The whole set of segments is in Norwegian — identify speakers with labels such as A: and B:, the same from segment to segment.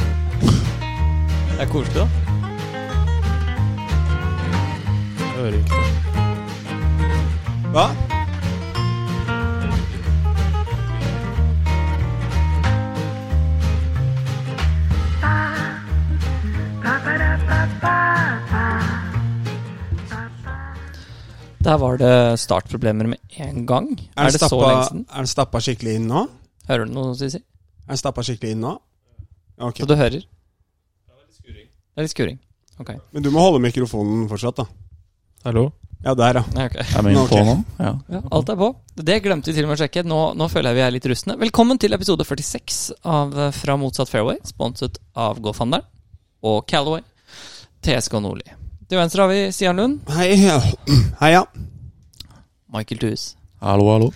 A: Det er koselig, da.
B: Jeg hører ikke det.
A: Hva? Der var det startproblemer med en gang. Er,
C: Er
A: det så lenge
C: den
A: siden?
C: stappa skikkelig inn nå?
A: Hører du noe, Sisi?
C: Er den stappa skikkelig inn nå? Ok.
A: Så du hører? Det er litt skuring. Ok.
C: Men du må holde mikrofonen fortsatt, da.
B: Hallo?
C: Ja, der, ja.
A: Nei, ok.
D: Er min
C: Ok.
D: på nå? Ja.
A: Ja, alt er på. Det glemte vi til og med å sjekke. Nå, nå føler jeg vi er litt rustne. Velkommen til episode 46 av eh, Fra motsatt fairway, sponset av GoFunderen og Calaway, TSK Nordli. Til venstre har vi Sian Lund,
C: Hei, ja. Hei, ja.
A: Michael Thues
D: Hallo, hallo.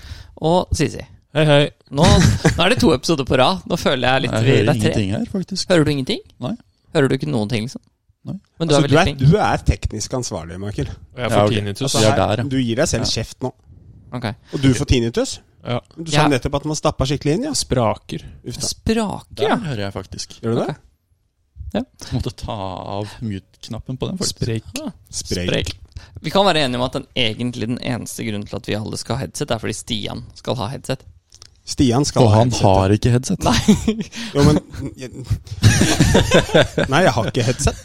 A: og Sisi.
B: Hei, hei.
A: Nå, nå er det to episoder på rad. Nå føler jeg litt
D: Jeg
A: vi,
D: hører
A: det er tre.
D: ingenting her, faktisk.
A: Hører du ingenting?
D: Nei.
A: Hører du ikke noen ting, liksom?
D: Nei.
A: Men du
C: Altså,
A: er
C: du,
A: veldig
C: er,
A: flink.
C: du er teknisk ansvarlig, Michael.
B: Og jeg
D: Ja,
B: får
D: ok.
B: tinnitus.
D: Altså, Vi er
C: her-
D: der, ja.
C: Du gir deg selv
D: Ja.
C: kjeft nå.
A: Ok.
C: Og du får tinnitus.
B: Ja.
C: Du sa
A: Ja.
C: nettopp at den var stappa skikkelig inn, ja.
B: Spraker.
C: Uff da.
A: Spraker,
D: Der
A: ja.
D: hører jeg faktisk.
C: Gjør du det?
D: Måtte ta av mute-knappen på den. faktisk.
B: Sprek.
C: Sprek.
A: Vi kan være enige om at den egentlig den eneste grunnen til at vi alle skal ha headset, er fordi Stian skal ha headset.
C: Stian skal
D: Og
C: ha
D: han
C: headset.
D: har ikke headset.
A: Nei.
C: Jo, men jeg- Nei, jeg har ikke headset.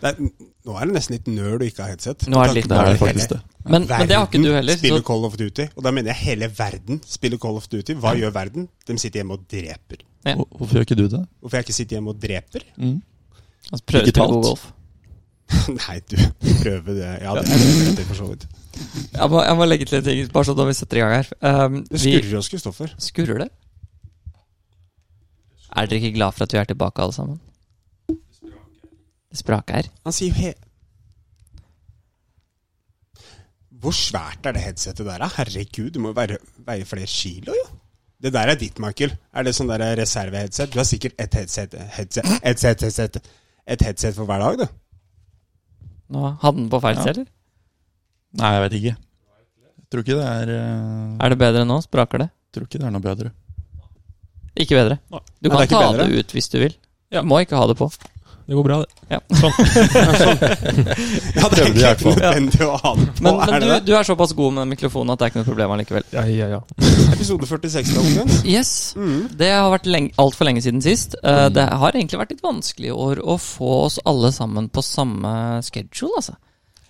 C: Det er, nå er det nesten litt nøl å ikke ha headset.
A: Nå er det litt
D: Det er
A: dårlig.
D: det faktisk det.
A: Men, men det har ikke du heller.
C: Spiller
A: Så,
C: Call of Duty. Og da mener jeg hele verden spiller Call of Duty. Hva gjør verden? De sitter hjemme og dreper.
A: Ja.
D: Hvor- Hvorfor gjør ikke du det? Mm.
C: Hvorfor jeg ikke sitter hjemme og dreper?
A: altså, prøv å spille
D: digitalt.
A: god golf.
C: Nei, du prøver det. Ja, det er det for så vidt.
A: Jeg må, jeg må legge til en ting, bare sånn at vi setter i gang her. Um,
C: Det
A: vi
C: skurrer hos Kristoffer.
A: skurrer det. Er dere ikke glad for at vi er tilbake, alle sammen? Det spraker her.
C: Han sier jo he... Hvor svært er det headsetet der, da? Herregud, det må jo være, veie flere kilo, jo. Det der er ditt, Michael. Er det sånn der reserveheadset? Du har sikkert et headset, headset, headset, headset, et headset for hver dag, du.
A: Nå hadde den på feil sted, eller?
D: Nei, jeg vet ikke. Jeg tror ikke det er, eh,
A: Er det bedre nå? Spraker det?
D: jeg tror ikke det er noe bedre.
A: Ikke bedre.
B: Nei.
C: Nei,
A: Du kan
C: det er
A: ta
C: ikke bedre.
A: det ut hvis du vil. Du må ikke ha det på.
B: Det går bra, det.
C: Ja, det er
D: Prøvde i
C: ikke
D: hvert fall.
C: helt nødvendig å ha det på,
A: Men,
C: er
A: men
C: det
A: du,
C: det?
A: du er såpass god med mikrofonen at det er ikke noe problem allikevel.
B: Ja, ja, ja.
C: Episode 46, da, omtrent.
A: Yes,
C: Mm.
A: Det har vært altfor lenge siden sist. Eh, Det har egentlig vært litt vanskelig i år å få oss alle sammen på samme schedule, altså.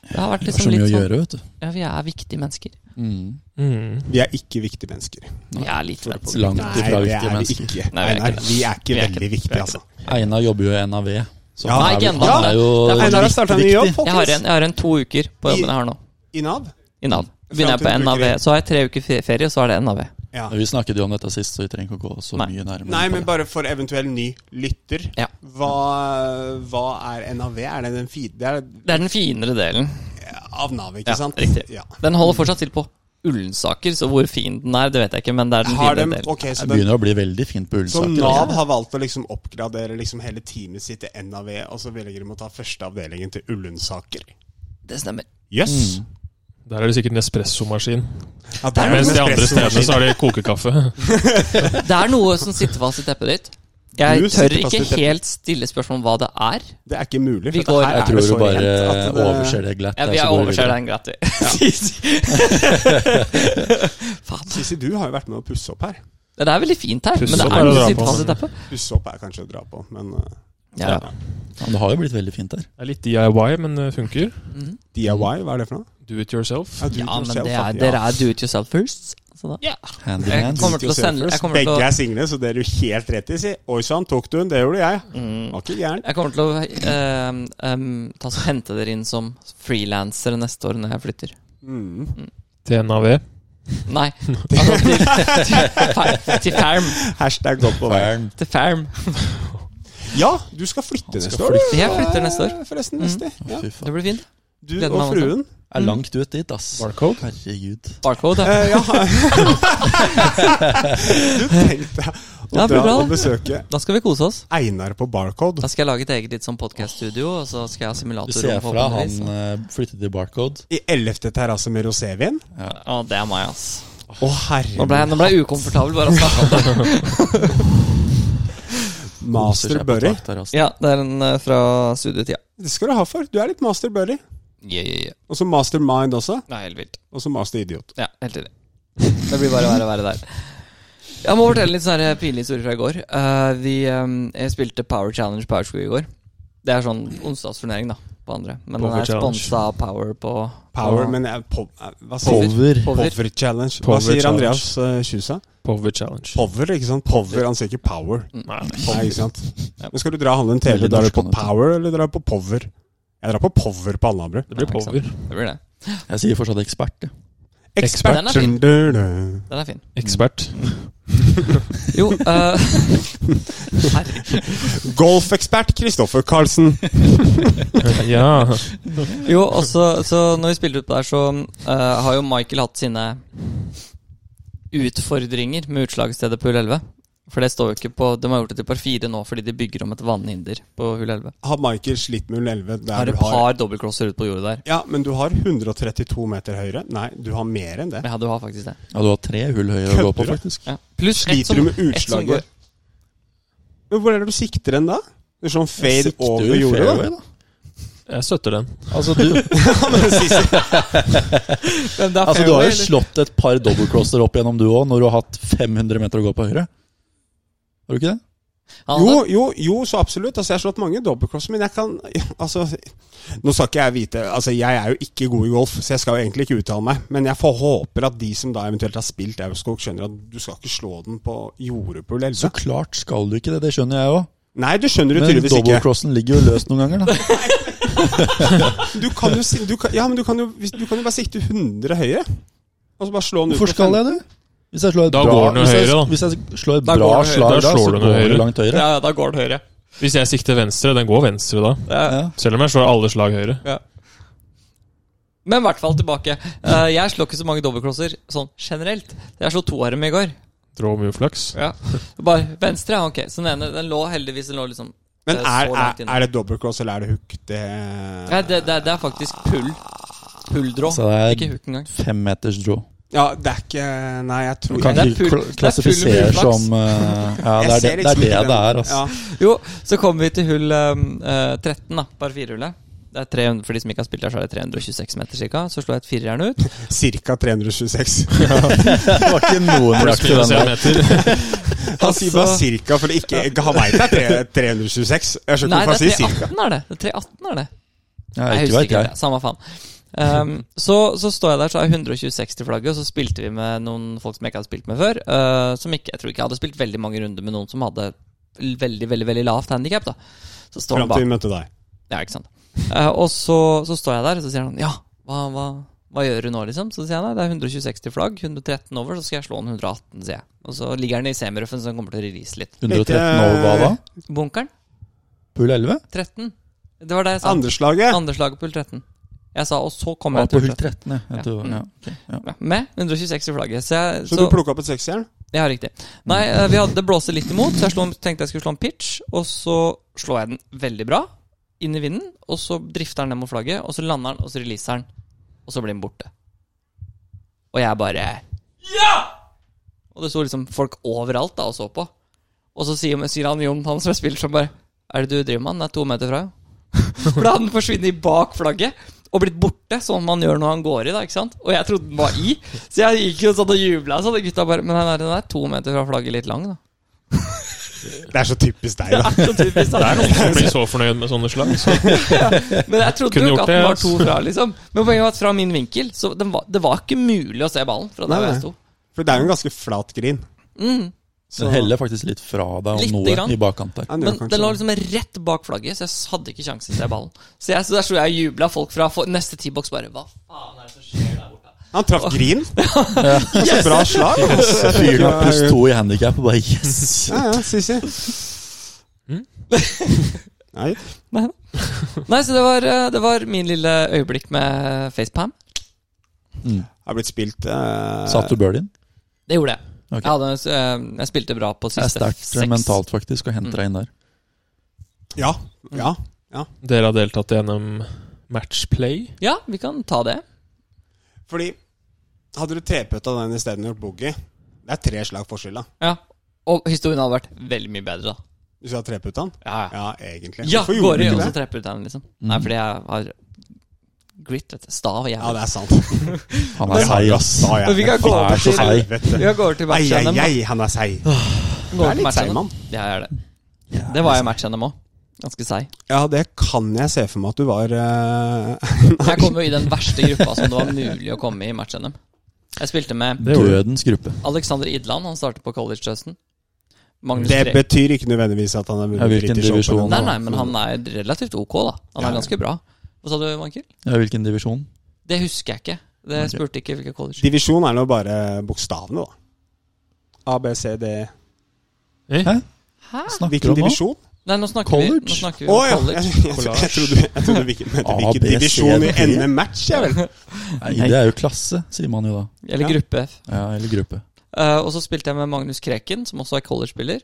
A: Det har vært
D: Det er så
A: liksom
D: mye
A: litt
D: å
A: sånn
D: gjøre, vet du.
A: Ja, vi er viktige mennesker.
D: Mm.
B: Mm.
C: Vi er ikke viktige mennesker.
A: Vi er litt mennesker.
D: Langt
C: Nei, det
D: ifra viktige
C: er vi
D: mennesker.
C: ikke.
A: Nei, vi er ikke
C: Einar,
A: det.
C: vi er
A: Vi
C: ikke
A: er ikke
C: veldig viktige, altså.
D: Einar jobber jo i NAV. Så
C: Ja.
D: han
A: Nei,
D: er,
A: ikke
D: jo-
A: ennå.
D: han er jo
A: Det er-
C: Einar har starta ny jobb,
A: Jeg har, en,
C: folkens.
A: jeg har en to uker på jobben jeg har nå.
C: I Nav.
A: I Nav. Begynner jeg på
C: Fram til
A: NAV,
C: uke tre.
A: så har jeg tre uker fe- ferie, og så er det NAV.
C: Ja.
D: Vi snakket jo om dette sist, så vi trenger ikke å gå så
A: Nei.
D: mye nærmere.
C: Nei,
D: på
C: men
D: det.
C: bare for eventuell ny lytter.
A: Ja.
C: Hva, hva er NAV? Er det den fide det er
A: Det er den finere delen.
C: av Nav, ikke
A: Ja,
C: sant?
A: riktig.
C: Ja.
A: Den holder fortsatt til på Ullensaker, så hvor fin den er, det vet jeg ikke, men det er den
C: Har
A: finere
C: dem,
A: delen.
C: ok, så,
D: Det
C: den,
D: begynner å bli veldig fint på
C: så
D: Ullensaker.
C: Nav
D: altså.
C: har valgt å liksom oppgradere liksom hele teamet sitt til NAV, og så velger de å ta første avdelingen til Ullensaker.
A: Det stemmer.
C: Jøss! Yes.
A: Mm.
B: Der er det sikkert Nespresso-maskin.
C: Ja, der er
B: Mens de
C: det
B: andre stedene så er det kokekaffe.
A: Det er noe som sitter fast i teppet ditt.
C: Du
A: Jeg
C: sitter
A: tør
C: fast i
A: ikke
C: teppet.
A: helt stille spørsmål om hva det er.
C: Det er ikke mulig.
A: Vi
C: For
A: går-
C: det her
D: Jeg
C: er
D: tror
C: det
D: du
C: så
D: bare
C: rent at eh, det-
D: overser det glatt.
A: Ja,
D: der,
A: vi
D: så
A: er
D: går vi
A: overser
D: videre.
A: den glatt. Faen.
C: Sissi, du har jo vært med å pusse opp her.
A: Det er veldig fint her, men
B: Pusse
A: det
B: opp
A: er
B: er å
A: noe
B: dra
A: som sitter
B: på.
A: fast i teppet.
C: Pusse opp er kanskje å dra på, men uh,
A: Ja, ja.
D: Ja, men det har jo blitt veldig fint der.
B: Det er litt DIY, men det funker.
C: DIY, hva er det for noe?
B: Do it yourself.
C: Ja, du
A: ja men
C: yourself,
A: det
C: ja.
A: er, dere er do it yourself first. Så da.
D: Hand in
A: Jeg
D: hand.
A: kommer til å sende jeg kommer til
C: Begge
A: å,
C: er single, så det er du helt rett i. Si. Oi sann, tok du den? Det gjorde jeg.
A: Mm.
C: Var ikke gæren.
A: jeg kommer til å ehm, ehm, ta så hente dere inn som frilansere neste år når jeg flytter.
C: Mm.
B: Til NAV.
A: Nei, altså til, til, fa- til Farm.
C: Hashtag godt på vei.
D: Fern.
A: Til Farm.
C: Ja, du skal flytte
D: skal
C: neste år. du.
A: Jeg flytter neste år.
C: Eh, Forresten, neste. Ja.
D: Fy
A: Det
D: faen.
A: blir fint.
C: Du
A: Gleder
C: og
A: meg masse.
C: fruen.
D: Det er langt ut dit, ass.
B: Barcode.
D: Herregud.
A: Barcode. ja.
C: Eh, ja. du tenkte å
A: Ja, det blir
C: dra
A: bra,
C: og
A: det.
C: besøke
A: Da skal vi kose oss.
C: Einar på Barcode.
A: Da skal jeg lage et eget litt sånn podkaststudio, og så skal jeg ha
D: Du
A: simulator.
D: ser fra han eh, flyttet til Barcode. eh,
C: I 11. terrasse med rosévin.
A: Å, det er meg, ass.
C: Å, herre
A: Nå ble, jeg, nå ble jeg ukomfortabel bare av å snakke om det.
C: min. Master Burry.
A: Ja, det er en eh, fra studietida.
C: Det skal du ha for. Du er litt master Burry.
A: Yeah, yeah, yeah.
C: Og så master mind også.
A: Det er helt vilt.
C: Og så master idiot.
A: Ja, helt enig. Det blir bare verre og verre der. Jeg må fortelle litt sånne pinlige historier fra i går. Eh, vi eh, jeg spilte Power Challenge Power Square i går. Det er sånn onsdagsturnering, da, på andre. Men
B: Power
A: den er
B: Challenge.
A: sponsa av Power på
C: Power,
A: på,
C: men jeg, po eh, hva sier vi?
D: Power.
A: Power.
C: Power challenge. Hva
B: Power
C: sier
B: challenge.
C: Andreas eh, Kjusa?
B: Power Challenge.
C: Power, ikke sant? Power, Han sier ikke power.
A: Mm.
B: Nei.
C: Nei, ikke sant? Men skal du dra og handle en TV,
D: Veldig
C: drar du
D: norsk,
C: på
D: han, vet du.
C: power, eller drar du på power? Jeg drar på power på Alnabru.
B: Det
A: Ja,
B: blir
A: ikke sant.
B: power.
A: Det blir det.
D: Jeg sier fortsatt ekspert. jeg.
A: Ekspert.
C: Ekspert.
A: Den er fin.
C: Du, du.
A: Den er fin.
B: Ekspert.
A: Jo, eh, herregud.
C: Golfekspert Kristoffer Karlsen.
B: Ja.
A: jo og så- så når vi spilte ut på der, så eh, har jo Michael hatt sine utfordringer med utslagsstedet på hull 11. For det står jo ikke på De har gjort det til par fire nå fordi de bygger om et vannhinder på hull 11.
C: Har Michael slitt med 011
A: Har
C: der
A: et
C: du har
A: par dobbeltklosser ut på jordet der.
C: Ja, men du har 132 meter høyre. Nei, du har mer enn det.
A: Men ja, du har faktisk det.
D: Ja, du har tre hull høyere å gå på,
C: Kødder
D: faktisk.
A: Ja. Pluss ett
C: Sliter
A: som,
C: du med
A: ett som går
C: utslaget? Men hvor er det du sikter hen da? Du er sånn fade
D: Sikter
C: over
D: jo i
C: jordet,
D: fairway,
C: da.
D: da.
B: Jeg støtter den.
D: Altså, du, altså, du har jo slått et par dobbeltcrosser opp gjennom du òg, når du har hatt 500 meter å gå på høyre. Har du ikke det?
A: Han
C: Jo,
A: hadde-
C: jo, jo, så absolutt. Altså, jeg har slått mange dobbeltcrosser, men jeg kan Altså, nå skal ikke jeg vite Altså, jeg er jo ikke god i golf, så jeg skal jo egentlig ikke uttale meg. Men jeg får håper at de som da eventuelt har spilt Aurskog, skjønner at du skal ikke slå den på jordet på hull 11.
D: Så klart skal du ikke det, det skjønner jeg òg.
C: Nei, det skjønner du
D: Men
C: tydeligvis ikke.
D: dobbeltcrossen ligger jo løst noen ganger, da.
C: Du kan jo, si- du kan, ja, men du kan jo, hvis- du kan jo bare sikte 100 høyere. Og så bare slå den ut.
D: Hvorfor
C: på
D: skal
C: fem-
D: jeg det? Hvis jeg slår et
B: Da
D: bra,
B: går den jo
D: hvis jeg,
B: høyere, da.
D: Hvis jeg slår et
A: Da
D: bra
A: går den høyere.
D: slag,
B: Da
D: da,
B: slår
D: så
B: den
D: går
B: høyere.
D: den langt høyre.
A: Ja, ja, da går det høyre.
B: Hvis jeg sikter venstre, den går venstre da.
A: Ja.
D: Ja.
B: Selv om jeg slår alle slag høyre.
A: Men i hvert fall tilbake. Eh, jeg slår ikke så mange dobbeltklosser sånn generelt. Jeg slo to av dem i går.
B: Drå mye flaks.
A: Bare venstre, ja, ok. Så den ene den lå heldigvis den lå liksom
C: Men
A: eh,
C: er,
A: så langt
C: er,
A: inne.
C: er det dobbeltcross eller er det hook? Det
A: Nei, det, det, det er faktisk pull. Pulldrå.
D: Så det er
A: Ikke hook engang.
D: fem meters draw.
C: Ja, det er ikke Nei, jeg
D: Du
C: tror
D: kan
A: Det er
D: ikke
A: full-
D: kl-
A: det er
D: klassifisere
A: full
D: som eh, Ja, det
C: Jeg
D: er
C: ser
D: det det, er
C: liksom
D: det,
C: ikke den.
D: det er, altså.
C: Ja.
A: Jo, så kommer vi til hull ehm, eh, 13, da, par firehullet. Det er 300, for de som ikke har spilt der, så er det 326 meter cirka. Så slår jeg et firejern ut.
C: Cirka 326.
D: Det var ikke noen
B: Pluss
D: rakk til
B: minus
D: den
B: en
D: der.
B: meter.
C: Han sier bare
A: Altså-
C: cirka, for det ikke, han veit det er tre- 326. Jeg skjønner
A: Nei,
C: ikke hvorfor han
A: det
C: sier
A: er
C: cirka.
A: 318 er det. det, er 318 er det.
D: Ja,
A: Jeg
D: ikke
A: husker
D: vet
A: ikke,
D: jeg.
A: det, samme faen. Um, så, så står jeg der, så er 126 til flagget, og så spilte vi med noen folk som jeg ikke hadde spilt med før. Uh, som ikke, Jeg tror ikke jeg hadde spilt veldig mange runder med noen som hadde veldig veldig, veldig lavt handikap. Så står han
C: Fram
A: bak
C: til vi møtte deg.
A: ja, ikke sant. Eh, og så, så står jeg der, og så sier han ja, hva, hva, hva gjør du nå, liksom? Så sier jeg nei, det er 126 til flagg, 113 over, så skal jeg slå den 118, sier jeg. Og så ligger den i semiruffen, så den kommer til å release litt.
D: 113 over hva da?
A: Bunkeren?
D: Pull 11?
A: 13. Det var det jeg sa.
C: Andre slaget.
A: Andre slaget på hull 13. Jeg sa, og så kom
D: Ja,
A: jeg
D: på
A: til
D: hull
A: hull 13.
D: 13, ja. Jeg tror, ja.
A: Med 126 i flagget. Så jeg
C: Så du plukka opp et seksjern?
A: Ja, riktig. Nei, eh, vi hadde det blåste litt imot, så jeg slo, tenkte jeg skulle slå en pitch. Og så slår jeg den veldig bra inn i vinden, og så drifter den ned mot flagget, og så lander den, og så releaser den, og så blir den borte. Og jeg bare Ja! Og det sto liksom folk overalt da og så på. Og så sier, sier han Jon, han som jeg spiller som, bare Er det du driver med? Den er to meter fra. For da hadde den forsvunnet bak flagget og blitt borte, som man gjør når han går i. da, ikke sant? Og jeg trodde den var i, så jeg gikk jo sånn og jubla. Så gutta bare Men den er, den er to meter fra flagget, litt lang, da.
C: Det er så typisk deg, da.
A: Så typisk, da.
B: Jeg blir så fornøyd med sånne slag. Så.
A: Men jeg trodde
B: Kunne
A: jo
B: gjort
A: ikke at den
B: det,
A: var
B: ass.
C: altså.
A: to fra, liksom. Men poenget var at fra min vinkel så den var, det var ikke mulig å se ballen fra
C: Nei,
A: der hvor
C: nei.
A: jeg sto.
C: For det er jo en ganske flat grin.
A: Mm.
D: Den heller faktisk litt fra deg
A: Lite
D: om noe
A: grann.
D: i bakkant der.
C: Han gjør
A: Men
C: kanskje
A: den lå
C: det.
A: liksom rett bak flagget, så jeg s- hadde ikke sjanse til å se ballen. Så jeg, så der sto jeg og jubla. Folk fra for, neste T-box bare Hva faen er det som skjer der borte?
C: Han traff grin. Så bra slag. altså.
D: Fyren har pluss to i handikap og bare yes!
C: Ja, ja, Sisi.
D: Mm.
C: Nei.
A: Nei, nei så det var, eh, det var min lille øyeblikk med facepam.
C: Har blitt spilt eh,
D: Satt du birdien?
A: Det gjorde jeg.
D: Ok.
A: Jeg, hadde, eh, jeg spilte bra på
D: Det er
A: siste
D: sterkt
A: seks.
D: mentalt faktisk å hente deg inn der.
C: Ja.
A: Mm.
C: Ja.
B: Dere har deltatt i NM Matchplay.
A: Ja, vi kan ta det.
C: Fordi Hadde du treputta den isteden og gjort boogie Det er tre slag forskjell, da.
A: Ja. Og historien hadde vært veldig mye bedre, da.
C: Hvis du hadde treputta den?
A: Ja, ja.
C: Ja, egentlig.
A: ja
C: Hvorfor gjorde
A: går i
C: du
A: og
C: ikke
A: så
C: det?
A: trepper ut den, liksom. Nei, fordi jeg har grit, vet du. Sta og
C: Ja,
A: jævlig.
C: det er sant.
D: Han er seig, ass.
C: Da, ja.
A: Men vi kan gå
D: Han
A: over
D: er så
A: til-
D: seig.
C: Helvete.
A: Vi går over til
C: Ai,
A: matchen.
C: ai,
A: dem, da.
C: ai, han er seig.
A: Gå over
C: er
A: til
C: litt
A: matchen,
C: seig,
A: dem.
C: mann.
A: Ja, jeg er det. Det var jeg i matchen dem òg. Ganske seig.
C: Ja, det kan jeg se for meg at du var eh,
A: Jeg kom jo i den verste gruppa som det var mulig å komme i i matchen dem. Jeg spilte med
B: Det gjorde du.
D: Dødens gruppe.
A: Alexander Idland, han startet på college til høsten. Magnus
C: Det
A: Tre-
C: betyr ikke nødvendigvis at han er
D: Ja, hvilken
C: British Open.
D: divisjon?
A: Nei, nei, men han er relativt ok, da. Han
C: Ja,
A: er
C: ja.
A: ganske bra. Hva sa du, Michael?
D: Ja, hvilken divisjon?
A: Det husker jeg ikke. Det
D: Ok.
A: spurte ikke hvilket college.
C: Divisjon er nå bare bokstavene, da. A, B, C, D
D: Hæ?
A: Hæ?
D: Snakker
C: Hvilken
D: du om nå?
C: divisjon?
A: Nei, nå snakker vi,
D: College?
A: nå snakker vi
C: Å
A: om
C: ja! Jeg,
A: college.
C: jeg, jeg trodde, jeg trodde vi ikke mente
D: A,
C: hvilken
D: B, C,
C: divisjon i
D: D.
C: ender match, jeg vel.
D: Nei, det er jo klasse, sier man jo da.
A: Eller gruppe F.
D: Ja, Eller gruppe.
A: Eh, og så spilte jeg med Magnus Kreken, som også er college-spiller.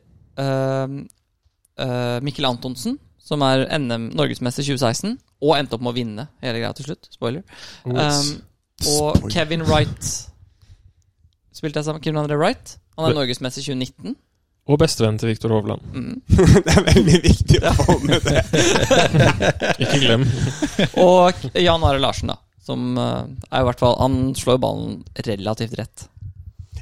A: Eh, eh, Mikkel Antonsen, som er NM norgesmester 2016, og endte opp med å vinne hele greia til slutt. Spoiler. Um, og
D: Spoiler.
A: Kevin Wright spilte jeg sammen med Kevin André Wright. Han er
B: Hva-
A: norgesmester 2019.
B: Og bestevennen til Viktor Hovland.
A: Mm.
C: Det er veldig viktig å få med det.
B: Ikke glem.
A: Og Jan Are Larsen, da. Som eh, er i hvert fall Han slår ballen relativt rett.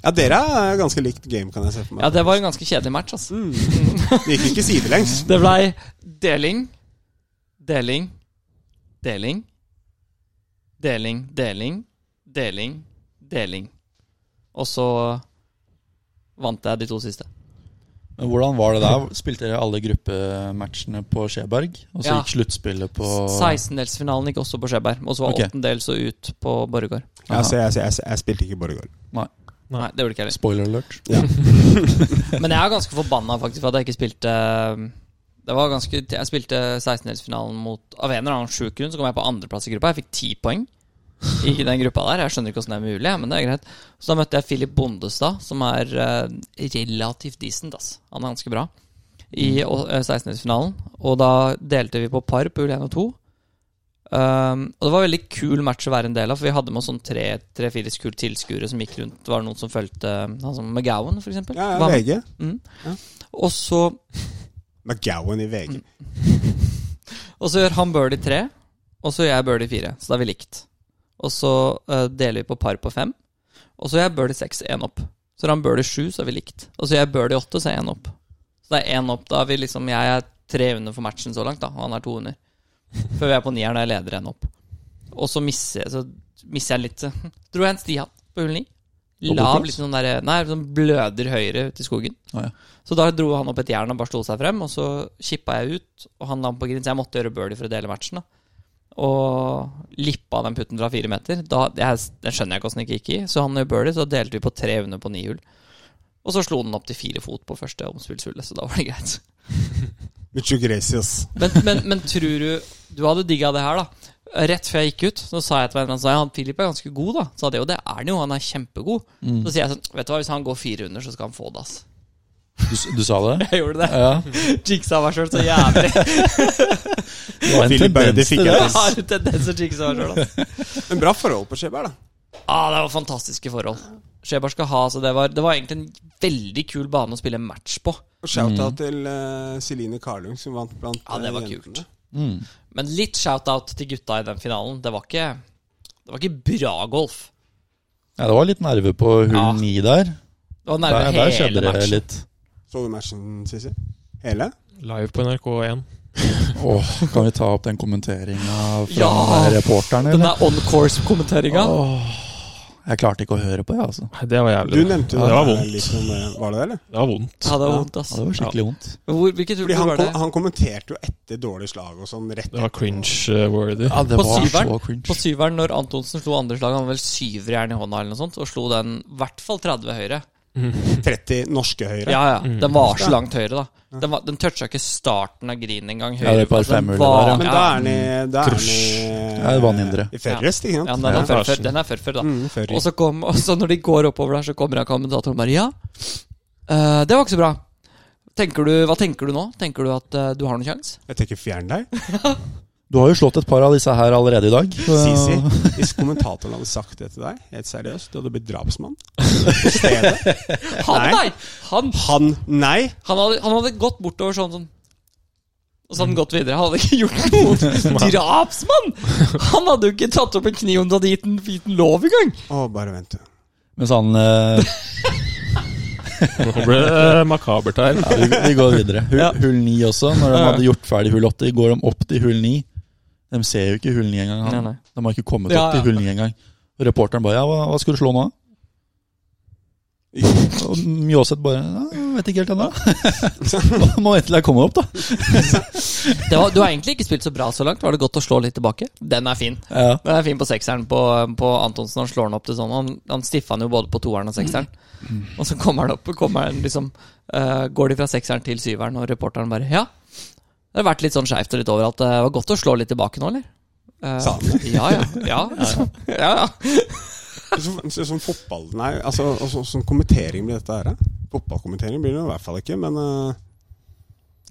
C: Ja, dere er ganske likt game, kan jeg se for meg.
A: Ja, det var en ganske kjedelig match, altså.
C: Mm. Det gikk ikke sidelengs.
A: Det blei deling, deling, deling, deling, deling, deling, deling. Og så vant jeg de to siste.
D: Men hvordan var det der? Spilte dere alle gruppematchene på Skjeberg? Og så
A: Ja.
D: gikk sluttspillet på
A: 16-delsfinalen gikk også på Skjeberg, og så var
D: Ok.
A: åttendels og ut på Borregaard.
C: Ja, så Altså, jeg, jeg, jeg, jeg spilte ikke Borregaard.
A: Nei, det gjorde ikke jeg heller.
D: Spoiler alert.
A: Men jeg er ganske forbanna faktisk for at jeg ikke spilte eh, det var ganske, Jeg spilte 16-delsfinalen mot Av en eller annen sjuk grunn så kom jeg på andreplass i gruppa. Jeg fikk ti poeng i den gruppa der. Jeg skjønner ikke åssen det er mulig, ja, men det er greit. Så da møtte jeg Philip Bondestad, som er eh, relativt decent, ass. Han er ganske bra. I
C: Mm.
A: å- eh, 16-delsfinalen. Og da delte vi på par på hull 1 og 2. Um, og det var en veldig kul match å være en del av, for vi hadde med oss sånn tre- tre-fire kule tilskuere som gikk rundt. Det var noen som fulgte eh, han som McGowan, for eksempel.
C: Ja,
A: Var
C: ja,
A: med.
C: VG.
A: Og så,
C: McGowan i VG.
A: og så gjør han birdie tre, og så gjør jeg birdie fire. Så da er vi likt. Og så eh, deler vi på par på fem. Og så gjør jeg birdie seks én opp. Så gjør han birdie sju, så er vi likt. Og så gjør jeg birdie åtte, så er jeg én opp. Så det er én opp. Da er vi liksom Jeg er tre under for matchen så langt, da. Og han er to under. Før vi er på nieren, og jeg leder én opp. Og så misser jeg, så misser jeg litt. Dro jeg en Stian på hull ni.
D: På
A: Lav,
D: bordplass?
A: liksom sånn derre Nei, sånn bløder høyre ute i skogen.
D: Å, ja.
A: Så da dro han opp et jern og bare sto seg frem, og så kippa jeg ut, og han la den på green, så jeg måtte gjøre birdie for å dele matchen, da. Og lippa den putten fra fire meter. Da, jeg, den skjønner jeg ikke åssen det gikk i. Så han gjør birdie, så delte vi på tre under på ni hull. Og så slo den opp til fire fot på første omspillshullet, så da var det greit.
C: Mucho gracias.
A: Men, men, men tror du Du hadde digga det her, da. Rett før jeg gikk ut, så sa jeg til vennen hans at Philip er ganske god, da. Så sa det jo, det er han jo, han er kjempegod.
D: Mm.
A: Så sier jeg sånn, vet du hva, hvis han går fire under, så skal han få det, ass.
D: Du, du sa det?
A: Jeg gjorde det.
D: Ja.
A: Jigsa meg sjøl så jævlig.
D: Det var en
C: Philip Berre, det
D: tendens
C: fikk
D: til
C: jeg
D: det.
A: Jeg har en tendens til å jinxe meg selv, ass.
C: Men bra forhold på Skjeberg, da.
A: Ah, det var fantastiske forhold. Skjeberg skal ha, så det var, det var egentlig en veldig kul bane å spille match på.
C: Og shout-out til eh, Celine Carlung, som vant blant
A: Ja, det
C: eh,
A: var
C: jentene.
A: kult.
D: Mm.
A: Men litt shout-out til gutta i den finalen. Det var ikke, det var ikke bra golf.
D: Ja, det var litt nerve på
A: Ja.
D: hull ni der.
A: Det var nærmere
D: Der, der skjedde
A: hele
D: det
A: matchen.
D: litt.
C: Så du matchen, Sissy? Hele?
B: Live på NRK1.
D: Åh, kan vi ta opp den kommenteringa fra
A: Ja.
D: reporteren,
A: Den
D: eller?
A: der on course-kommenteringa.
D: Åh, jeg klarte ikke å høre på, jeg, altså.
B: Nei, Det var
C: Du
B: jævlig. da.
C: nevnte
B: Ja, det var
C: der
B: vondt.
C: litt om det. Var det det, eller?
B: Det var vondt.
A: Ja, det var vondt, ass.
D: Ja, det var skikkelig vondt.
A: Hvor, hvilket
C: Fordi
A: hull
C: han,
A: var det?
C: kom, han kommenterte jo etter dårlig slag og sånn rett
B: Det var cringe-worthy.
D: Ja, det
A: På
D: var
A: syveren?
D: så cringe.
A: På syveren, når Antonsen slo andre slaget, han var vel syverjern i hånda eller noe sånt, og slo den i hvert fall 30 høyre.
C: 30 norske høyre.
A: Ja, ja.
B: Mm.
A: Den var så langt høyre, da. Den, var, den toucha ikke starten av green engang.
D: Ja, det er
A: høyre,
D: par
A: altså, den
D: femhuller
A: var-
D: der, ja.
C: Men da er han i Da er han i
D: Ja, det var han indre.
C: I Ferrest, ikke sant?
A: Ja, men den er
B: Ja.
A: før, før, den er før, før da.
C: Mm, Ferry.
A: Og så, kom, og så når de går oppover der, så kommer han kommentatoren bare Ja, eh, det var ikke så bra. Tenker du, hva tenker du nå? Tenker du at eh, du har noen sjanse?
C: Jeg tenker fjern deg.
D: Du har jo slått et par av disse her allerede i dag.
C: Sisi, hvis kommentatoren hadde sagt det til deg, helt seriøst, du hadde blitt drapsmann på stedet.
A: Han,
C: Nei.
A: nei! Han,
C: Han nei.
A: han, hadde, han hadde gått bortover sånn sånn og så hadde han gått videre. Han hadde ikke gjort noe! Drapsmann! Han hadde jo ikke tatt opp en kniv om du hadde gitt den, gitt den lov engang!
C: Å, bare vent, du.
D: Mens han eh,
B: Nå ble det makabert her.
D: ja, vi, vi går videre. Hull,
A: Ja.
D: hull 9 også. Når de
A: Ja.
D: hadde gjort ferdig hull 8, går de opp til hull 9. De ser jo ikke hull 9 engang. Han.
A: Nei, nei.
D: De har ikke kommet
A: Ja,
D: opp til
A: ja.
D: hull 9 engang. Og Reporteren bare ja, hva, 'Hva skal du slå nå?' Og Mjåseth bare ja, 'Jeg vet ikke helt ennå'. Må vente til jeg kommer opp, da.
A: Det var, du har egentlig ikke spilt så bra så langt. Var det godt å slå litt tilbake? Den er fin.
D: Ja.
A: Den er fin på sekseren på, på Antonsen. Han slår den opp til sånn. Han, han stiffa den jo både på toeren og sekseren. Og så kommer han opp kommer han liksom, eh, går de fra sekseren til syveren, og reporteren bare Ja, det har vært litt sånn skeivt og litt overalt. Det var godt å slå litt tilbake nå, eller? Eh,
C: Sa han
A: ja, ja. Ja, liksom. ja, ja.
C: Så, så, sånn fotball Nei, altså og så, sånn kommentering blir dette her. da. Fotballkommentering blir det i hvert fall ikke, men eh,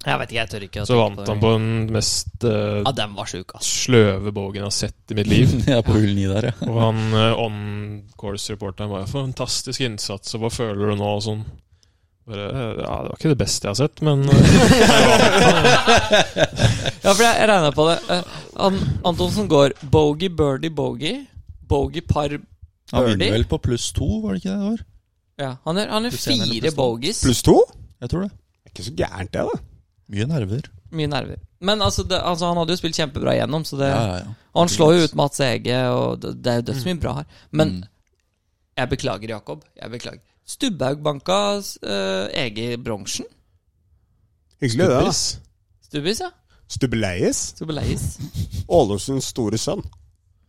A: Jeg vet ikke, jeg tør ikke å
B: Så
A: tenke
B: vant han på den mest eh,
A: Ja, den var sjuk, ass.
B: sløve bogen jeg har sett i mitt liv.
D: Jeg er på hull 9 der, ja.
B: Og han eh, on-course-reporteren bare 'Fantastisk innsats, og hva føler du nå?' og sånn. Bare, eh, ja, det var ikke det beste jeg har sett, men eh,
A: Ja, for jeg, jeg regna på det. Eh, han, Antonsen går bogey, birdie, bogey. Bogey, par,
D: Han
A: Birdie?
D: vinner vel på pluss to, var det ikke det det var?
A: Ja, han er, han er
D: Pluss en eller
A: fire
D: pluss to?
A: bogies.
C: pluss to?
D: Jeg tror det.
C: Det er ikke så gærent, det, da.
D: Mye nerver.
A: Mye nerver. Men altså, det, altså, han hadde jo spilt kjempebra igjennom, så det,
D: Ja, ja, ja.
A: og han slår jo ut Mats Ege, og det, det er jo dødsmye bra her. Men
D: Mm.
A: jeg beklager, Jakob. Jeg beklager. Stubbaug banka uh, Ege Bronsen.
C: Hyggelig, det. da
B: piss.
A: Stubbis, ja.
C: Stubbeleies.
A: Stubbeleies.
C: Ålesunds store sønn.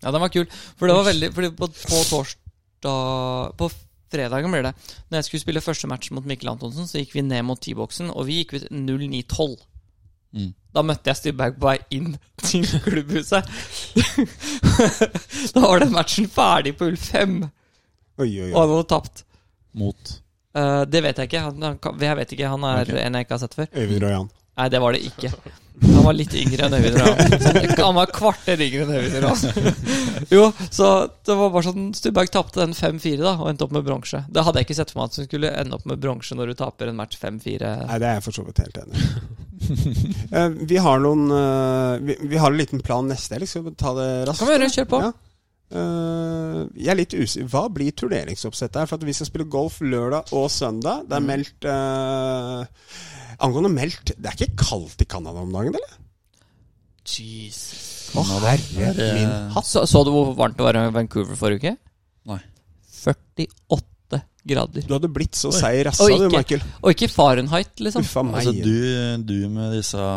A: Ja, den var kul. For det var veldig Fordi på, på torsdag På fredagen blir det. Når jeg skulle spille første match mot Mikkel Antonsen, så gikk vi ned mot T-boksen, og vi gikk ut 0-9-12.
D: Mm.
A: Da møtte jeg Stubberg på vei inn til klubbhuset. da var den matchen ferdig på hull 5,
C: Oi, oi,
A: og
C: oi.
A: han hadde tapt.
D: Mm. Mot
A: Eh, det vet jeg ikke. Han, han, kan- jeg vet ikke, han er
D: Ok.
A: en jeg ikke har sett før.
C: Øyvind Royan.
A: Nei, det var det ikke. Han var litt yngre enn Øyvind Rahm. Sånn, Han var kvarter yngre enn Øyvind Rahm. Jo, så det var bare sånn Stubberg tapte den 5-4 da, og endte opp med bronse. Det hadde jeg ikke sett for meg at hun skulle ende opp med bronse når du taper en match 5-4.
C: Nei, det er jeg for så vidt helt enig i. Eh, vi har noen eh, vi, vi har en liten plan neste helg. Skal vi ta det raskt?
A: Kan vi gjøre, kjør på.
C: Ja. Eh, jeg er litt usikker Hva blir turneringsoppsettet her? For at vi skal spille golf lørdag og søndag.
A: Mm.
C: Det er meldt eh, Angående meldt Det er ikke kaldt i Canada om dagen, eller?
A: Jesus.
C: Å, herre
D: er,
C: min
D: eh,
A: Så, så du hvor varmt det var i Vancouver forrige uke?
D: Nei.
A: 48 grader.
C: Du hadde blitt så seig i rassa,
A: Og
C: du,
A: ikke-
C: Michael.
A: Og ikke Fahrenheit, liksom.
C: Uffa meg.
D: Altså, du, du med disse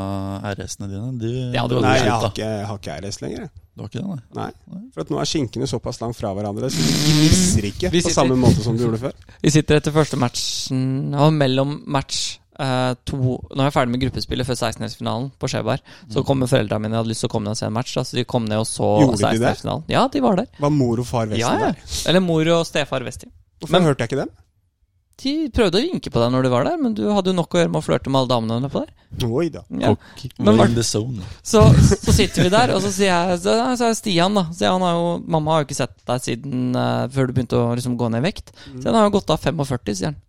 D: RS-ene dine du,
A: Ja, det
D: du,
A: var-
C: Nei,
D: hadde
C: jeg har
D: slutt, da.
C: ikke, jeg har ikke RS lenger. jeg.
D: Du har ikke det, nei?
C: Nei.
D: Nei.
C: For at nå er skinkene såpass langt fra hverandre, så de gnisser ikke
A: Vi
C: på
A: sitter-
C: samme måte som du gjorde før.
A: Vi sitter etter første matchen Og mellom match eh, to Når jeg er ferdig med gruppespillet før 16-finalen på Skjeberg, så kommer foreldrene mine. Jeg hadde lyst til å komme ned og se en match, da, så de kom ned og så
C: Mm. Gjorde de det?
A: 16-finalen. Ja, de var der.
C: Var mor og far vesten
A: Ja, ja.
C: der?
A: Eller mor og stefar Westi.
C: Hvorfor
A: Men-
C: hørte jeg ikke dem?
A: De prøvde å vinke på deg når du var der, men du hadde jo nok å gjøre med å flørte med alle damene nedpå der.
C: Oi da.
A: Ja. Men
D: We're
A: var-
D: in the zone.
A: Så, så sitter vi der, og så sier jeg Så, så er det Stian, da. Så han har jo, mamma har jo ikke sett deg siden eh, før du begynte å liksom, gå ned i vekt. Så han har jo gått av 45, sier han.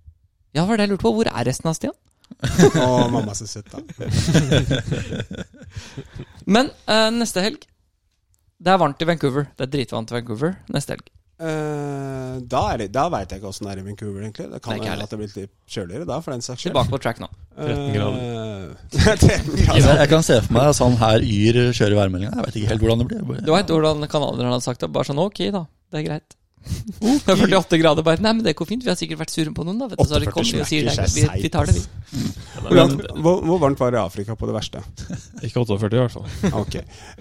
A: Ja, hva var det jeg lurte på? Hvor er resten av Stian?
C: Å, mamma så søtt, da.
A: Men eh, neste helg Det er varmt i Vancouver. Det er dritvarmt i Vancouver neste helg.
C: Eh, da er det- da veit jeg ikke åssen det er i Vancouver, egentlig. Det kan
A: Nei,
C: jo hende
A: ikke heller.
C: at det blir litt kjøligere da, for den saks skyld.
A: Tilbake på track nå.
C: Eh,
B: 13
C: 13 grader.
D: Jeg kan se for meg at han her yr kjører værmeldinga. Jeg vet ikke helt hvordan det blir.
A: Du
D: Bare,
A: veit hvordan canadierne hadde sagt det? Bare sånn ok, da. Det er greit. Det er 48 grader bare. Nei, men det går fint. Vi har sikkert vært sure på noen, da. Vet du. Så har de
C: 48
A: kommet og sier
C: smekker
A: det.
C: seg
A: Vi, vi tar det,
C: seigt,
A: vi.
C: Hvordan, hvor, hvor varmt var det i Afrika på det verste?
B: Ikke 48, i hvert fall.
C: Ok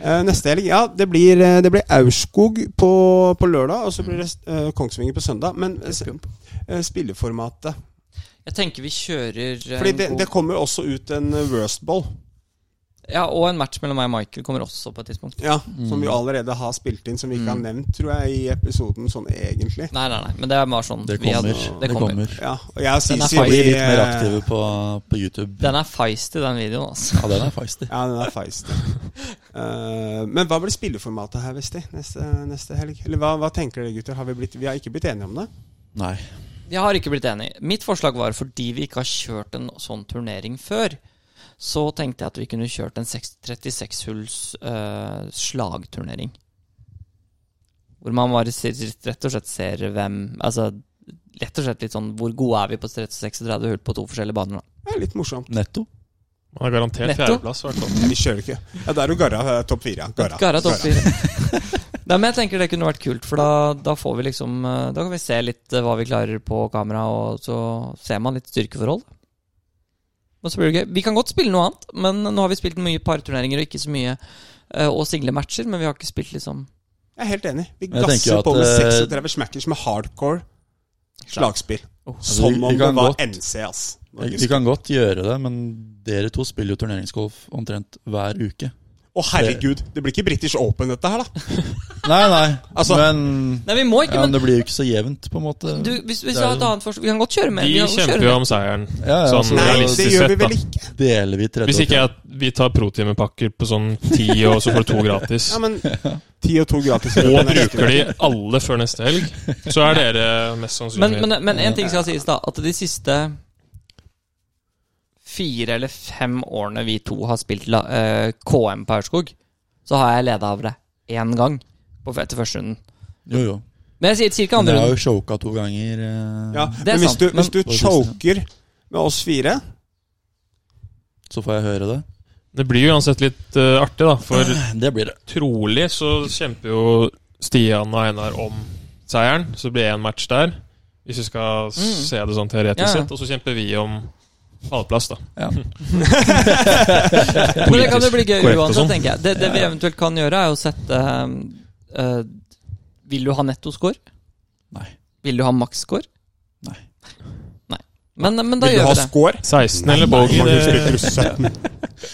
C: Eh, Neste helg, ja. Det blir, eh, det blir Aurskog på, på lørdag, og så blir det eh, Kongsvinger på søndag. Men eh, s- eh, spilleformatet
A: Jeg tenker vi kjører eh,
C: Fordi
A: en
C: det,
A: god-
C: det kommer jo også ut en eh, worst ball,
A: Ja, og en match mellom meg og Michael kommer også på et tidspunkt.
C: ja, som
A: Mm.
C: vi allerede har spilt inn, som vi ikke har nevnt, tror jeg, i episoden sånn egentlig.
A: Nei, nei, nei. Men det er bare sånn
D: det
A: vi hadde-
D: kommer.
A: det kommer.
C: Ja, og jeg og
A: Den er
C: Sisi
A: feisty.
D: Bli
C: blir
D: litt mer
C: eh,
D: aktive på, på YouTube.
A: Den er feisty, den videoen, altså.
D: Ja, den er feisty.
C: Ja, den er feist. Eh, men hva blir spilleformatet her, Vesti, neste, neste helg? Eller hva, hva tenker dere, gutter? Har vi, blitt, vi har ikke blitt enige om det.
D: Nei.
A: Jeg har ikke blitt enig. Mitt forslag var fordi vi ikke har kjørt en sånn turnering før. Så tenkte jeg at vi kunne kjørt en 6- 36-hulls eh, slagturnering. Hvor man bare ser, rett og slett ser hvem Altså rett og slett litt sånn Hvor gode er vi på 36 hull på to forskjellige baner? da?
C: Det er litt morsomt.
D: Netto.
B: Han har garantert
A: Netto.
B: fjerdeplass, i hvert fall.
C: Vi kjører ikke. Ja, Da er jo Garra eh, topp fire. ja. Garra.
A: Garra topp fire. Nei, men jeg tenker det kunne vært kult, for da, da får vi liksom eh, Da kan vi se litt eh, hva vi klarer på kamera, og så ser man litt styrkeforhold. Og så blir det gøy. Vi kan godt spille noe annet, men nå har vi spilt mye parturneringer og ikke så mye eh, og singlematcher, men vi har ikke spilt liksom
C: Jeg er helt enig. Vi
D: Jeg tenker
C: gasser
D: jo at,
C: på med
D: eh,
C: 36 smackers med hardcore slagspill.
A: Oh.
D: Altså, Vi-
C: Som
D: vi
C: om det
D: kan
C: var
D: godt-
C: NC, ass.
D: Vi kan godt gjøre det, men dere to spiller jo turneringsgolf omtrent hver uke.
C: Å, herregud! Det blir ikke British Open, dette her, da.
D: Nei, nei,
C: Altså-
D: men,
A: Nei, vi må
D: ja,
A: ikke,
D: men
A: men
D: det blir jo ikke så jevnt, på en måte.
A: du, hvis, hvis vi
D: Det er
A: har et
D: jo-
A: annet forslag Vi kan godt kjøre med.
B: De
A: vi kan godt kjøre
B: kjemper jo
A: med.
B: om seieren.
D: ja, ja,
B: Sånn
D: så
C: Nei,
B: realistisk
C: det gjør vi
B: sett, da.
C: vel ikke.
D: deler vi 30
B: Hvis ikke jeg, vi tar protimepakker på sånn ti, og så får du to gratis,
C: Ja, men ti og to gratis. i
B: og
C: løpet av neste
B: bruker
C: uke.
B: de alle før neste helg, så er dere mest sannsynlig
A: Men, men, men en ting skal sies, da. At de siste fire eller fem årene vi to har spilt la, eh, KM på Aurskog, så har jeg leda over det én gang på, etter første runden.
D: Jo, jo.
A: Men jeg sier cirka
D: Men
A: andre
D: jeg har
A: runden.
D: jo choka to ganger. eh,
C: Ja,
A: Det er
C: men hvis
A: sant,
C: du,
A: men-
C: hvis du choker med oss fire
D: Så får jeg høre det.
B: Det blir jo uansett litt eh, artig, da. For
D: Det blir det.
B: trolig så kjemper jo Stian og Einar om seieren, så det blir én match der. Hvis vi skal se det sånn
A: Mm. Ja, ja.
B: teoretisk sett. Og så kjemper vi om pallplass, da.
D: Ja.
A: Men det kan jo bli gøy
B: korrekt og
A: uansett,
B: sånn.
A: tenker jeg. Det, det vi eventuelt kan gjøre, er jo å sette eh, eh, Vil du ha nettoscore?
D: Nei.
A: Vil du ha maksscore?
D: Nei.
A: Nei. Men, men da
C: Vil du
A: gjør
C: ha
A: vi det.
C: score?
B: 16 eller eh, bogey,
C: Magnus
B: det
C: Becker, 17.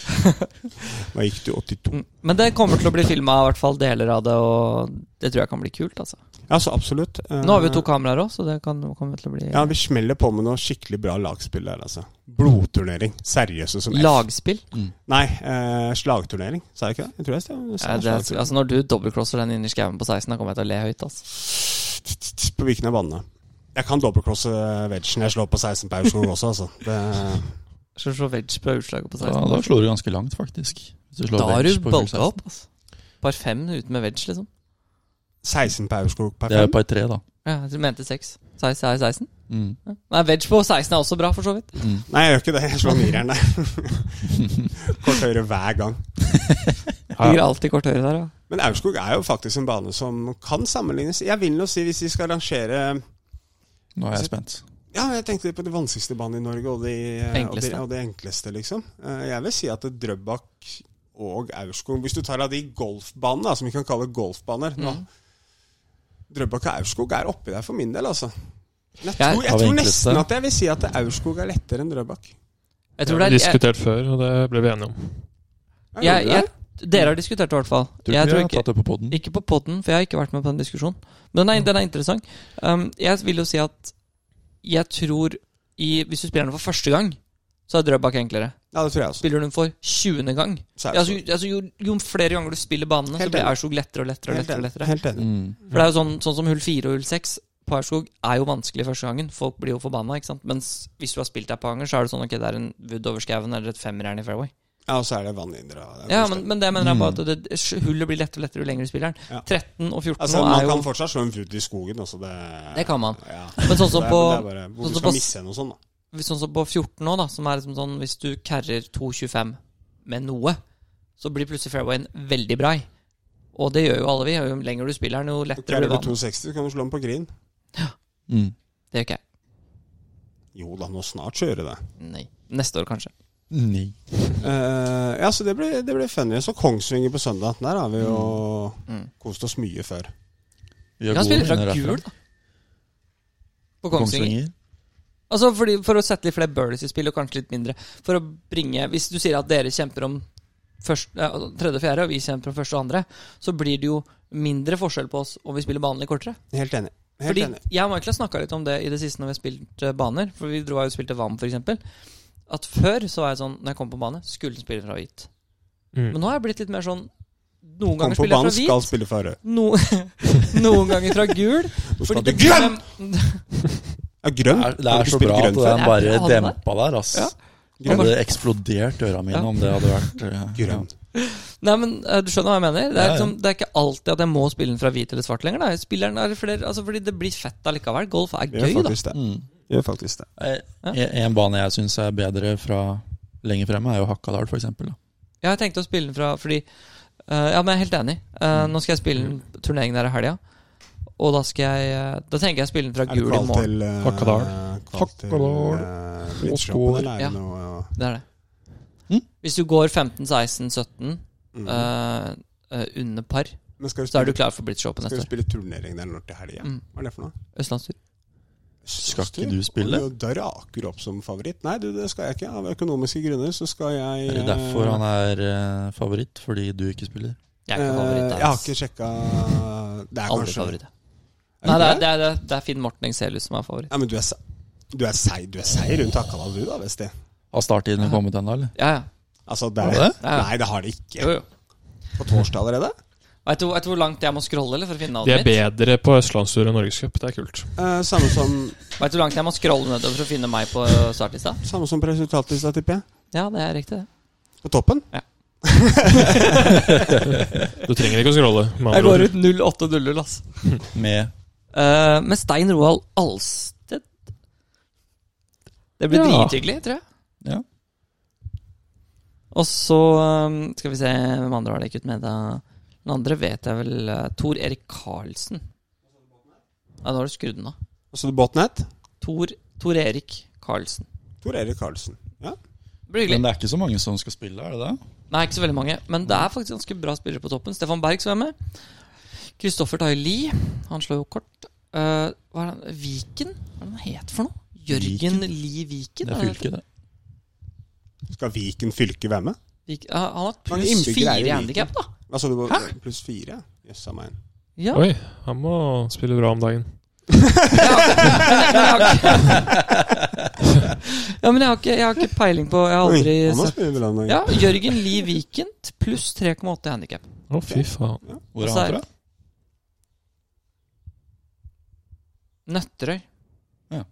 C: Da gikk du 82.
A: Mm. Men det kommer til å bli filma, i hvert fall deler av det, og det tror jeg kan bli kult, altså.
C: Ja, så absolutt. Eh,
A: Nå har vi jo to kameraer òg, så det kan kommer til å bli
C: Ja, vi smeller på med noe skikkelig bra lagspill der, altså. Blodturnering. Seriøse som F.
A: lagspill.
C: Nei, eh, slagturnering, sa jeg ikke det? Jeg tror jeg sa jeg sa
A: Ja, det, er-
C: slagturnering.
A: altså Når du dobbeltcrosser den inni skauen på 16, da kommer jeg til å le høyt. Altså.
C: På hvilken av banene? Jeg kan dobbeltcrosse vegen. Jeg slår på 16 på Aurskog også, altså. Det,
A: Skal du se wedge på utslaget på
D: Da,
A: 16?
D: da slår du ganske langt, faktisk. Hvis du slår
A: Da har
D: bench
A: du
D: på
A: bulka
D: 16.
A: opp. Altså. Par fem ut med wedge, liksom.
C: 16 på Aurskog per
D: Det er jo
C: fem.
D: par tre, da.
A: Ja, du mente seks. 16 er 16?
D: Mm.
A: Ja. Nei, wedge på 16 er også bra, for så vidt.
D: Mm.
C: Nei, jeg gjør ikke det. Jeg slår nireren der. Kort høyre hver gang.
A: Ligger alltid kort høyre der, ja.
C: Men Aurskog er jo faktisk en bane som kan sammenlignes. Jeg vil nå si, hvis vi skal rangere
D: Nå er jeg spent.
C: Ja, jeg tenkte på de vanskeligste banene i Norge, og de eh, og de,
A: Enkleste.
C: og de enkleste, liksom. Eh, Jeg vil si at Drøbak og Aurskog Hvis du tar av de golfbanene, da, som vi kan kalle golfbaner nå,
A: Mm. Mhm.
C: Drøbak og Aurskog er oppi der for min del, altså. Men Jeg
A: Jeg-
C: tror,
D: Av
C: jeg tror
D: enkleste.
C: nesten at jeg vil si at Aurskog er lettere enn Drøbak.
A: Jeg
B: har
A: tror
B: vi
A: det er jeg,
B: diskutert før, og det ble vi enige om.
C: Er
A: jeg,
C: det
A: jeg,
C: det?
A: Dere har diskutert det, i hvert fall.
D: Tror
A: Jeg
D: ikke
A: tror
D: vi har
A: ikke
D: tatt det på poden.
A: Ikke på podden, for jeg har ikke vært med på den diskusjonen.
C: Mm.
A: Men den er, den er interessant. Um, jeg vil jo si at jeg tror i, Hvis du spiller den for første gang, så er Drøbak enklere.
C: ja, det tror jeg også.
A: Spiller du den for 20. gang
C: Så er
A: altså,
C: Aurskog-
A: jo- altså, jo, jo flere ganger du spiller banene, så
C: Helt
A: blir
C: enig.
A: Aurskog lettere og lettere. og
C: Helt
A: lettere, og
C: enig.
A: lettere.
C: Helt enig.
D: Mm.
A: For det er jo sånn, sånn som hull 4 og hull 6 på Aurskog er jo vanskelig første gangen. Folk blir jo forbanna. ikke sant? Mens hvis du har spilt der et par ganger, så er det sånn ok, det er en wood over skauen eller et femmerjern i fairway.
C: Ja, og så er det vannhindre. og det er
A: Ja,
C: forskjellig.
A: men, men det jeg mener er bare at det, det- hullet blir lettere og lettere jo lenger du spiller den.
C: Ja.
A: 13 og 14
C: Altså,
A: nå
C: man
A: er jo
C: kan fortsatt slå en frutt i skogen, altså. Det,
A: Det kan man.
C: Ja.
A: Men sånn
C: Det
A: som
C: er,
A: på,
C: det er bare hvor du
A: sånn som
C: skal
A: på-
C: misse noe sånt, da.
A: sånn som på 14 nå, da, som er liksom sånn hvis du carrer 2,25 med noe, så blir plutselig fairwayen veldig brei. Og det gjør jo alle vi. og Jo lenger du spiller den, jo
C: Du
A: lettere
C: klarer
A: blir
C: over
A: vannet.
C: 260, så kan du slå den på green.
D: Mm.
A: Det gjør ikke jeg.
C: Jo da, nå snart kjører det.
A: Nei. Neste år, kanskje.
D: Nei.
C: Eh, ja, så det ble, det ble funny. Så Kongsvinger på søndag. Der har vi jo
A: Mm.
C: kost oss mye før.
D: Vi
A: Vi
D: har
A: kan
D: gode
A: spille fra
D: venner herfra.
A: gul, da. På Kongsvinger. Altså fordi, For å sette litt flere birdies i spill, og kanskje litt mindre. For å bringe Hvis du sier at dere kjemper om først, eh, tredje og fjerde, og vi kjemper om første og andre, så blir det jo mindre forskjell på oss om vi spiller vanlig kortere.
C: Helt enig. Helt
A: Fordi
C: enig.
A: Jeg og Michael har snakka litt om det i det siste når vi har spilt eh, baner. For vi dro og spilte VAM, f.eks. At før så var jeg sånn når jeg kom på bane, skulle spille fra hvit.
B: Mm.
A: Men nå har jeg blitt litt mer sånn Noen
C: Kom
A: ganger
C: på
A: spiller jeg
C: banen,
A: fra
C: skal
A: hvit,
C: spille for rød.
A: no, noen ganger fra gul.
C: Nå
A: Fordi
C: skal
A: det
C: du grønn!
A: grønn!
C: Ja, grønn?
D: Det er, det
C: Har
D: er
C: du
D: så
C: spilt
D: bra at
C: grønn før?
D: den
A: før?
D: bare
A: Ja, det er
D: dempa der, ass.
A: Ja.
D: Det hadde eksplodert øra mine
A: Ja.
D: om det hadde vært eh,
C: Grønn.
A: Nei, men eh, Du skjønner hva jeg mener? Det
D: Ja,
A: er,
D: ja.
A: liksom, det er ikke alltid at jeg må spille den fra hvit eller svart lenger. Da. Spilleren er flere, altså Fordi det blir fett allikevel. Golf er
C: Gjør
A: gøy, da.
C: faktisk det.
D: Mm.
C: Gjør faktisk det.
D: Eh, En, en bane jeg syns er bedre fra lenger fremme, er jo Hakadal, for eksempel. Da.
A: Ja, jeg tenkte å spille den fra fordi eh, Ja, men jeg er helt enig. Eh,
C: Mm.
A: nå skal jeg spille den turneringen der i helga. Og da skal jeg eh, Da tenker jeg å spille den fra
C: Er det
A: gul i
C: kval
A: morgen.
C: til eh,
B: Hakadal.
C: kval til,
B: Hakadal.
C: eh,
D: Og
C: British
D: skål.
C: Open, eller er det
A: Ja.
C: noe ja.
A: Det er det.
D: Mm.
A: Hvis du går 15, 16, 17
C: Mm.
A: eh, eh, under par,
C: Men skal du
A: så er du
C: spille,
A: klar for British Open
C: skal
A: neste
C: du
A: år.
C: spille Eh, turnering der nå til helga?
A: Mm.
C: Hva er det for noe?
A: Østlandstur.
D: Skal ikke du spille?
C: Og Da raker du opp som favoritt. Nei, du, det skal jeg ikke. Av økonomiske grunner så skal jeg
D: Det er jo derfor han er eh, favoritt, fordi du ikke spiller.
A: Jeg er ikke favoritt.
C: eh, Jeg har ikke sjekka Det er
A: Aldri
C: kanskje
A: favoritt. jeg.
C: Er
A: Nei,
C: du
A: det
C: det?
A: er, det er, det er Finn Morten Engselius som er favoritt.
C: Ja, men du er, se- du er seig du er seig rundt Hakadal, du da, Vesti.
D: Har starttiden kommet ennå, eller?
A: Ja, ja.
C: Altså, det
D: Har
C: er,
D: du det?
A: Ja.
C: Nei, det har det ikke.
A: Jo, jo.
C: På torsdag allerede?
A: Vet du, vet du hvor langt jeg må scrolle eller, for å finne
B: De er
A: navnet mitt?
B: bedre på Østlandstur enn Norgescup. Det er kult.
C: Eh, samme, som,
A: Vet du hvor langt jeg må scrolle nedover for å finne meg på ø, startlista?
C: samme som på resultatlista, tipper jeg.
A: Ja, det er riktig, det.
C: På toppen.
B: Du trenger ikke å scrolle. med
A: Jeg
B: andre
A: går
B: ord.
A: ut 0800, ass.
D: Med
A: Eh, med Stein Roald Alsted. Det blir
D: Ja.
A: drithyggelig, tror jeg.
D: Ja.
A: Og så um, skal vi se hvem andre har dekket med. Da. Den andre vet jeg vel uh, Tor Erik Karlsen. Ja, nå har du skrudd den av.
C: Og så Botnet.
A: Tor, Tor Erik Karlsen.
C: Tor Erik Karlsen. Ja.
A: Det blir
D: Men
A: hyggelig.
D: det er ikke så mange som skal spille, er det det?
A: Nei, ikke så veldig mange. Men det er faktisk ganske bra spillere på toppen. Stefan Berg som er med. Kristoffer Taili. Han slår jo kort. Eh, hva er han? Viken? Hva er det han het for noe? Jørgen Lie Viken? er
D: Det er
A: det det?
D: fylket, det.
C: Skal Viken fylke være med?
A: Vik- ja, han har
C: Mange
A: pluss
C: innbyggere
A: fire
C: er i
A: i
C: Viken.
A: handikap, da.
C: Hva sa du? på- Pluss fire? Jøss a meg.
A: Ja.
B: Oi, han må spille bra om dagen.
A: ja, men jeg har, ikke, jeg har ikke peiling på Jeg har aldri
C: Oi, han må
A: sett
C: spille vel han,
A: Ja,
C: da.
A: Jørgen Lie Viken pluss 3,8 i handikap.
B: Å, fy faen.
D: Hvor er
A: Altså,
D: han fra?
A: Nøtterøy.
D: Ja.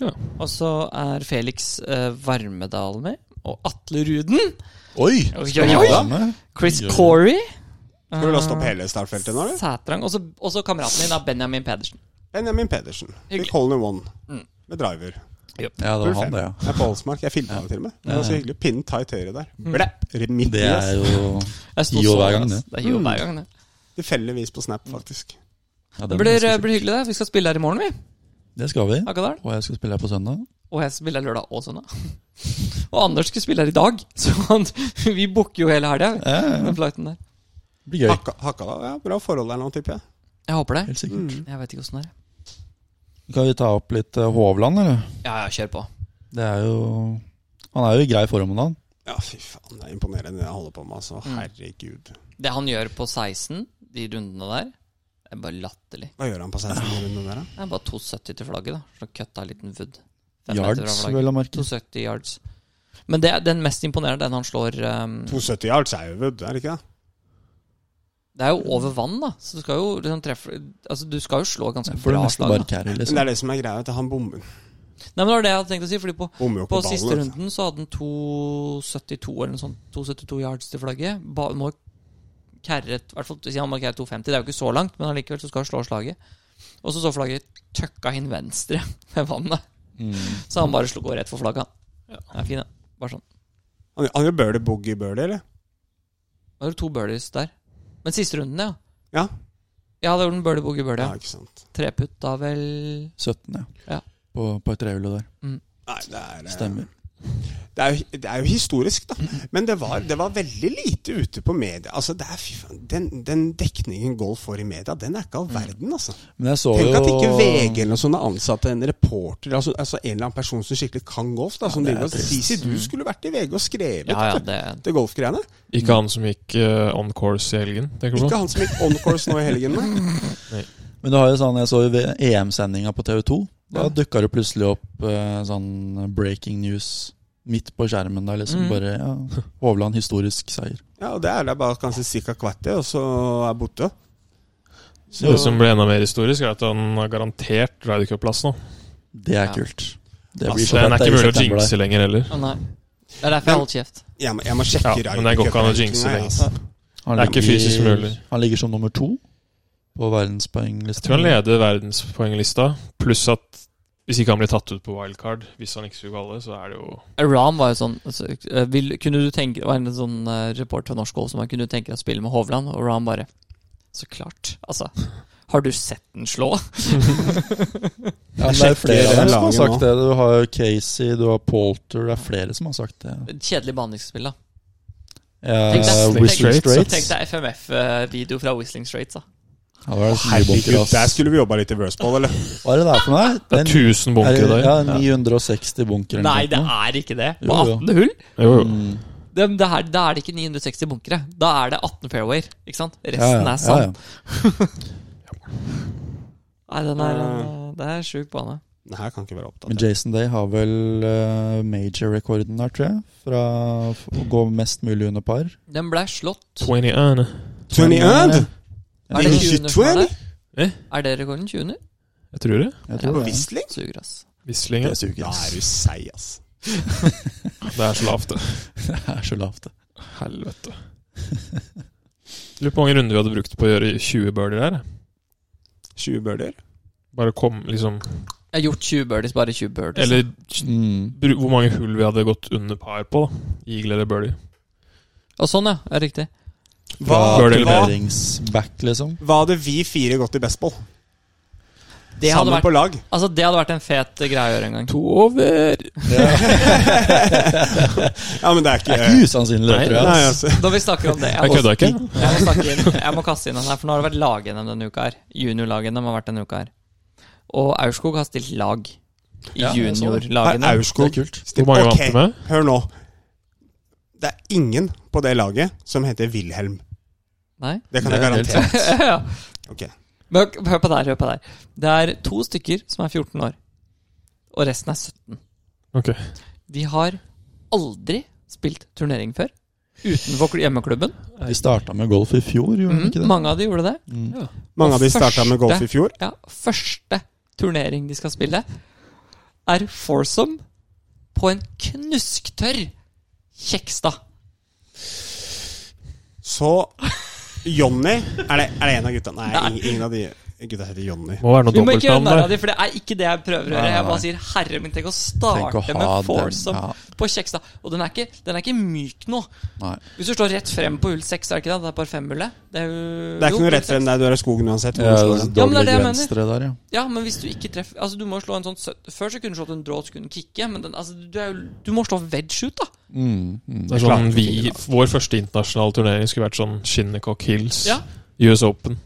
B: Ja.
A: Og så er Felix eh, Varmedal med. Og Atle Ruden.
D: Oi!
A: Oi,
D: Skal
A: oi,
D: han
A: oi.
D: være med?
A: Chris
D: Oi, oi.
A: Corey. Eh,
C: Skal du laste opp hele startfeltet nå, eller?
A: Sætrang. Og så- Og så kameraten min er Benjamin Pedersen.
C: Benjamin Pedersen.
A: Hyggelig.
C: Fikk hole in one.
A: Mm.
C: Med driver.
D: Ja, det var han, det, ja.
C: Jeg er på Holsmark. Jeg filma det til og med. Det var så hyggelig. Pinnen tight høyre der.
A: Mm.
C: Blepp. Midt i,
D: Det er
C: ass.
D: jo
A: Jeg sto
D: Gi jo
A: så
D: hver
A: der,
D: gang,
A: ass.
D: det.
A: Det er jo
C: Mm.
A: hver gang, det.
C: Tilfeldigvis på Snap, faktisk.
D: ja,
A: Det
D: det,
A: blir, eh,
D: blir,
A: blir hyggelig, det. Vi skal spille her i morgen, vi.
D: det skal vi.
A: Hakadal.
D: Og jeg skal spille her på søndag.
A: Og jeg spiller lørdag og søndag. Og Anders skulle spille her i dag, så han, vi booker jo hele helga. vi,
D: Ja, ja, ja.
A: Den flighten der.
D: Det blir gøy.
A: Ah.
C: Hakka, hakka da. Ja, Mm. bra forhold der nå, tipper jeg.
A: Jeg håper det.
D: Helt sikkert.
A: Jeg vet ikke åssen det er. Mm.
D: Kan vi ta opp litt eh, Hovland, eller?
A: Ja, ja, kjør på.
D: Det er jo Han er jo i grei form om dagen.
C: Ja, fy faen. Det er imponerende det jeg holder på med, altså.
A: Mm.
C: Herregud.
A: Det han gjør på 16, de rundene der, det er bare latterlig.
C: Hva gjør han på 16-runden der, da?
A: Det er bare 2,70 til flagget, da. Så kutta en liten wood. Fem meter fra
D: Yards,
A: flagget.
D: vel å merke.
A: 270 yards. Men det, er den mest imponerende, den han slår um,
C: 270 yards er jo wood, er det ikke det?
A: Det er jo over vann, da. Så du skal jo liksom treffe Altså, du skal jo slå ganske
D: For det
A: bra
D: meste
A: slag. Da.
D: barkerer,
C: Men det
D: liksom.
C: er det som er greia, at han bommer
A: Nei, men det var det jeg hadde tenkt å si, fordi på
C: bommer jo ikke
A: På altså.
C: på ballen. altså.
A: siste
C: vet du.
A: runden så hadde han 2,72 eller noe sånt, 2,72 yards til flagget. Ba, må kærre, i hvert fall si han må kærre 2,50, det er jo ikke så langt, men allikevel så skal han slå slaget. Og så så flagget tøkka inn venstre ved vannet,
D: Mm.
A: så han bare slo går rett for flagget. han. Ja, fin, ja. Bare sånn.
C: Han, han gjør birdie boogie birdie, eller?
A: Da var det to birdies der. Men siste runden, ja.
C: Ja.
A: Ja, det var den birdie boogie birdie.
C: ja,
A: Ja.
C: ikke sant.
A: Treputt da vel
D: 17, ja.
A: Ja.
D: På, på et trehjulet der.
C: Nei, det er eh,
D: Stemmer.
C: Det er, jo, det er jo historisk, da. Men det var, det var veldig lite ute på media. Altså, det er, fy faen, den, den dekningen golf får i media, den er ikke all verden, altså.
D: Men jeg så
C: Tenk at ikke
D: jo
C: VG eller noe sånt har ansatt en reporter, altså, altså en eller annen person som skikkelig kan golf. da, som
D: det er
C: driver og
D: trist.
C: Sisi, du skulle vært i VG og skrevet
A: Ja, ja, det
C: til golfgreiene.
B: Ikke han som gikk eh, on course i helgen, tenker du
C: Ikke
B: på?
C: han som gikk on course nå i helgen, nei.
D: Men det har jo sånn, jeg så jo EM-sendinga på TV2. Da dukka det plutselig opp eh, sånn breaking news midt på skjermen der, liksom.
A: Mm.
D: Bare ja, Hovland historisk seier.
C: Ja, og det er da bare kanskje cirka kvarter, og så er borte.
B: Så det som blir enda mer historisk, er at han har garantert Ryder Cup-plass nå.
D: Det er
A: Ja.
D: kult. Det sånn
B: Altså, den er
D: fett,
B: ikke
D: det, i
B: mulig å
D: september der.
B: jinxe lenger heller.
A: Å nei. Det er derfor jeg holdt kjeft.
C: Jeg må, jeg må sjekke
B: Ja, men det går ikke an å jinxe
C: Ryder Cup-rankinga,
B: det.
C: altså.
D: Han
B: Det er ikke
D: ligger-
B: fysisk mulig.
D: Han ligger som nummer to på
B: Jeg tror han
D: verdenspoenglisten.
B: leder verdenspoenglista, pluss at hvis ikke han blir tatt ut på wildcard, hvis han ikke skulle galle, så er det jo
A: Ram var jo sånn altså, eh, vil, Kunne du tenke Det var en sånn eh, reporter fra Norsk Golf som var, kunne du tenke deg å spille med Hovland, og Ram bare Så klart. Altså. Har du sett den slå?
D: Ja, men det er
C: sjekker
D: flere
C: det
D: som har
C: laget
D: sagt
C: nå.
D: det. Du har Casey, du har Poulter Det er flere som har sagt det.
A: Kjedelig banningsspill, da.
D: Ja,
A: Tenk deg-
D: Eh, Whistling
B: tenk-
D: Straits.
A: Tenk deg FMF-video fra Whistling Straits, da.
D: Ja, det var det så mye bunker,
C: Herregud,
D: ass.
C: der skulle vi jobba litt i Versball, eller?
D: Hva er det der for noe?
B: Det er 1000 bunker i dag.
D: Ja, 960 bunker.
A: Nei, det er ikke det. På
D: Jo, jo.
A: 18 hull?
B: Jo, jo.
D: Mm,
A: Det, det her, da er det ikke 960 bunkere. Da er det 18 fairwayer. Ikke sant? Resten
D: ja, ja,
A: er sand.
D: ja, ja.
A: Nei, den er,
C: Ja.
A: eh, det er sjuk bane.
C: Det her kan ikke være opptatt.
D: Men Jason Day har vel eh, major-rekorden der, tror jeg. Fra f- å gå mest mulig under par.
A: Den blei slått.
B: 21.
C: 20 and?
A: Er det
C: Din
A: 20 under
C: 22,
A: for deg?
B: eller?
A: Er det rekorden? 20 under?
B: Jeg tror det.
D: Jeg tror det.
C: Whistling?
A: Suger, ass.
B: Wisling.
D: Det
B: ja.
D: suger.
C: Da er
D: ass.
C: du seig, ass.
B: Det er så lavt, det.
D: Det er så lavt, det.
B: Helvete. Lurer på hvor mange runder vi hadde brukt på å gjøre 20 birdier her.
C: 20 birdier.
B: Bare kom, liksom
A: Jeg har gjort 20 birdies, bare 20 birdies.
B: Eller
D: Mm.
B: bru- hvor mange hull vi hadde gått under par på. da Eagle eller birdie.
A: Og sånn, ja. Er riktig.
C: Hva,
D: Fra
B: Birdier
C: hva,
D: turneringsback, liksom.
C: hva hadde vi fire gått i baseball?
A: Det hadde,
C: Sammen
A: vært,
C: på lag.
A: altså, det hadde vært en fet eh, greie å gjøre en gang.
B: To over!
C: Ja, men det er
D: Det
C: ikke
D: er ikke usannsynlig, det,
B: Nei,
D: tror jeg.
C: Nei,
D: ass.
C: altså.
A: Når vi snakker om det Jeg
B: Jeg
A: må,
B: kødda ikke.
A: jeg må, snakke inn, jeg må kaste inn den her, for nå har det vært lag-NM denne uka her. Junior-lag-NM har vært denne uka her. Og Aurskog har stilt lag i
D: Ja, jeg så det.
A: junior-lagene.
C: Nei,
D: Det
C: Aurskog
D: er kult.
B: Hvor mange
C: Ok,
B: vant du med?
C: Hør nå. Det er ingen på det laget som heter Wilhelm.
A: Nei?
C: Det kan
D: Det
C: jeg
D: er helt
C: garantere.
A: ja.
C: Ok.
A: Men hør- hør på der, hør på der. Det er to stykker som er 14 år, og resten er 17.
B: Ok.
A: De har aldri spilt turnering før. Utenfor kl- hjemmeklubben.
D: Vi starta med golf i fjor, gjorde vi
A: Mm,
D: ikke det?
A: mange av de gjorde det.
D: Mm.
C: Mange
A: Og
C: av de starta med golf i
A: første-
C: fjor.
A: Ja, første turnering de skal spille, er foursome på en knusktørr Kjekstad.
C: Så Jonny Er det, er det en av gutta? Nei, ingen, ingen av de gutta heter Jonny.
B: Må være noe
A: Vi må ikke gjøre
B: dobbeltnavn
A: narr av
B: der.
A: det, for det er ikke det jeg prøver å
D: Nei,
A: gjøre.
D: nei,
A: Jeg bare
D: nei.
A: sier herre min, tenk å
D: Tenk å
A: starte
D: ha
A: med
D: den.
A: foursome
D: Ja,
A: på Kjekstad. Og den er ikke, den er ikke myk nå.
D: nei.
A: Hvis du står rett frem på hull 6, er det ikke det? Det er bare femhullet. Det er, jo-
C: Det er
A: jo,
C: ikke noe
A: hull
C: rett frem
A: seks.
C: der du er i skogen uansett. Hvor du
D: Ja,
C: slår den.
A: Ja, men det
D: doble
A: er det jeg
D: venstre der, ja.
A: Ja, men hvis du ikke treffer Altså, du må slå en sånn sø- Før så kunne du slått en draw, så kunne den kicke, men den, altså, du, er jo, du må slå wedge ut, da.
D: Mm, mm.
B: Det er sånn vi, Vår første internasjonale turnering skulle vært sånn Shinnecock Hills,
A: Ja.
B: US Open,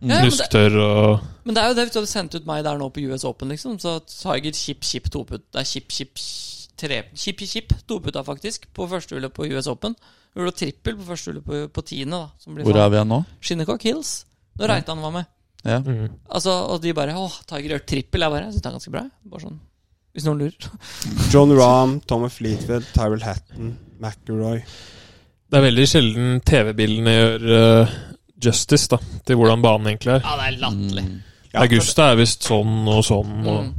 A: Ja, men, det,
B: Nustør og
A: men det er jo det, hvis du hadde sendt ut meg der nå på US Open, liksom, så Tiger chip, chip, toputt Det er chip, chip, tre Chip, chip, toputta, faktisk, på første hullet på US Open. Du gjorde trippel på første hullet på, på tiende, da, som blir
D: Hvor
A: faen.
D: er vi nå?
A: Shinnecock Hills, når Reitan var med.
D: Ja.
B: mm.
A: Altså, og de bare Åh, Tiger gjør trippel. Jeg bare Jeg synes det er ganske bra. jeg. Bare sånn Hvis noen lurer.
C: John Rahm, Tommy Fleetwood, Tyrell Hatton, McIlroy
B: Det er veldig sjelden TV-bildene gjør eh, justice da, til hvordan banen egentlig er.
A: Ja, det er latterlig.
D: Mm.
C: Ja,
B: Augusta er visst sånn og sånn. Og,
A: Mm.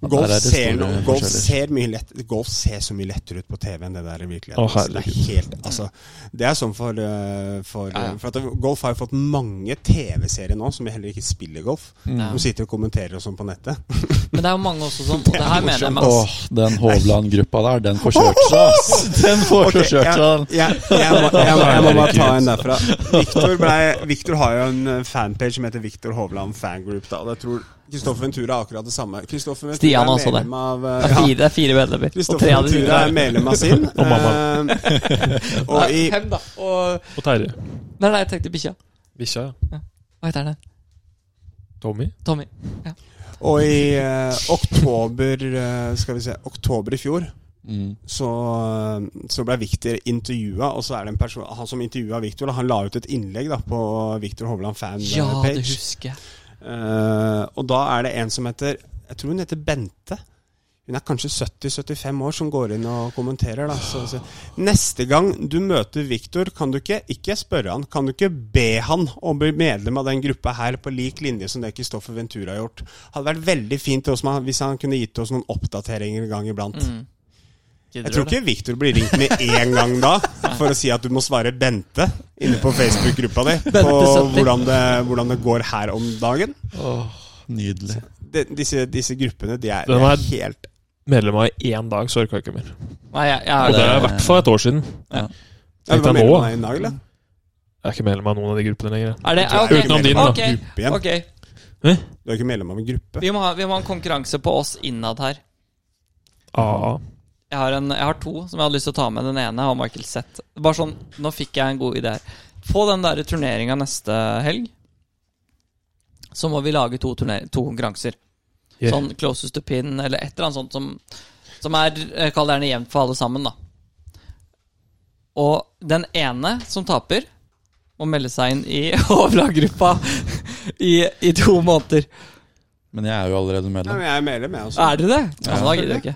D: Ja,
C: Golf,
D: der er det
C: ser,
D: store
C: noe- golf,
D: forskjeller.
C: ser mye lett, golf ser så mye lettere ut på TV enn det der i virkeligheten.
B: Å,
C: altså. det,
B: herregud.
C: er helt, altså, det er sånn for, eh, for,
A: Ja, ja.
C: for at det- Golf har jo fått mange TV-serier nå som heller ikke spiller golf.
A: Ja.
C: Som sitter og kommenterer og sånn på nettet.
A: Men det er jo mange også sånn. Og det her mener jeg med ass.
D: Åh, den Hovland-gruppa der, den får kjørt seg, ass! Den får
C: Ok,
D: kjørt
C: jeg,
D: seg.
C: jeg, jeg, må, jeg, må, jeg må bare ta en derfra. Victor, ble, Victor har jo en eh, fanpage som heter Victor Hovland Fangroup. Da, og jeg tror Kristoffer Ventura er akkurat det samme. Kristoffer Ventura er
A: Stian også det.
C: medlem Av, eh,
A: Det er
C: ja.
A: fire, det er fire medlemmer. Og tre
C: Kristoffer
A: av de
C: Ventura er
A: sitter der.
C: medlem av sin.
B: Og
C: eh, og i
A: Fem, da. Og
B: og Terje.
A: Nei, nei, jeg tenkte bikkja.
B: Bikkja, ja.
A: Hva heter den?
B: Tommy.
A: Tommy.
C: Og i eh, oktober eh, Skal vi se Oktober i fjor
D: Mm.
C: så, så ble Victor intervjua, og så er det en person Han som intervjua Victor, da, han la ut et innlegg da på Victor Hovland fan eh,
A: Ja, det
C: page.
A: husker jeg.
C: Eh, og da er det en som heter Jeg tror hun heter Bente. Hun er kanskje 70-75 år som går inn og kommenterer. Da. Så, så. Neste gang du møter Viktor, kan du ikke ikke spørre han, kan du ikke be han om å bli medlem av den gruppa her på lik linje som det Kristoffer Ventura har gjort? Hadde vært veldig fint til oss, man- hvis han kunne gitt oss noen oppdateringer en gang iblant.
A: Mm.
C: Jeg Mm, tror ikke Viktor blir ringt med én gang da, for å si at du må svare Bente inne på Facebook-gruppa di på
A: Bente 70.
C: hvordan det, hvordan det går her om dagen.
D: Nydelig.
C: De, disse, disse gruppene, de er,
B: Den
C: de
B: er-
C: er helt
B: Medlem av i én dag, så orka jeg ikke mer.
A: Nei, jeg, jeg
B: Og
A: er
B: det
A: det.
B: er i hvert fall et år siden.
C: ja,
B: Tenkte jeg
C: mener
B: nå,
C: du om
B: da.
C: deg i dag, eller?
B: Jeg er ikke medlem av noen av de gruppene lenger.
A: Er det?
C: Jeg tror
A: ok.
C: jeg er utenom
B: din, da.
A: Ok,
C: Gruppe igjen.
A: ok.
C: Du er ikke medlem av en gruppe?
A: Vi må, ha, vi må ha en konkurranse på oss innad her.
B: AA.
A: Jeg har, en, jeg har to som jeg hadde lyst til å ta med. Den ene har Michael sett. Bare sånn, Nå fikk jeg en god idé her. På den der turneringa neste helg så må vi lage to, turner- to konkurranser.
B: Yeah.
A: Sånn closest to pin, eller et eller annet sånt som, som er eh, Kall det gjerne jevnt for alle sammen, da. Og den ene som taper, må melde seg inn i overlaggruppa i, i to måneder.
D: Men jeg er jo allerede
C: Nei,
D: medlem.
C: men jeg er medlem, jeg også.
A: Er dere det? Ja, da gidder jeg ikke.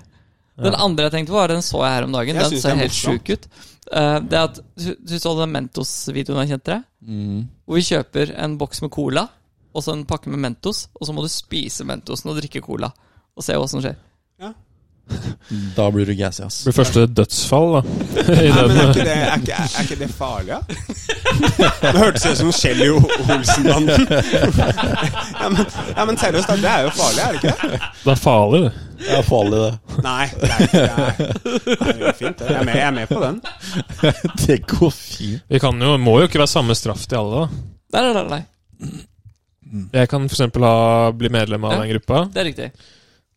A: Den andre jeg tenkte på, var den så jeg her om dagen.
C: Jeg
A: den
C: synes det
A: ser
C: er
A: helt
C: morsomt.
A: sjuk ut. Eh, det er at du, du så den Mentos-videoen jeg kjente deg?
D: Mm.
A: Hvor vi kjøper en boks med cola og så en pakke med Mentos, og så må du spise Mentosen og drikke cola. Og se hva som skjer.
D: Da blir du gassy, ass.
B: Blir første dødsfall, da. I
C: Nei, men
B: den.
C: er ikke det, er ikke, er ikke det farlig, da? Det hørtes ut som Kjell Jo Olsen-banden. Ja, men, ja, men seriøst, da. Det er jo farlig, er det ikke det?
B: Det er farlig, det.
D: Jeg er farlig, det.
C: Nei, det er ikke det. er- Det er jo fint, det. Jeg er med, jeg er med på den.
D: Det går fint.
B: Vi kan jo, må jo ikke være samme straff til alle.
D: Mm.
B: da.
A: Nei, nei, nei, nei.
B: Jeg kan f.eks. bli medlem av
A: Ja.
B: den gruppa.
A: Det er riktig.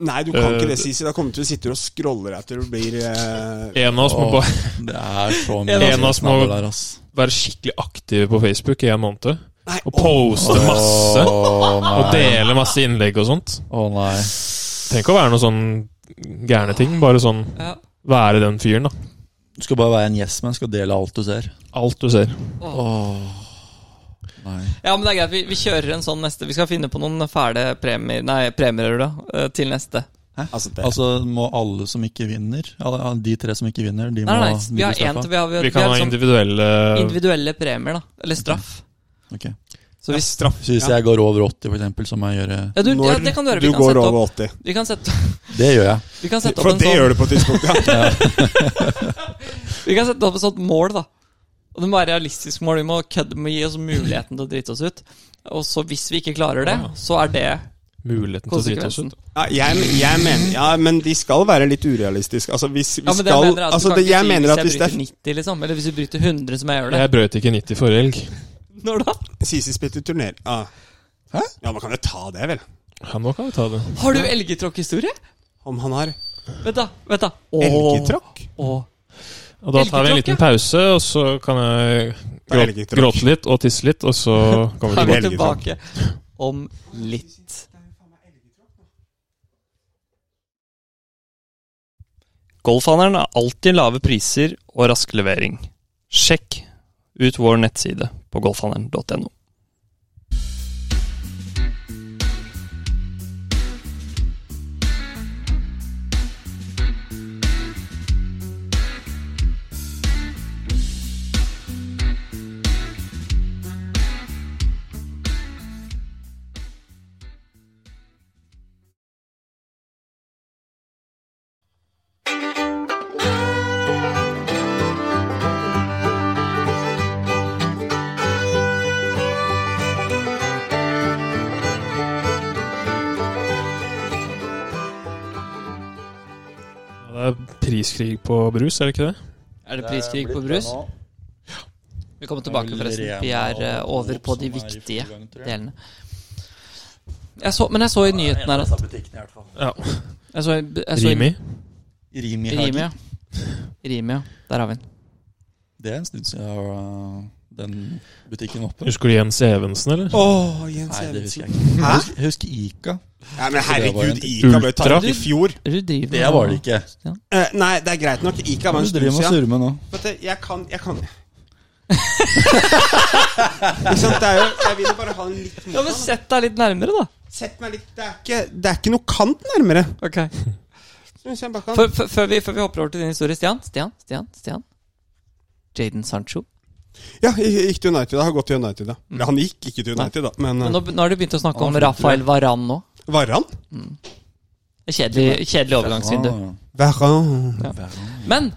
C: Nei, du kan ikke
B: Eh,
C: det, Sisi. Da kommer du til å sitte og scrolle etter du blir eh,
B: En av oss må
D: Åh,
B: bare
D: det er så
A: En
D: mye
A: av
B: små-
D: snabel der, ass.
B: være skikkelig aktive på Facebook i en måned.
C: Nei,
B: Og poste masse.
D: Å
B: Og
D: nei.
B: dele masse innlegg og sånt.
D: Å nei.
B: Tenk å være noe sånn gærne ting. Bare sånn
A: Ja.
B: være den fyren, da.
D: Du skal bare være en yes, men skal dele alt du ser.
B: Alt du ser.
D: Åh. Nei.
A: Ja, men det er greit. Vi, vi kjører en sånn neste. Vi skal finne på noen fæle premier, nei, premier da, eh, til neste.
C: Altså, det,
D: Altså, må alle som ikke vinner alle- ja, De tre som ikke vinner, de må
A: Nei, nei, nei. Vi har
D: bli
A: én
D: straffa?
A: til. Vi har, vi har,
B: Vi
A: vi
B: kan
A: har
B: ha
A: sånn
B: individuelle
A: individuelle premier, da. Eller straff.
D: Ok.
A: Så hvis
C: straff
D: Så hvis
C: ja.
D: jeg går over 80, for eksempel, så må jeg gjøre
A: Ja, du, ja, det kan du
C: Når
A: gjøre.
C: du
A: Vi kan
C: går
A: sette opp,
C: over 80.
A: vi kan sette,
D: Det gjør jeg.
A: vi kan sette opp
C: For
A: en
C: det
A: sånn
C: gjør du på et tidspunkt, ja.
A: Vi kan sette opp et sånt mål, da. Og det må være realistisk mål. Vi må kødde med å gi oss muligheten til å drite oss ut. Og så hvis vi ikke klarer det,
C: Ah.
A: så er det
B: muligheten til å drite oss
A: konsekvensen.
B: ut.
C: Ja, jeg, jeg mener, ja, men de skal være litt urealistiske. Altså, hvis vi
A: Ja, men det
C: skal
A: jeg mener er at
C: altså,
A: du
C: det, jeg
A: kan ikke
C: mener
A: si
C: at
A: hvis
C: hvis det
A: jeg
C: er
A: bryter 90, liksom. Eller hvis du bryter 100, som jeg gjør det.
B: Jeg brøt ikke 90 forrige helg.
A: Når da?
C: Sisi spilte turner. Ah. Hæ? Ja, man kan jo ta det, vel.
B: Ja, nå kan vi ta det.
A: Har du elgetråkkhistorie?
C: Om han har
A: Vent, da. vent da Åh,
C: elgetråkk.
A: åh.
B: Og da tar vi en liten pause, og så kan jeg
C: Da er det
B: gråte,
C: ikke tråkk.
B: gråte litt og tisse litt, og så kommer vi
A: Kan
B: tilbake.
A: gå
C: Elgetråkk.
A: tilbake om litt.
E: Golfhandelen har alltid lave priser og rask levering. Sjekk ut vår nettside på golfhandelen.no.
B: Ja, Det er priskrig på brus, er det ikke det?
A: Er det priskrig på brus? Velkommen tilbake, forresten. Vi er eh, over på de viktige delene. Jeg så, men jeg så i nyheten her at
B: Ja. Altså,
A: jeg så, i- jeg så, i-
B: Rimi.
D: Rimi.
A: Rimi,
D: Rimi.
A: ja. Rimi, ja. Der har vi den.
D: Det er en stund siden jeg har uh, den butikken oppe.
B: Husker du Jens Evensen, eller?
C: Åh, Jens
D: Nei, det husker
C: Evensen.
D: jeg ikke.
C: Hæ?
D: Jeg husker- Jeg husker Ica.
C: Ja, men herregud,
D: Det
C: Ica ble
B: Ultra.
C: tatt ut i fjor.
A: Du driver
D: Det var det ikke.
C: Eh, nei, det er greit nok. Ica var en
D: Du
C: stund
D: driver med å
C: siden.
D: surre med nå.
C: Vet du, jeg kan Jeg kan Ikke sant, det er jo Jeg vil jo bare ha en litt
A: Ja, men Sett deg litt nærmere, da.
C: Sett meg litt Det er ikke, det er ikke noe kant nærmere.
A: Ok
C: Synes jeg bare kan.
A: Før- før- før, vi, før vi hopper over til din historie, Stian. Stian, Stian, Stian. Jaden Sancho.
C: Ja, gikk til United. da, Har gått til United, da. Eller han gikk ikke til United, da, men,
A: Mm. Men nå, nå har du begynt å snakke om
D: Ja,
A: Rafael Varan nå.
C: eh, Varan?
A: Kjedelig, kjedelig overgangsvindu.
C: Varan.
A: Men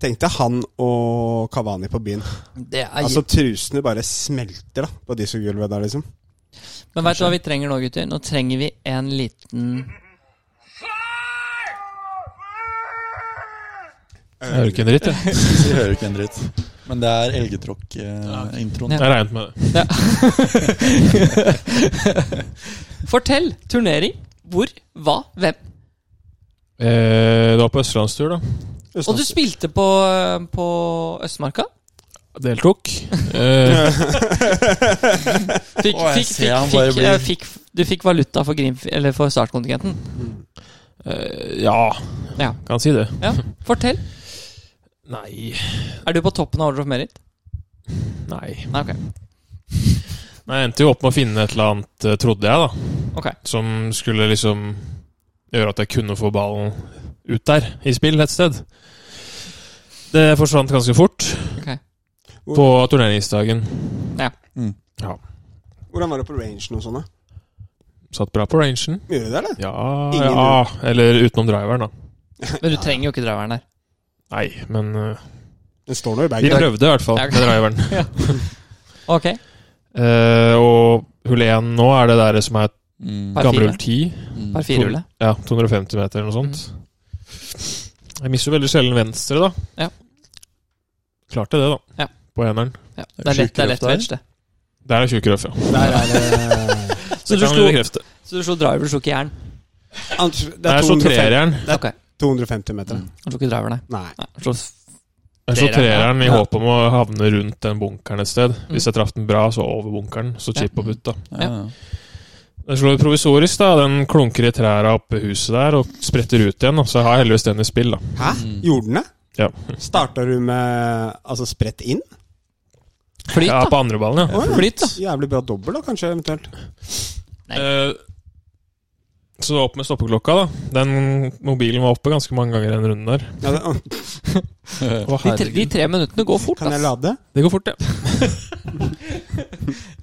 C: Tenkte han og Kavani på byen.
A: det er
C: Altså, trusene bare smelter da på dieselgulvet der, liksom.
A: Men veit du hva vi trenger nå, gutter? Nå trenger vi en liten
B: Jeg hører ikke en dritt, jeg.
D: Vi hører ikke en dritt. Men det er eh, elgetråkk-introen.
A: Ja.
B: Jeg regnet med det.
A: Fortell! Turnering. Hvor? Hva? Hvem?
B: Eh, det var på østlandstur, da.
A: Og du spilte på, på Østmarka?
B: Deltok. Eh,
A: Fikk,
D: Å, jeg
A: fikk,
D: ser
A: fikk,
D: han bare
A: fikk,
D: blir-
A: eh, fikk, du fikk valuta for, Grim, eller for startkontingenten?
B: eh, ja.
A: Ja.
B: Kan si det.
A: Ja. Fortell.
B: Nei.
A: Er du på toppen av Order of Merit?
B: Nei.
A: Nei, ok.
B: Nei, Jeg endte jo opp med å finne et eller annet, eh, trodde jeg, da.
A: Ok.
B: Som skulle liksom gjøre at jeg kunne få ballen ut der, i spill et sted. Det forsvant ganske fort.
A: Ok.
B: På turneringsdagen.
C: Hvordan var det på rangen og sånn, da?
B: Satt bra på rangen.
C: Gjorde du det, eller?
B: Ja,
C: Ingen
B: ja Eller utenom driveren, da.
A: Men du trenger jo ikke driveren der.
B: Nei, men eh,
C: Den står nå i
B: vi
C: bagen.
B: prøvde i hvert fall
A: Ja, ok.
B: med driveren.
A: Ok.
B: Eh, og hull 1 nå er det der som er
D: Mm.
A: Par
B: gamle
A: fire.
B: hull 10.
D: Mm.
A: Par firehjulet.
B: Ja, 250 meter eller noe sånt. Jeg mister jo veldig sjelden venstre, da.
A: Ja.
B: Klarte det, da.
A: Ja.
B: På eneren.
A: Ja. Det er lett, det er lett wedge, det.
B: Der er tjukk røff, ja.
C: Der er det
A: Så du
B: det kan
A: slo-
B: vi bekrefte.
A: Så du slo driver, du slo ikke jern?
C: Ant- Det
B: Det
C: er
B: er så
C: 250,
B: treeren.
A: Ok.
C: 250 meter.
D: Mm.
A: Du slo ikke driver, nei.
C: Nei.
A: nei. du Slo
B: Jeg så
A: Treeren,
B: treeren i
A: ja. Mm.
B: håp om å havne rundt den bunkeren et sted. Hvis jeg traff den bra, så over bunkeren. Så chip og putt, da.
D: Ja, ja.
B: Den slår provisorisk, da. Den klunker i trærne oppe i huset der og spretter ut igjen. Da. Så jeg har heldigvis den i spill, da.
C: Hæ?
A: Mm.
C: Gjorde den det?
B: Ja.
C: Starta du med altså spredt inn?
A: flyt,
B: Ja,
A: da.
B: på andre ballen, ja.
C: Å, ja.
A: Flyt, da.
C: Jævlig bra dobbel, da, kanskje, eventuelt.
B: Eh, Så opp med stoppeklokka, da. Den mobilen var oppe ganske mange ganger i den runden der.
C: Ja, det,
B: Å,
A: De tre, de
B: herregud.
A: tre minuttene går fort,
C: kan jeg
A: ass.
C: lade?
B: Det går fort, ja.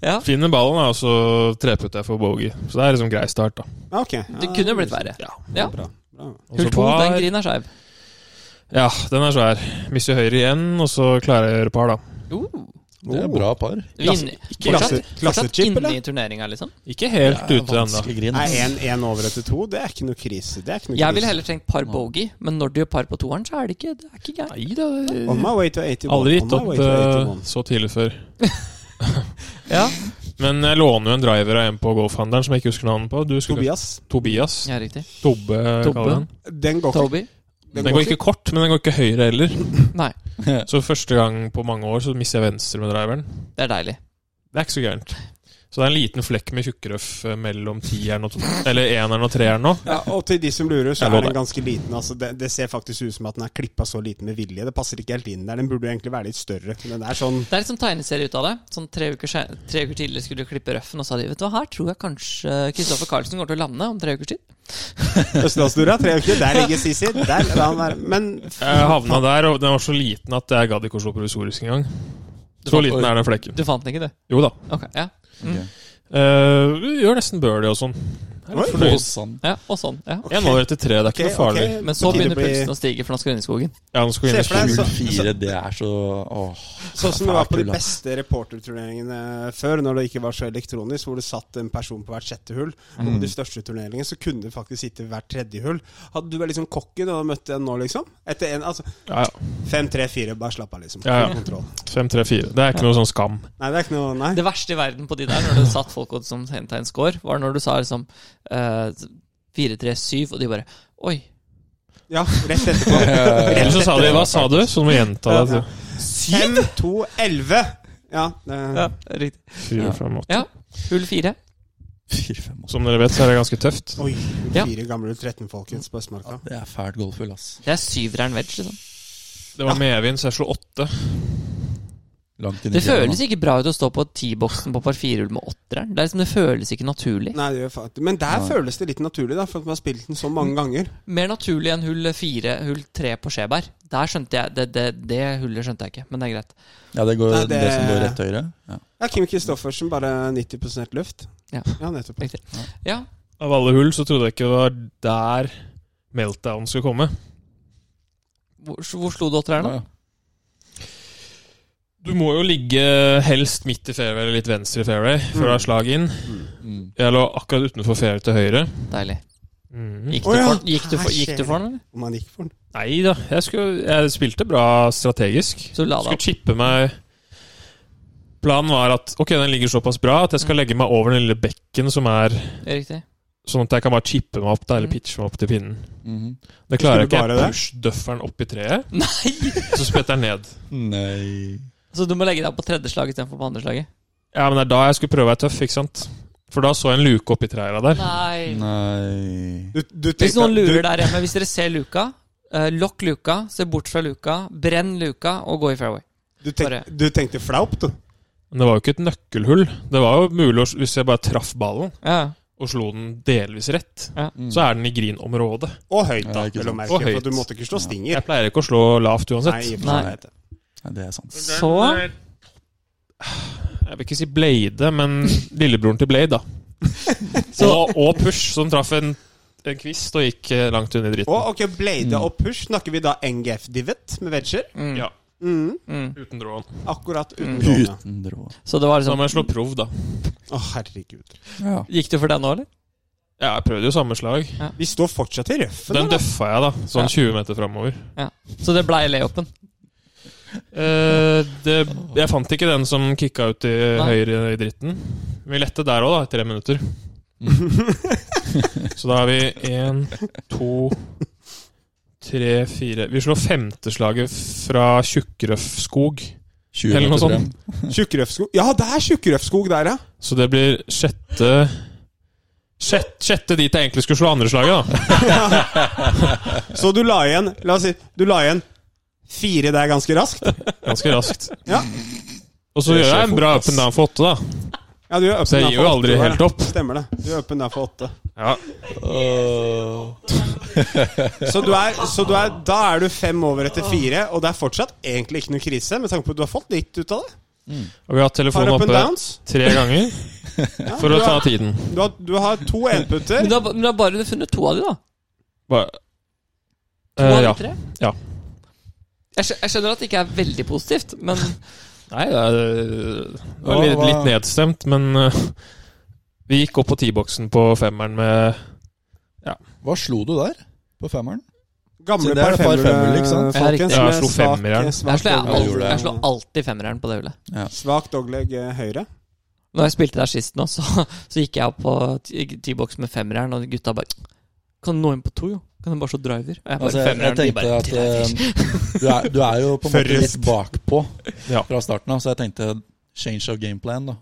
A: Ja.
B: Finner ballen, da, og så treputter jeg for bogey. Så det er liksom grei start, da.
C: Ja, ok.
A: Det kunne jo blitt verre.
B: Ja.
A: Ja.
C: Bra. bra.
B: Og
A: Hull
B: så
A: to, den
B: var-
A: grinen er skeiv.
B: Ja, den er svær. Mister høyre igjen, og så klarer jeg å gjøre par, da.
A: Oh.
D: Det er bra par.
A: Vinne-
B: ikke
A: Fortsatt,
C: klasse-
A: fortsatt
C: klassechip,
A: inne
C: eller?
A: i turneringa, liksom.
B: Ikke helt
D: Det er
B: ute ennå.
D: vanskelig grin.
C: Nei, en- en over etter to, det er ikke noe krise. Det er ikke noe
A: Jeg
C: krise.
A: ville heller trengt par bogey, men når du gjør par på toeren, så er det ikke, det er ikke greit.
B: Nei da.
C: On my way to 81.
B: Aldri
C: on
B: gitt
C: my
B: opp
C: way to
B: eh,
C: 81.
B: så tidlig før.
A: Ja.
B: Men jeg låner jo en driver av en på golfhandelen som jeg ikke husker navnet på. Du husker kanskje-
C: Tobias,
B: Tobias.
A: ja, riktig.
B: Tobbe,
A: Tobbe.
B: kaller jeg den.
C: den går ikke.
A: Toby?
B: Den går ikke kort, men den går ikke høyre heller.
A: Nei.
B: Så første gang på mange år så mister jeg venstre med driveren.
A: Det er deilig.
B: Det er ikke så gærent. Så det er en liten flekk med tjukkrøff eh, mellom tieren og to, eller eneren og treeren nå.
C: Ja, og til de som lurer, så
B: Jeg
C: er
B: lover.
C: den ganske liten. Altså, det, det ser faktisk ut som at den er klippa så liten med vilje. Det passer ikke helt inn der. Den burde jo egentlig være litt større. Den er sånn
A: Det er liksom tegneserie ut av det. Sånn Tre uker, se- tre uker tidligere skulle du klippe røffen, og så sa de vet du hva, her tror jeg kanskje Kristoffer Carlsen går til å lande om tre ukers tid.
C: østlandsdora, tre uker. Der ligger Sisi. Der lar han være. Men
B: Jeg havna der, og den var så liten at jeg gadd ikke å slå provisorisk engang. Så liten er den flekken.
A: Du fant den ikke, du?
B: Jo da.
A: Ok, ja.
D: Mm.
B: Eh, vi gjør nesten birdie og sånn. Jeg er
C: Oi.
B: litt
D: På
B: fornøyd.
D: sand.
A: ja. Og sånn. ja.
B: En år etter tre, det er
C: ok,
B: ikke noe farlig.
C: ok,
A: Men så
C: på tide å
A: begynner
C: bli-
A: pulsen å stige for Norsk Grønneskogen.
B: Ja, nå skal vi
C: Se
B: inn i
C: for deg
B: skogen.
C: så-
D: Hull fire, det er så åh.
C: Sånn som det var på de
D: Kul, ass.
C: beste reporterturneringene før, når det ikke var så elektronisk, hvor det satt en person på hvert sjette hull. Og på de største turneringene så kunne det faktisk sitte hvert tredje hull. Hadde du vært liksom kokken og møtt en nå, liksom? Etter en, altså
B: Ja, ja.
C: Fem, tre, fire, bare slapp av, liksom.
B: Ja, ja.
C: Full Kontroll.
B: Fem, tre, fire. Det er ikke noe sånn skam.
C: Nei, det er ikke noe Nei.
A: Det verste i verden på de der, når det satt folk og som henta en score, var når du sa liksom eh, 4-3-7, og de bare Oi.
C: Ja, rett etterpå.
B: Eller så sa de Hva sa du? Så du må gjenta det. altså.
C: Fem, to, elleve! Ja. Det,
A: Ja, riktig.
B: Fire fem, åtte.
A: Ja. Hull fire.
D: Fire, fem, altså. åtte.
B: Som dere vet, så er det ganske tøft.
C: Oi,
A: Ja.
C: fire gamle 13, folkens, på Østmarka.
D: Det er fælt golfhull, ass.
A: Det er syveren wedge, liksom.
B: Det var medvind, så jeg slo åtte.
D: Langt inn i
A: Det
D: fjellene.
A: føles ikke bra ut å stå på T-boksen på par 4-hull med åtteren. Det, er liksom, det føles ikke naturlig.
C: Nei, det gjør faktisk Men der
D: Nei.
C: føles det litt naturlig, da, for at man har spilt den så mange ganger.
A: Mer naturlig enn hull fire, hull tre på Skjeberg. Der skjønte jeg det, det, det hullet skjønte jeg ikke, men det er greit.
D: Ja, det går
C: Nei, det-
D: det... som går rett til høyre? Ja.
C: Ja, Kim Kristoffersen, bare 90 luft.
A: Ja.
C: ja nettopp.
A: Riktig. Ja,
B: Av alle hull så trodde jeg ikke det var der meltdown skulle komme.
A: Hvor, hvor slo du åtteren, da?
D: Ja, ja.
B: Du må jo ligge helst midt i fairway eller litt venstre i fairway før du har slag inn.
D: Mm.
B: Jeg lå akkurat utenfor fairway til høyre.
A: Deilig.
B: Mm.
A: Gikk du,
C: Å, ja.
A: for, den? gikk, du for, gikk du for den, eller?
C: Om han gikk for den.
B: Nei da, jeg, skulle, jeg spilte bra strategisk.
A: Så du la deg
B: Skulle
A: opp.
B: chippe meg Planen var at ok, den ligger såpass bra at jeg
C: Mm.
B: skal legge meg over den lille bekken som er
A: Riktig.
B: Sånn at jeg kan bare chippe meg opp der, eller
A: Mm.
B: pitche meg opp til pinnen.
D: Mhm.
B: Det klarer
C: Skulle
B: jeg ikke.
C: bare
B: Jeg
C: det?
B: push-døfferen opp i treet,
A: Nei!
B: så spetter jeg ned.
D: Nei
A: Så du må legge deg på tredje slag istedenfor på andre slaget?
B: Ja, men det er da jeg skulle prøve å være tøff, ikke sant? For da så jeg en luke oppi trærne der.
A: Nei.
D: Nei
C: Du, du
A: Hvis
C: tenkte-
A: noen
C: du-
A: lurer der hjemme, hvis dere ser luka, eh, lokk luka, se bort fra luka, brenn luka og gå i fairway.
C: Du, tenk,
A: Bare-
C: du tenkte flaupt, du.
B: Men det var jo ikke et nøkkelhull. Det var jo mulig å, s- hvis jeg bare traff ballen
A: Ja.
B: og slo den delvis rett,
D: Mm.
B: så er den i grinområdet.
C: Og høyt,
D: Ja,
C: da.
D: ikke sant.
C: vel å merke,
B: Og
C: for
B: høyt.
C: du måtte ikke slå stinger.
B: Jeg pleier ikke å slå lavt
C: Nei,
B: uansett.
C: i og for
A: Nei.
C: seg, jeg vet det.
D: Nei, det er sant.
A: Så
B: Jeg vil ikke si Blade, men lillebroren til Blade, da. Og, og Push, som traff en, en kvist og gikk eh, langt under dritten.
C: Og ok, Blade
B: Mm.
C: og push. Snakker vi da NGF-divot med wedger?
A: Mm.
B: Ja.
C: Mm,
A: Mm.
B: Uten dråen.
C: akkurat uten
A: Mm.
C: låne. Å,
D: Uten drå.
A: Så det var
B: Så da
A: liksom
B: må jeg slå prov, da.
C: herregud.
D: Ja.
A: Gikk du for den nå, eller?
B: Ja, jeg prøvde jo samme slag.
C: Vi står fortsatt i røffen.
B: Den
C: da.
B: døffa jeg, da.
A: Ja.
B: Sånn 20 meter framover.
A: Så det blei layupen.
B: Eh, det, jeg fant ikke den som kicka ut i
A: Nei.
B: høyre i dritten. Vi lette der òg, da, i tre minutter.
D: Mm.
B: Så da er vi én, to, tre, fire Vi slår femteslaget fra tjukkrøffskog.
D: 20
B: Eller noe
D: meter
B: sånt.
D: frem.
C: Tjukkrøffskog. Ja, det er tjukkrøffskog der, ja!
B: Så det blir sjette Sjette, sjette dit jeg egentlig skulle slå andreslaget, da.
C: Så du la igjen La oss si du la igjen fire der ganske raskt.
B: Ganske raskt.
C: Ja.
B: Og så
D: Det
B: gjør
D: skjer
B: jeg en bra
D: fort,
B: up and down for åtte, da.
C: Ja, du er
B: Så jeg gir jo aldri helt opp.
C: Stemmer det. Du er open der for åtte.
B: Ja.
C: Så, du er, så du er, da er du fem over etter fire, og det er fortsatt egentlig ikke noe krise, med tanke på at du har fått litt ut av det.
B: Og vi har hatt
C: Par
B: telefonen
C: up and
B: oppe
C: downs.
B: tre ganger
C: Ja,
B: for å
C: du,
B: ta
C: har,
B: tiden.
C: du, har, du har to
A: Men
C: enputter.
A: da, men da har bare du funnet to av de, da?
B: Bare,
A: To av
B: Eh,
A: de
B: ja.
A: tre?
B: Ja.
A: Jeg, skjø- jeg skjønner at det ikke er veldig positivt, men
B: Nei, det er det var litt, litt nedstemt, men eh, vi gikk opp på T-boksen på femmeren med
D: Hva slo du der? På femmeren?
C: Gamle
D: Så det er
C: par
D: det par femmer,
C: femmer,
D: ikke sant?
A: Ja, riktig.
C: folkens.
B: Ja,
C: med
B: jeg slo
C: svak-
B: femmeren.
C: svak
A: jeg liksom. slår, jeg
C: dogleg-
D: Ja, gjorde
A: alltid,
D: det.
A: jeg slår alltid femmeren på det hullet.
C: Svak dogleg eh, høyre.
A: Når jeg spilte der sist nå, så, så gikk jeg opp på t- T-box med femmeren, og gutta bare Kan du nå inn på to, jo? Kan du bare slå driver? Og jeg bare
D: Altså, jeg, jeg
A: femmeren, de
D: tenkte
A: bare
D: at eh, du, er, du er jo på en måte litt
C: Forrest.
D: bakpå
B: Ja.
D: fra starten av, så jeg tenkte change of game plan da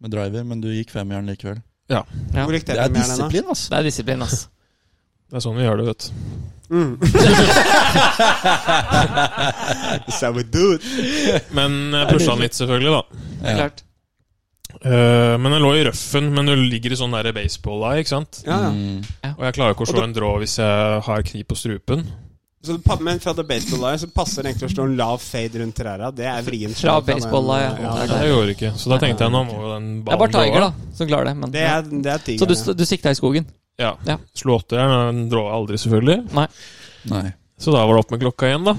D: med driver, men du gikk femmeren likevel.
A: Ja.
C: Hvor gikk
D: Det
C: det
D: er
C: premieren hen, da?
D: disiplin, altså.
A: Det er disiplin, ass.
B: Det er sånn vi gjør det, vet du.
C: Mm. So we do it.
B: Men jeg pusha den litt, selvfølgelig, da.
D: Ja.
A: Klart.
B: Eh, men den lå i røffen, men den ligger i sånn der baseball-eye, ikke sant?
C: Ja, ja.
D: Mm.
B: Og jeg klarer ikke å
C: Og da-
B: slå en drå hvis jeg har kniv på strupen.
C: Så det pa- men fra The Baseball Eye så passer det egentlig å slå en lav fade rundt trærne. Det er vrient.
A: Fra baseball eye, ja.
C: det er
B: Det
C: det.
B: gjorde jeg ikke, så da tenkte jeg nå må jo den
A: Det er bare
B: ballen gå
A: Tiger,
B: av.
A: da, som klarer det. Men,
C: Det er, det er
A: Så du,
C: tigeren.
A: st- du sikta i skogen?
B: Ja.
A: Ja.
B: Slo åtteren, og den dråa aldri, selvfølgelig.
D: Nei.
B: Så da var det opp med klokka igjen, da.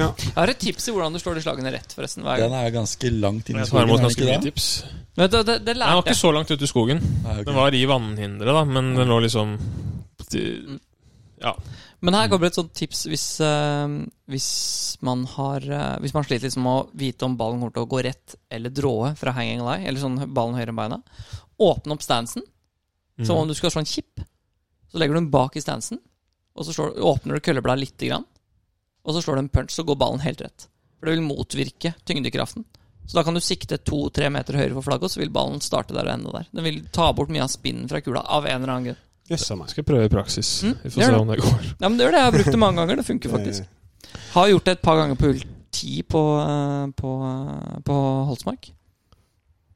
C: ja.
A: Jeg har et tips i hvordan du slår de slagene rett, forresten. Hver gang.
D: Den er ganske langt inn i
B: Jeg tar
D: skogen, er
B: imot
D: den
B: ganske
D: ikke
B: mye
D: det?
B: tips.
A: Men det, det, det
B: Nei, Den var
A: lærte
B: ikke
A: jeg.
B: så langt ute i skogen.
D: Nei, ok.
B: Den var i vannhinderet, da, men den lå liksom Ja.
A: Men her kommer et sånt tips hvis, eh, hvis, man har, eh, hvis man sliter liksom med å vite om ballen kommer til å gå rett eller dråe fra hanging lie, eller sånn ballen høyere enn beina. Åpne opp stansen,
B: Mm.
A: som om du skal slå en chip. Så legger du den bak i stansen, og så slår, åpner du køllebladet lite grann. Og så slår du en punch, så går ballen helt rett. For det vil motvirke tyngdekraften. Så da kan du sikte to-tre meter høyere for flagget, og så vil ballen starte der og ende der. Den vil ta bort mye av spinnen fra kula, av en eller annen grunn.
C: Jøssa meg.
B: Skal jeg prøve i praksis.
A: Mm,
B: Vi får
A: gjør
B: se
A: det.
B: om det går.
A: Ja, men det gjør det. Jeg har brukt det mange ganger. Det funker faktisk. Har gjort det et par ganger på hull ti på, eh, på, eh, på Holsmark.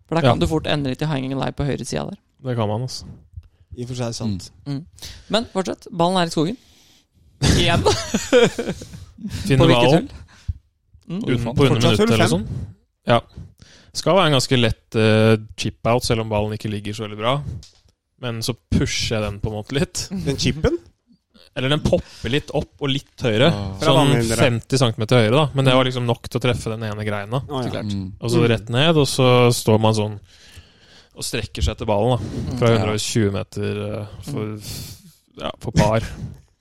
A: For da kan
B: Ja.
A: du fort endre til hanging live på høyre sida der.
B: Det kan man, altså.
C: I og for seg sånn.
D: Mm.
C: sant.
A: Men fortsett. Ballen er i skogen. Igjen.
B: Finne
A: på hvilket
B: hvalen
A: hull? Mm.
B: un- på under
C: Fortsatt
B: minuttet
C: hull
B: eller
C: fem.
B: sånn. Ja. Skal være en ganske lett eh, chip-out, selv om ballen ikke ligger så veldig bra. Men så pusher jeg den på en måte litt.
A: Mm.
C: Den chipen?
B: Eller den popper litt opp og litt høyere.
D: Ah.
C: Fra
B: Sånn
C: vannhindre.
B: 50 cm høyere, da. Men det var liksom nok til å treffe den ene greina.
C: Å, ja.
D: Mm.
B: Og så rett ned, og så står man sånn og strekker seg etter ballen, da. Fra 120 meter eh, for,
A: Mm.
B: ja, for par.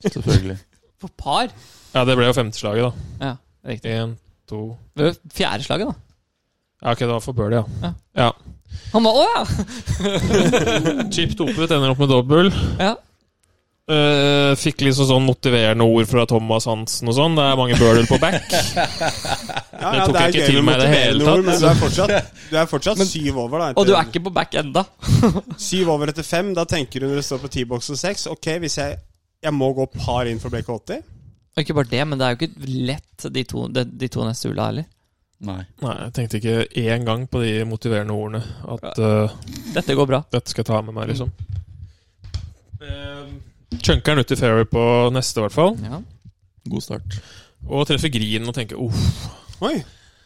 D: Selvfølgelig.
A: På par?
B: Ja, det ble jo femteslaget, da.
A: Ja, riktig.
B: Én, to
A: Det var fjerde slaget, da.
B: Ja, ok, det var for birdie, ja.
A: Han var Å ja!
B: Chip Topet ender opp med dobbel.
A: Ja.
B: Eh, fikk liksom sånn motiverende ord fra Thomas Hansen og sånn. Det er mange birdier på back.
C: Ja,
B: Det
C: ja,
B: tok
C: er
B: jeg ikke
C: gøy
B: til
C: med
B: meg i det hele
C: motiverende
B: tatt.
C: ord, Men du er fortsatt, du er fortsatt syv over, da.
A: Og du er
C: etter-
A: ikke på back enda.
C: Syv over etter fem. Da tenker du når du står på T-boksen seks Ok, hvis jeg, jeg må gå par inn for BK80
A: Og ikke bare det, men det er jo ikke lett, de to, de, de to neste hula heller.
D: Nei.
B: Nei, jeg tenkte ikke én gang på de motiverende ordene. At eh,
A: Dette går bra.
B: dette skal jeg ta med meg, liksom. Eh, Chunker den ut i fairway på neste, i hvert fall.
A: Ja.
D: God start.
B: Og treffer grinen og tenker uff.
C: Oi,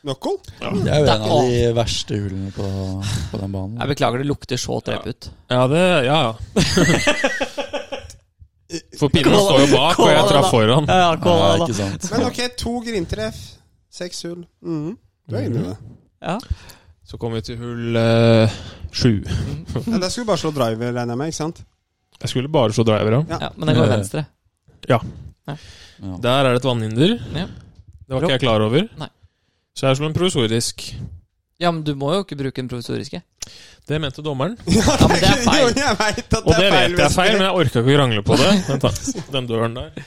C: knuckle?
D: Det er jo
A: Det er
D: en av de verste hullene på, på den banen.
A: Jeg beklager, det lukter så trep ut.
B: Ja, det Ja, ja. For pinnen står jo bak, og jeg traff foran.
A: Ja,
D: Ja, ikke sant.
C: Men ok, to grintreff. Seks hull. Mhm. Du er
B: Mm.
C: inne i det.
B: Så kom vi til hull eh, sju.
C: Ja, der skulle du bare slå driver, regner jeg med. ikke sant?
B: Jeg skulle bare slå driver, ja.
A: Ja, men den går venstre.
D: Ja.
B: Der er det et vannhinder.
A: Ja.
B: Det var ikke jeg klar over.
A: Nei.
B: Så jeg slo en provisorisk.
A: Ja, men du må jo ikke bruke den provisoriske.
B: Det mente dommeren.
A: Ja, men det er
C: Jo,
A: feil.
C: jeg vet at
B: Og det,
C: det er feil.
B: vet jeg er feil,
C: men-
B: men jeg orka ikke å krangle på det. Vent da, Den døren der.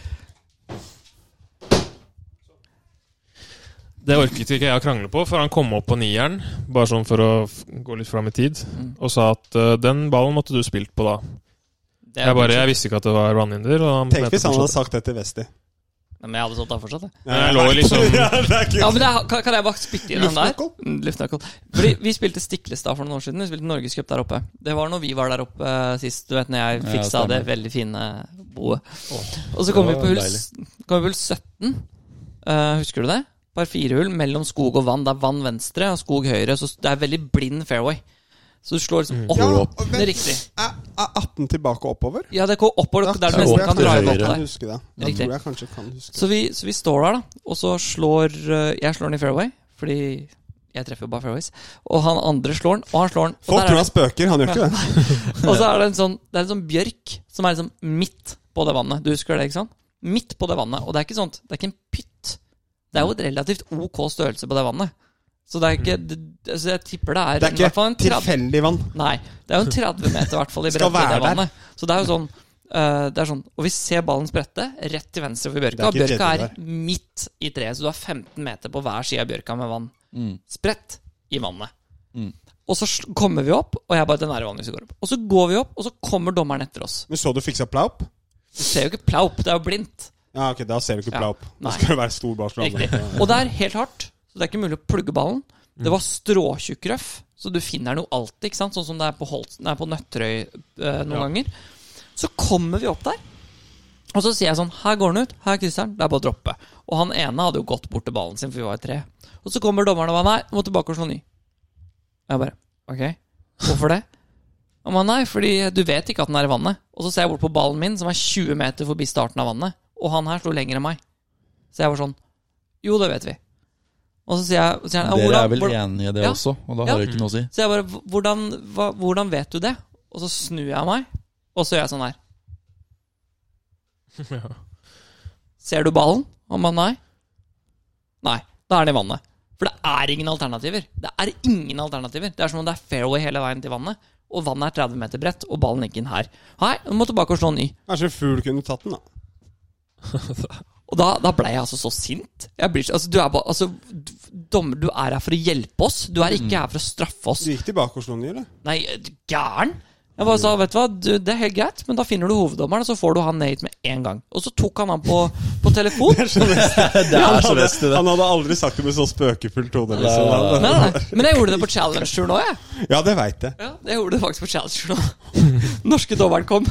B: Det orket ikke jeg å krangle på, for han kom opp på nieren, bare sånn for å f- gå litt fram i tid,
A: Mm.
B: og sa at eh, den ballen måtte du spilt på da.
A: Det er
B: Jeg bare, jeg visste ikke at det var vannhinder. og han
C: Tenk
B: mente
C: hvis han
B: fortsatt-
C: hadde sagt det til Westi.
A: Nei, Men jeg hadde stått der fortsatt, jeg.
B: Ja, jeg lå liksom-
C: ja, det er
A: Ja,
C: kult.
A: men det er, kan, kan jeg bare spytte inn den der?
C: Luftnøkkel?
A: Mm, Luftnøkkel. Fordi vi spilte Stiklestad for noen år siden. Vi spilte Norgescup der oppe. Det var når vi var der oppe eh, sist, du vet, når jeg
D: Ja,
A: fiksa det
D: stemmer.
A: veldig fine boet.
B: Åh,
A: Og så kom vi
D: det
A: på
D: var
A: hull, s- kom vi på hull 17. Eh, husker du det? Par firehull mellom skog og vann. Det er vann venstre og skog høyre. Så det er veldig blind fairway. Så du slår liksom
D: Mm.
A: opp.
C: Ja,
D: Går opp.
C: og
A: Det er
C: vent,
A: riktig.
C: Er er 18 tilbake og oppover?
A: Ja, det går oppover. Det er
D: Ja,
A: du nesten
D: opp
A: kan
D: til
A: dra
D: høyre.
A: opp
C: Jeg kan
A: der.
C: huske det. Jeg
A: Riktig.
C: tror jeg kanskje kan huske det.
A: Så vi, så vi står der, da. Og så slår eh, Jeg slår den i fairway, fordi jeg treffer bare fairways. Og han andre slår den, og han slår den. Og,
C: Folk
A: der
C: tror
A: er
C: han spøker, han gjør ikke det.
A: det, og så er det en sånn Det er en sånn bjørk som er liksom midt på det vannet. Du husker det, ikke sant? Midt på det vannet. Og det er ikke sånt Det er ikke en pytt. Det er jo et relativt ok størrelse på det vannet. Så det er ikke det, det- altså Jeg tipper det er,
C: Det er
A: i hvert fall en
C: ikke
A: 30
C: tilfeldig vann.
A: Nei. Det er jo en 30 meter i hvert fall i
C: Skal
A: bredde i det
C: være der.
A: vannet. Så det er jo sånn, eh, det er sånn Og vi ser ballen sprette rett til venstre for bjørka.
C: Det er ikke
A: Bjørka er
C: jetting
A: midt i treet, så du har 15 meter på hver side av bjørka med vann.
D: Mm.
A: Spredt i vannet.
D: Mm.
A: Og så sl- kommer vi opp, og jeg bare Den er i vannet hvis vi går opp. Og så går vi opp, og så kommer dommeren etter oss.
C: Men så du fiksa plaup?
A: Du ser jo ikke plaup, det er jo blindt.
C: Ja, ok, da ser du ikke
A: Ja.
C: plaup. Da
A: Nei.
C: skal det være stor
A: Riktig.
C: barslande.
A: Og det er helt hardt, så det er ikke mulig å plugge ballen. Det var stråtjukk røff, så du finner den jo alltid, ikke sant? sånn som det er på, Holt, nei, på Nøtterøy eh, noen
B: Ja.
A: ganger. Så kommer vi opp der, og så sier jeg sånn Her går den ut, her krysser den, det er bare å droppe. Og han ene hadde jo gått bort til ballen sin, for vi var i tre. Og så kommer dommeren og bare Nei, du må tilbake og slå ny. Jeg bare Ok, hvorfor det? Han bare nei, fordi du vet ikke at den er i vannet. Og så ser jeg bort på ballen min, som er 20 meter forbi starten av vannet. Og han her slo lenger enn meg. Så jeg var sånn Jo, det vet vi. Og så sier jeg, så sier han, ja,
D: Dere
A: hvordan,
D: er vel
A: hvordan,
D: enige i det
A: Ja.
D: også, og da
A: Ja.
D: har det ikke noe å si.
A: så jeg bare "Hv- hvordan, hva, hvordan vet du det? Og så snur jeg meg, og så gjør jeg sånn her.
B: Ja.
A: Ser du ballen? Han bare nei. Nei, da er den i vannet. For det er ingen alternativer. Det er ingen alternativer. Det er som om det er fairway hele veien til vannet, og vannet er 30 meter bredt, og ballen ligger inn her. Nei, du må tilbake og slå ny.
C: Kanskje en fugl kunne tatt den, da.
A: Og da, da ble jeg altså så sint. Jeg blir, så- altså, du er bare, altså, d- dommer, du er her for å hjelpe oss. Du er ikke her for å straffe oss.
C: Du gikk tilbake og slo den i, eller?
A: Nei, er du gæren! Jeg bare sa, vet du hva, du, det er helt greit, men da finner du hoveddommeren, og så får du han ned hit med en gang. Og så tok han han på, på på telefon.
D: Det er så best i det.
C: han hadde aldri sagt det med så spøkefull tone. Liksom.
A: Nei,
D: Nei,
A: nei, nei. Men jeg gjorde det på Challenger nå, jeg.
C: Ja, det veit jeg.
A: Ja, jeg gjorde det faktisk på Challenger nå. Norske dommeren kom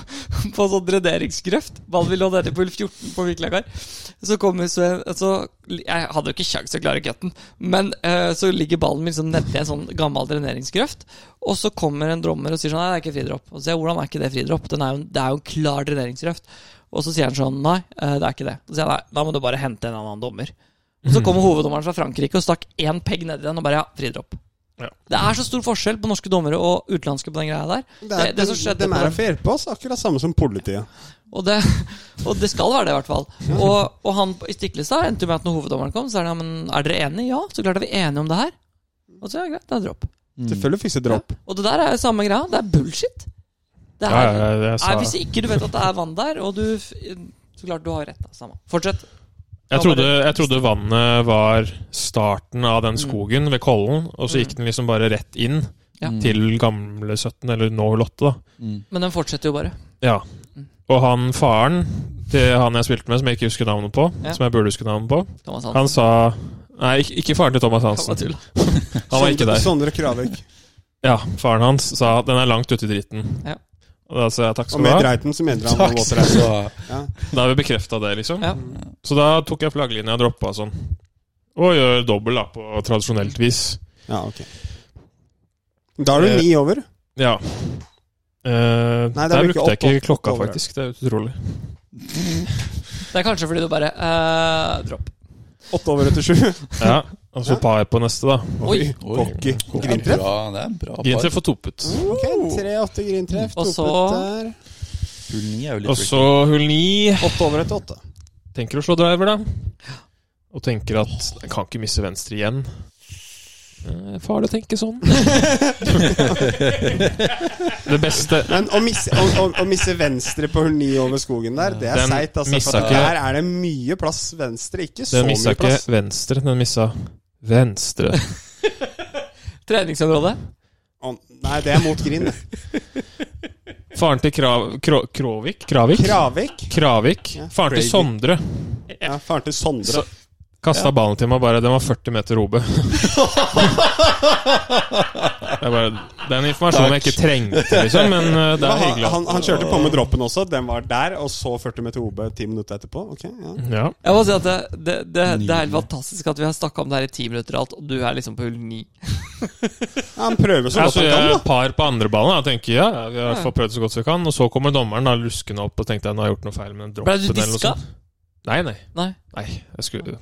A: på sånn dreneringsgrøft. Ballen lå nede på hull 14 på Viklakar. Så kommer så, så Jeg hadde jo ikke kjangs til å klare cutten, men eh, så ligger ballen min sånn nedi en sånn gammel dreneringsgrøft. Og så kommer en dommer og sier sånn Nei, det er ikke fridropp. Og så sier jeg hvordan er ikke det fridropp? Den er jo, det er jo en klar dreneringsgrøft. Og så sier han sånn Nei, eh, det er ikke det. Så sier jeg nei, da må du bare hente en annen dommer. Og så kommer hoveddommeren fra Frankrike og stakk én peg nedi den og bare ja, fridropp. Det er så stor forskjell på norske dommere og utenlandske på den greia der. Det, det som skjedde
C: dem
A: på
C: er
A: den-
C: å få hjelpe oss, akkurat samme som politiet.
A: og det, og det skal være det, i hvert fall. Og, og han på- i Stiklestad endte jo med at når hoveddommeren kom, så er det ja, men er dere enige? Ja, så klart er vi enige om det her. Og så ja, greit, det er dropp.
D: Mm.
C: Selvfølgelig fikse dropp.
A: Og det der er jo samme greia. Det er bullshit. Det er,
B: Ja, ja, ja, jeg sa-
A: Nei, hvis ikke du vet at det er vann der, og du f- Så klart du har rett, da. Samme. Fortsett.
B: Jeg trodde, jeg trodde vannet var starten av
A: Mm.
B: den skogen ved Kollen, og så gikk den liksom bare rett inn
A: Ja.
D: Mm.
B: til gamle 17, eller nå Lotte, da.
A: Men den fortsetter jo bare.
B: Ja.
A: Mm.
B: Og han faren til han jeg spilte med, som jeg ikke husker navnet på,
A: Ja.
B: som jeg burde huske navnet på,
A: Thomas
B: han
A: Hansen.
B: sa Nei, ikke- ikke faren til Thomas
A: Kan
B: Hansen.
A: bare tulle.
B: Han var ikke der.
C: Sondre Kravik.
B: Ja, faren hans sa den er langt ute i dritten.
A: Ja.
B: Og da sa jeg takk
C: Og
B: skal du
C: med
B: ha.
C: Dreiten så mener han
D: Takk
C: noe
D: skal du ha.
B: Da har vi bekrefta det, liksom.
A: Ja.
B: Så da tok jeg flagglinja og droppa sånn. Og gjør dobbel, da, på tradisjonelt vis.
C: Ja, ok. Da er du ni over.
B: Ja. Eh,
C: Nei, det er
B: der
C: vel ikke
B: brukte jeg
C: opp-
B: ikke
C: opp-
B: klokka,
C: over.
B: faktisk. Det er utrolig.
A: Det er kanskje fordi du bare eh, dropp.
C: Åtte over etter sju.
B: Ja, Og så par på neste, da.
A: Oi.
C: Cocky.
D: Det er
C: Grintreff.
D: bra, det er bra par.
B: Grintreff og toppet.
C: Ok, tre-åtte grintreff.
A: Og
C: to
A: så-
C: putt der.
D: Hull ni er jo litt
B: Og så hull ni.
C: Åtte over etter åtte.
B: Tenker å slå driver, da. Og tenker at jeg kan ikke miste venstre igjen. Eh, Farlig å tenke sånn. det beste
C: Men å misse, å, å, å misse venstre på hull ni over skogen der, det er
B: Den
C: seigt. Altså, for
B: missa
C: at
B: ikke-
C: der er det mye plass venstre. Ikke så
B: Den missa
C: mye
B: ikke
C: plass.
B: venstre, den missa venstre.
A: Treningsområde.
C: Å, nei, det er mot grind.
B: Faren til Krav, Kro, Krovik? Kravik?
C: Kravik.
B: Kravik.
C: Ja,
B: Faren til
C: Kravik.
B: Sondre
C: Ja, Faren til Sondre.
B: Så- kasta ballen til meg bare Den var 40 meter robe. Det er bare den informasjonen jeg ikke trengte, liksom, men eh, det
C: Ja,
B: er
C: han,
B: hyggelig.
C: han, han kjørte på med droppen også. Den var der, og så 40 meter OB ti minutter etterpå. Ok, ja.
B: Ja.
A: Jeg må si at det, det, det, det er helt fantastisk at vi har snakka om det her i ti minutter og alt, og du er liksom på hull ni.
C: Ja, Han prøver så
B: Ja,
C: godt
B: så
C: han kan,
B: gjør Altså, jeg
C: da.
B: et par på andre ballen da, og tenker ja, ja, vi har i hvert fall prøvd så godt vi kan. Og så kommer dommeren da luskende opp og tenkte jeg, nå har jeg gjort noe feil med den
A: Ble
B: droppen.
A: du
B: eller noe
A: diska?
B: sånt. Nei, nei.
A: Nei.
B: nei jeg skulle,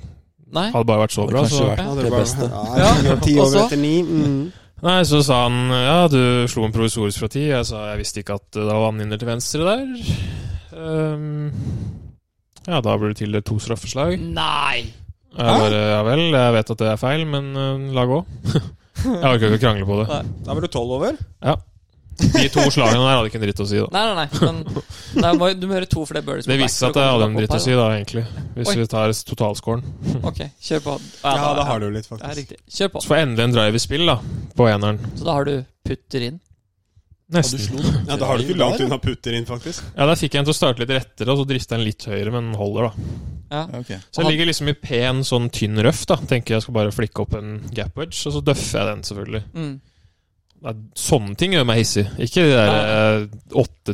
A: Nei.
B: hadde bare vært så bra. Så.
D: vært
C: Ja,
D: det
C: var-
D: beste.
C: Ja,
A: Ja,
C: ti
A: og
C: over
A: så-
C: etter ni. Mm.
B: Nei, så sa han ja, du slo en provisorisk fra ti. Jeg sa jeg visste ikke at det var vannhinder til venstre der. Ehm, ja, da blir det tildelt to straffeslag. Jeg
A: Nei!
B: bare ja vel, jeg vet at det er feil, men eh, la gå. jeg orker ikke å krangle på det.
C: Da var du tolv over.
B: De to slagene der hadde ikke en dritt å si, da.
A: Nei, nei, nei. Men nei, må, du må gjøre to for det birdies. på
B: Det
A: back
B: viste seg
A: for
B: at jeg
A: komme
B: hadde en
A: deg
B: dritt
A: opp
B: å si, da, egentlig. Hvis
A: Oi.
B: vi tar totalscoren.
A: her, da. Ok, kjør på.
C: Ja, da har du litt,
A: Det er
C: faktisk.
A: riktig. Kjør på.
B: Så får jeg endelig en drive i spill, da. På eneren.
A: Så da har du putter inn.
B: Nesten.
C: Ja, Da har du ikke langt unna putter inn, faktisk.
B: Ja, Der fikk jeg en til å starte litt rettere, og så drista jeg den litt høyere, men holder, da.
A: Ja.
D: Okay.
B: Så jeg ligger liksom i pen, sånn tynn røff, da. Tenker jeg skal bare flikke opp en gap wedge, og så døffer jeg den, selvfølgelig.
A: Mm.
B: Det er, sånne ting gjør meg hissig. Ikke de der eh,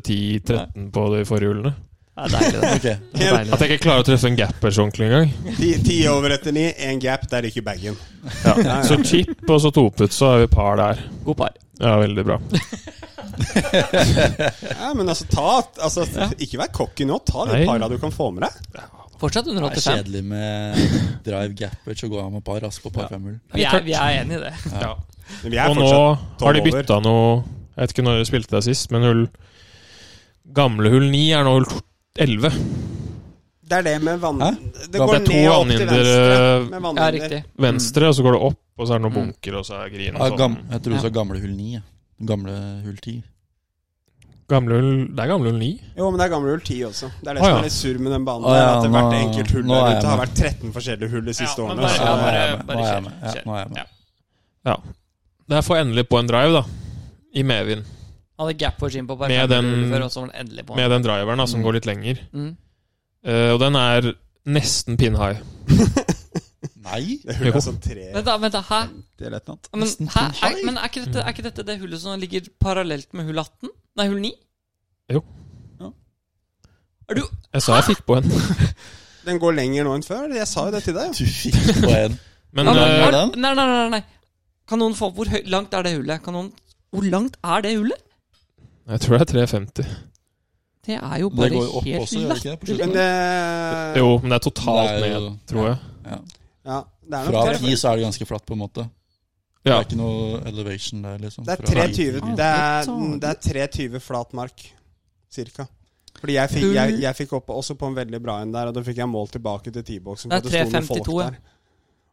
B: 8-10-13 på de forhjulene.
A: Det er deilig, det.
D: Ok.
A: det er deilig.
B: At jeg ikke klarer å treffe en gap wedge ordentlig engang.
C: Ti, ti over etter ni, én gap, der ryker bagen.
B: Ja. Så chip og så toput, så er vi par der.
A: God par.
B: Ja, veldig bra.
C: Ja, men altså, ta altså, Ikke vær cocky nå. Ta de
B: Nei.
C: para du kan få med deg.
A: Fortsatt under
D: Det er
A: 85.
D: kjedelig med drive gappage og gå av med par rask på par femhull.
A: Vi er, vi er enige i det.
B: Ja.
C: Men Vi er
B: Og nå
C: fortsatt
B: har de
C: tolv over.
B: bytta noe Jeg vet ikke når de spilte der sist, men hull Gamle hull 9 er nå hull to- 11.
C: Det er det med vann...
D: Hæ?
C: Det
B: Da
C: går
B: det er to
C: ned og opp til
B: vannhinder,
C: venstre.
B: eh,
C: Med
A: Ja,
C: vannhinder.
A: riktig.
B: Venstre, og så går det opp, og så er det noen
A: Mm.
B: bunker, og så er green
D: Ja,
B: og sånn.
D: gam, jeg tror du sa gamle hull ni. ja. Gamle hull ti.
B: Gamle hull Det er gamle hull 9.
C: Jo, men det er gamle hull 10 også. Det er det
B: Å,
C: som
B: ja.
C: er litt surr med den banen.
D: Å,
C: der,
D: ja,
C: at
D: nå-
C: Hvert enkelt hull
D: nå
C: der
D: er jeg
C: ute har
D: med.
C: vært 13 forskjellige hull de siste
A: Ja, men
C: årene.
A: bare-
C: så-
D: Ja, nå er
A: bare-
D: jeg med. Nå er jeg
A: bare
D: med.
A: kjør,
D: Ja,
A: kjør.
D: nå er jeg med.
B: Der får jeg endelig på en drive, da. I medvind.
A: Han hadde gap for Jim på par
B: Med
A: fem
B: den-
A: før, og så var han endelig på.
D: Mm.
B: Med den driveren da, som går litt lenger.
A: Mm.
B: Eh, og den er Nesten pinnhai.
D: Nei?
C: Det
B: Jo.
C: hullet er sånn tre
A: Vent, da, vent da, hæ?
D: Det er lett natt.
A: Men, hæ? Er, men er, ikke dette, er ikke dette det hullet som ligger parallelt med hull 18? Nei, hull 9?
B: Jo.
D: Ja.
A: Er du
B: Jeg sa jeg fikk på en.
C: Den går lenger nå enn før. Jeg sa jo det til deg.
D: Du fikk på en.
B: Men
A: Ja,
B: eh,
A: men-
D: den?
A: Nei, nei, nei, nei. Kan noen få Hvor høy, langt er det hullet? Kan noen, hvor langt er det hullet?
B: jeg tror det er 3,50.
A: Det er jo
D: Det
A: bare
D: går jo opp
A: helt
D: også, gjør det ikke det? På
A: latterlig.
C: Men
D: slutten?
C: det
B: Jo, men det er totalt
D: Det er
B: ned,
D: jo-
B: tror jeg.
D: Ja.
C: Ja, det er
D: Fra
C: nok
D: ti så er det ganske flatt, på en måte. Det
B: Ja.
D: er ikke noe elevation der, liksom.
C: Det er
D: fra
C: 320
D: ti.
C: Det er, det er 320 flat mark, cirka. Fordi jeg fikk, jeg, jeg fikk opp også på en veldig bra en der, og da fikk jeg mål tilbake til T-boksen. for
A: Det er
C: at sto noen folk
A: 352, ja.
C: der.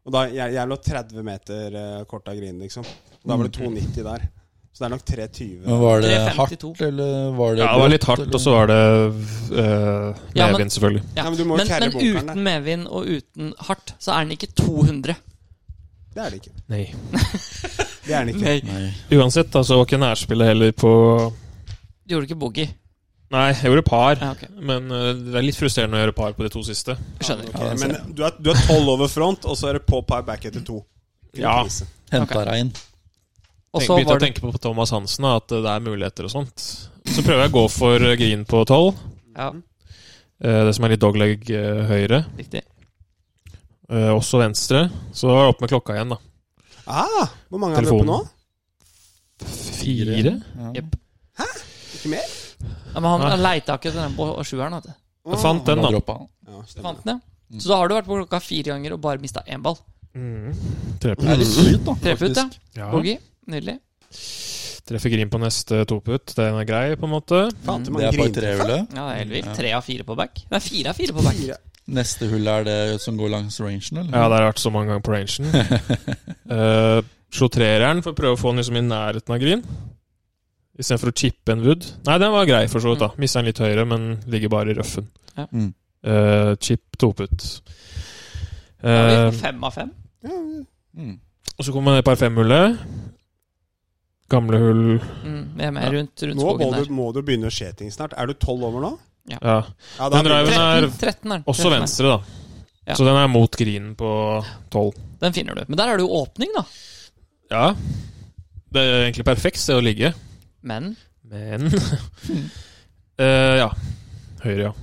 C: Og da, jeg, jeg lå 30 meter eh, kort av grinen, liksom. Og da var det
A: Mm.
C: 290 der. Så det er nok 320.
D: Men var det
A: 352.
D: hardt, eller var det
B: Ja, det var litt
D: brått,
B: hardt,
D: eller?
B: og så var det eh,
A: Ja, men-
B: medvind, selvfølgelig.
C: Nei,
A: Ja,
C: men
A: men
C: du må jo kjære
A: men
C: bunkeren, da.
A: uten medvind og uten hardt, så er den ikke 200.
C: Det er det ikke.
B: Nei.
C: Det er det ikke.
A: Nei.
D: Nei.
B: Uansett, da, så var ikke nærspillet heller på
A: Du gjorde ikke boogie.
B: Nei, jeg gjorde par,
A: Ja, ok.
B: men eh, det er litt frustrerende å gjøre par på de to siste.
A: Skjønner.
C: Ok, men du er, du er 12 over front, og så er det på par back etter to.
B: Ja.
C: Krise.
D: Henta
A: Ok.
D: regn.
A: Og
B: Tenk-
A: så
B: Begynte
A: var
B: å
A: det
B: tenke på Thomas Hansen, da, at eh, det er muligheter og sånt. Så prøver jeg å gå for eh, green på 12,
A: ja,
B: eh, det som er litt dogleg eh, høyre.
A: riktig.
B: eh, Også venstre. Så var det opp med klokka igjen, da.
C: Ah, hvor mange er vi
B: Telefon.
C: oppe nå?
B: Fire?
D: Ja.
A: Jepp.
C: Ikke mer?
A: Ja, men han
B: Nei.
A: han leita ikke etter den på sjueren. vet du.
B: Jeg fant den,
D: Må
B: da.
D: droppe han.
C: Ja,
A: Du
C: stemmer.
A: Fant den, ja. Så da har du vært på klokka fire ganger og bare mista én ball.
B: Mm.
D: Det er
B: Treffer.
D: litt skryt, da.
A: Treffer ut,
D: faktisk.
A: ja.
B: Ja.
A: Boogie. Nydelig.
B: Treffer green på neste toputt. Den er grei, på en måte.
C: Faen, til
D: Det
C: mange
D: er par
C: griner.
D: trehjulet.
A: Ja, det er helt vilt. Tre av fire på back. Nei, fire av fire på back.
C: Fire.
D: Neste hull er det som går langs rangen, eller?
B: Ja, det har vært så mange ganger på rangen. uh, Slo treeren for å prøve å få den liksom i nærheten av green. Istedenfor å chippe en wood. Nei, den var grei, for så vidt. da. Mister den litt høyere, men ligger bare i røffen.
A: Mm. Ja.
D: Mm.
B: Eh, chip toputt.
A: Da er vi
B: Uh,
A: på Fem av fem.
D: Mm.
B: og så kommer det par fem-hullet. Gamle hull
A: Mm, vi er med rundt, rundt
C: Nå må
A: skogen der.
C: du, må du begynne å skje ting snart. Er du 12 over nå?
B: Ja.
C: Ja,
B: Den driven er
A: 13, 13 er den.
B: også
A: 13 er den.
B: venstre, da.
A: Ja.
B: Så den er mot green på tolv.
A: Den finner du. Men der er det jo åpning, da.
B: Ja. Det er egentlig perfekt sted å ligge.
A: Men
B: Men Eh, Ja. Høyre, ja.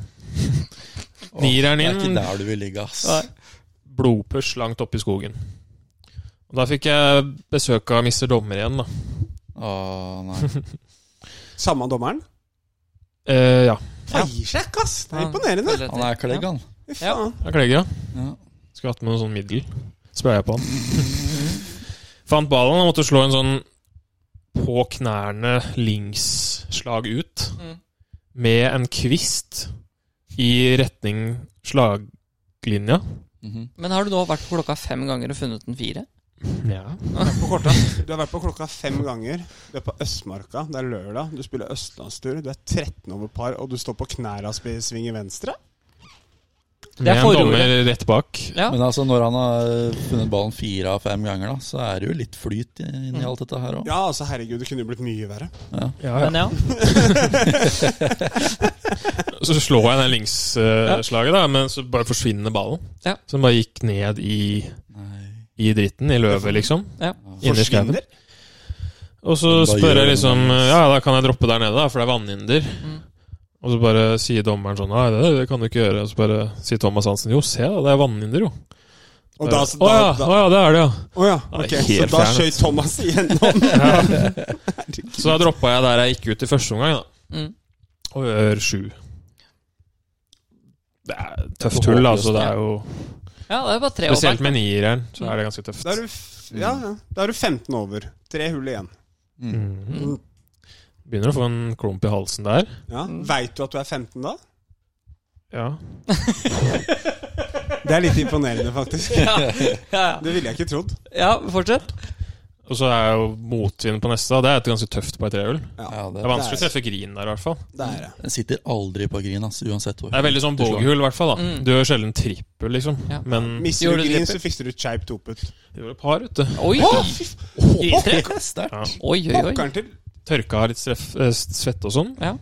B: Nieren
D: Det er
A: Mm.
D: ikke
B: inn.
D: der du vil ligge, ass.
B: Blodpush langt oppe i skogen. Og da fikk jeg besøk av mister dommer igjen, da.
D: Å, nei.
C: Samme dommeren?
B: Eh, ja.
C: Feiersjekk, ass! Det er
A: Han-
C: imponerende.
A: følger
D: Han
A: etter.
D: er klegg, han.
C: Fy faen.
B: Jeg klegger, ja.
D: Ja.
B: Skulle hatt med noe sånn middel. Spraya på han. Fant ballen og måtte slå en sånn på knærne linksslag ut.
A: Mm.
B: Med en kvist i retning slaglinja.
D: Mhm.
A: Men har du nå vært på klokka fem ganger og funnet den fire?
B: Ja.
C: På korta. Du har vært på klokka fem ganger. Du er på Østmarka, det er lørdag, du spiller østlandstur, du er 13 over par, og du står på knæra og sp- svinger venstre?
A: Det
B: Med
A: er
B: en
A: forordet.
B: dommer rett bak.
A: Ja.
D: Men altså, når han har funnet ballen fire av fem ganger, da, så er det jo litt flyt inni alt dette her òg.
C: Ja, altså herregud, det kunne jo blitt mye verre.
B: Ja,
A: Men ja.
B: Så slår jeg den linksslaget, eh, da, men så bare forsvinner ballen.
A: Ja.
B: Så den bare gikk ned i, i dritten, i løvet, liksom.
A: ja.
B: Inni skauen.
C: Forsvinner.
B: Og så
D: Men da gjør
B: spør jeg
D: den
B: liksom
D: den.
B: Ja, da kan jeg droppe der nede, da, for det er vannhinder.
A: Mm.
B: Og så bare sier dommeren sånn Nei, det, det kan du ikke gjøre. Og så bare sier Thomas Hansen Jo, se da, det er vannhinder, jo.
C: Og da,
B: Å
C: da,
B: ja,
C: da,
B: å ja, det er det, ja.
C: å ja, ok.
B: Det er
C: Så
B: helt
C: da
B: fjernet.
C: skjøt Thomas igjennom.
B: Så da droppa jeg der jeg gikk ut i første omgang, da.
A: Mm.
B: Og gjør sju. Det er tøft hull, altså. Det er jo
A: ja, det er Mm. bare tre år
B: Spesielt
A: back.
B: med nieren, så er det ganske tøft.
C: Da er du, f- ja, ja. da er du 15 over. Tre hull igjen.
D: Mm.
B: Mhm.
A: Mm.
B: Begynner å få en klump i halsen der.
C: Ja. Veit du at du er 15 da?
B: Ja.
C: Det er litt imponerende, faktisk.
A: Ja, ja.
C: Det ville jeg ikke trodd.
A: ja, fortsett.
B: Og så er jo motvind på neste. da. Det er et ganske tøft par trehull.
D: Ja,
B: Det er
D: det,
B: vanskelig å treffe green der, i hvert fall.
C: Det er det.
D: den sitter aldri på green, ass, uansett hvor.
B: Det er veldig sånn bogeyhull, i hvert fall. da.
A: Mm.
B: Du gjør sjelden trippel, liksom.
A: Ja.
B: Men
C: Mister du
A: Gjorde du
C: green,
A: det?
C: så fikser du kjeip toput.
B: det var et par, vet du.
A: Oi,
D: Åh,
A: Green tre.
D: det er sterkt.
B: Ja.
A: oi, oi. oi.
C: Pokkeren til
B: Tørka litt streff, eh, svette og sånn.
A: Ja.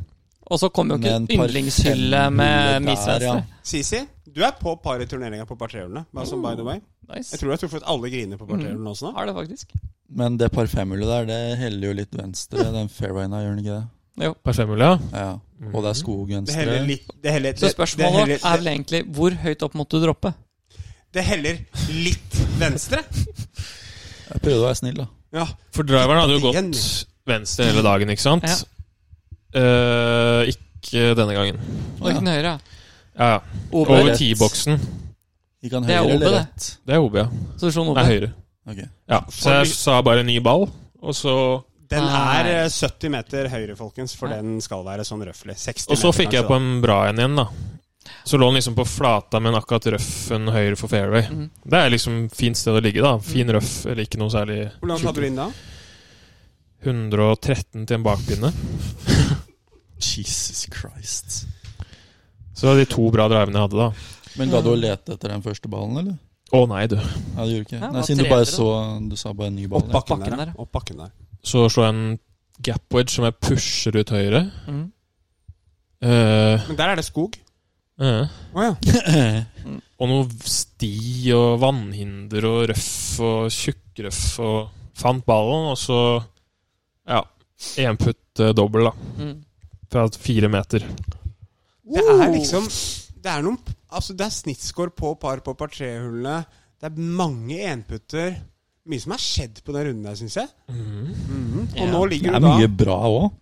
A: Og så kom jo ikke
D: Men par
A: yndlingshylle
D: femhjulet
A: med
D: der,
A: Miss Venstre.
C: Sisi, du er på par i turneringa på partrehjulene. Bare sånn by the way. Jeg
A: Nice.
C: tror du har truffet alle griner på partrehjulene også nå.
A: Har det faktisk.
D: Men det par femhjulet der, det heller jo litt venstre. Den fairwayen her, gjør den ikke det?
B: Parfemøl, ja.
D: Ja. Og det er
C: Det
D: skogvenstre.
C: heller litt det heller,
A: Så
C: det, det
A: spørsmålet
C: heller,
A: vårt er vel egentlig hvor høyt opp måtte du droppe?
C: det heller litt venstre.
D: Jeg prøvde å være snill, da.
C: Ja.
B: For driveren hadde jo
C: Igjen.
B: gått venstre hele dagen, ikke sant? Eh, ikke denne gangen.
A: Og ikke den høyre?
B: Ja, ja.
D: OB.
B: Over ti-boksen.
D: Gikk han
A: Det er
D: høyre
A: OB,
D: eller
A: det.
D: rett?
B: Det er OB, ja.
A: Sosjon OB.
B: Nei, høyre.
D: Ok.
B: Ja, så jeg sa bare ny ball, og så
C: Den
A: Nei.
C: er eh, 70 meter høyre, folkens, for den skal være sånn røffelig. 60
B: Og så
C: meter,
B: fikk jeg
C: kanskje,
B: på en bra en igjen, da. Så lå den liksom på flata, men akkurat røffen høyre for fairway.
A: Mhm.
B: Det er liksom fint sted å ligge, da. Fin røff, eller ikke noe særlig
C: da. Hvor langt hadde du inn da?
B: 113 til en bakpinne.
D: Jesus Christ.
B: Så det var de to bra drivene jeg hadde, da.
D: Men ga du å lete etter den første ballen, eller?
B: Å nei, du.
D: Nei, du gjorde ikke.
A: Ja,
D: Nei,
A: hva
D: siden du
A: trener
D: bare
A: du?
D: så Du sa bare en ny ball.
C: Opp
D: ja.
C: bakken,
A: Bakken
C: der.
A: der,
C: ja. Opp bakken der.
B: Så så jeg en gap wedge som jeg pusher ut høyre.
A: Mm.
B: Eh,
C: Men der er det skog.
B: eh.
C: Å ja.
B: Og noe sti og vannhinder og røff og tjukkrøff og Fant ballen, og så Ja. Énputt eh, dobbel, da.
A: Mm.
B: Fra fire meter.
C: Det er liksom Det er noen Altså, det er snittscore på par på par tre-hullene. Det er mange enputter. Mye som har skjedd på den runden der, syns jeg.
B: Mm.
C: Mhm. Og
A: Ja.
C: nå
D: Det
C: ligger
D: er
C: du da
D: mye bra òg.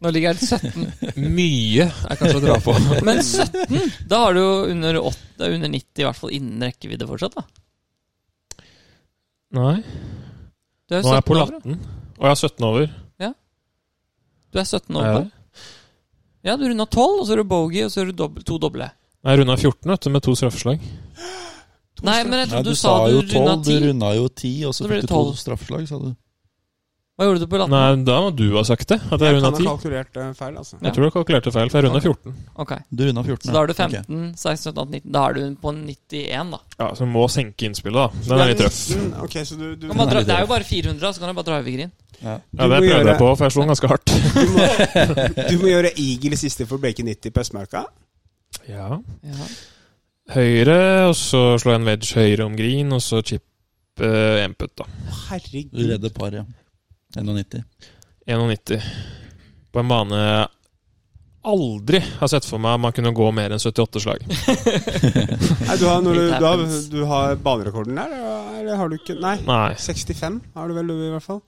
A: Nå ligger jeg 17.
B: Mye er kanskje å dra på.
A: Men 17? Da har du jo under, 8, under 90 i hvert fall innen rekkevidde fortsatt, da.
B: Nei,
A: Du er
B: nå
A: jo
B: er jeg på
A: 17 over. da.
B: 18. Og jeg er 17 over.
A: Du er 17
B: Er
A: over.
B: jeg
A: da. Ja, du runda 12, og så er du bogey, og så er du dobb to doble.
B: Jeg runda 14 vet du, med to straffeslag.
A: Nei, men jeg
D: Nei,
A: trodde
D: du
A: du
D: sa
A: sa du
D: jo
A: runda
D: 12, du
A: 10.
D: runda jo 10, og så
A: Så ble
D: fikk
A: det
D: du to
A: 12.
D: straffeslag, sa du.
A: Hva gjorde du på
B: Nei,
A: 18?
B: da må du ha sagt det. At jeg
C: Jeg
B: runda
C: kan ha
B: 10.
C: kalkulert eh, feil, altså.
A: Ja.
B: Jeg tror du kalkulerte feil, for jeg runda 14.
A: Ok,
D: Du runda 14.
A: Så da
D: ja.
A: er du 15, 16, 17, 18, 19. Da er du på 91, da.
B: Ja, Så må senke innspillet, da. Den er litt røff.
C: Mm, Ok, så du, du,
A: Kan man
D: er
A: dra,
D: litt
A: det er
D: røff.
A: jo bare 400, så kan du bare drive i grin.
B: Ja,
C: Du
B: Det
C: må
B: prøvde
C: gjøre-
B: jeg på, for jeg slo den ganske hardt.
C: du, må, du må gjøre eagle siste for Bacon 90 på Østmarka.
B: Ja.
A: Ja.
B: Høyre, og så slå en wedge høyre om green, og så chip eh, en putt, da.
D: Du
A: Mm.
C: Herregud.
D: redder par, ja. 91.
B: 91. På en bane jeg aldri har sett for meg man kunne gå mer enn 78 slag.
C: Nei, du har, når du,
A: It
C: du, har,
A: happens.
C: du har banerekorden der, eller har du ikke? Nei.
B: Nei.
C: 65 har du vel, du, i hvert fall.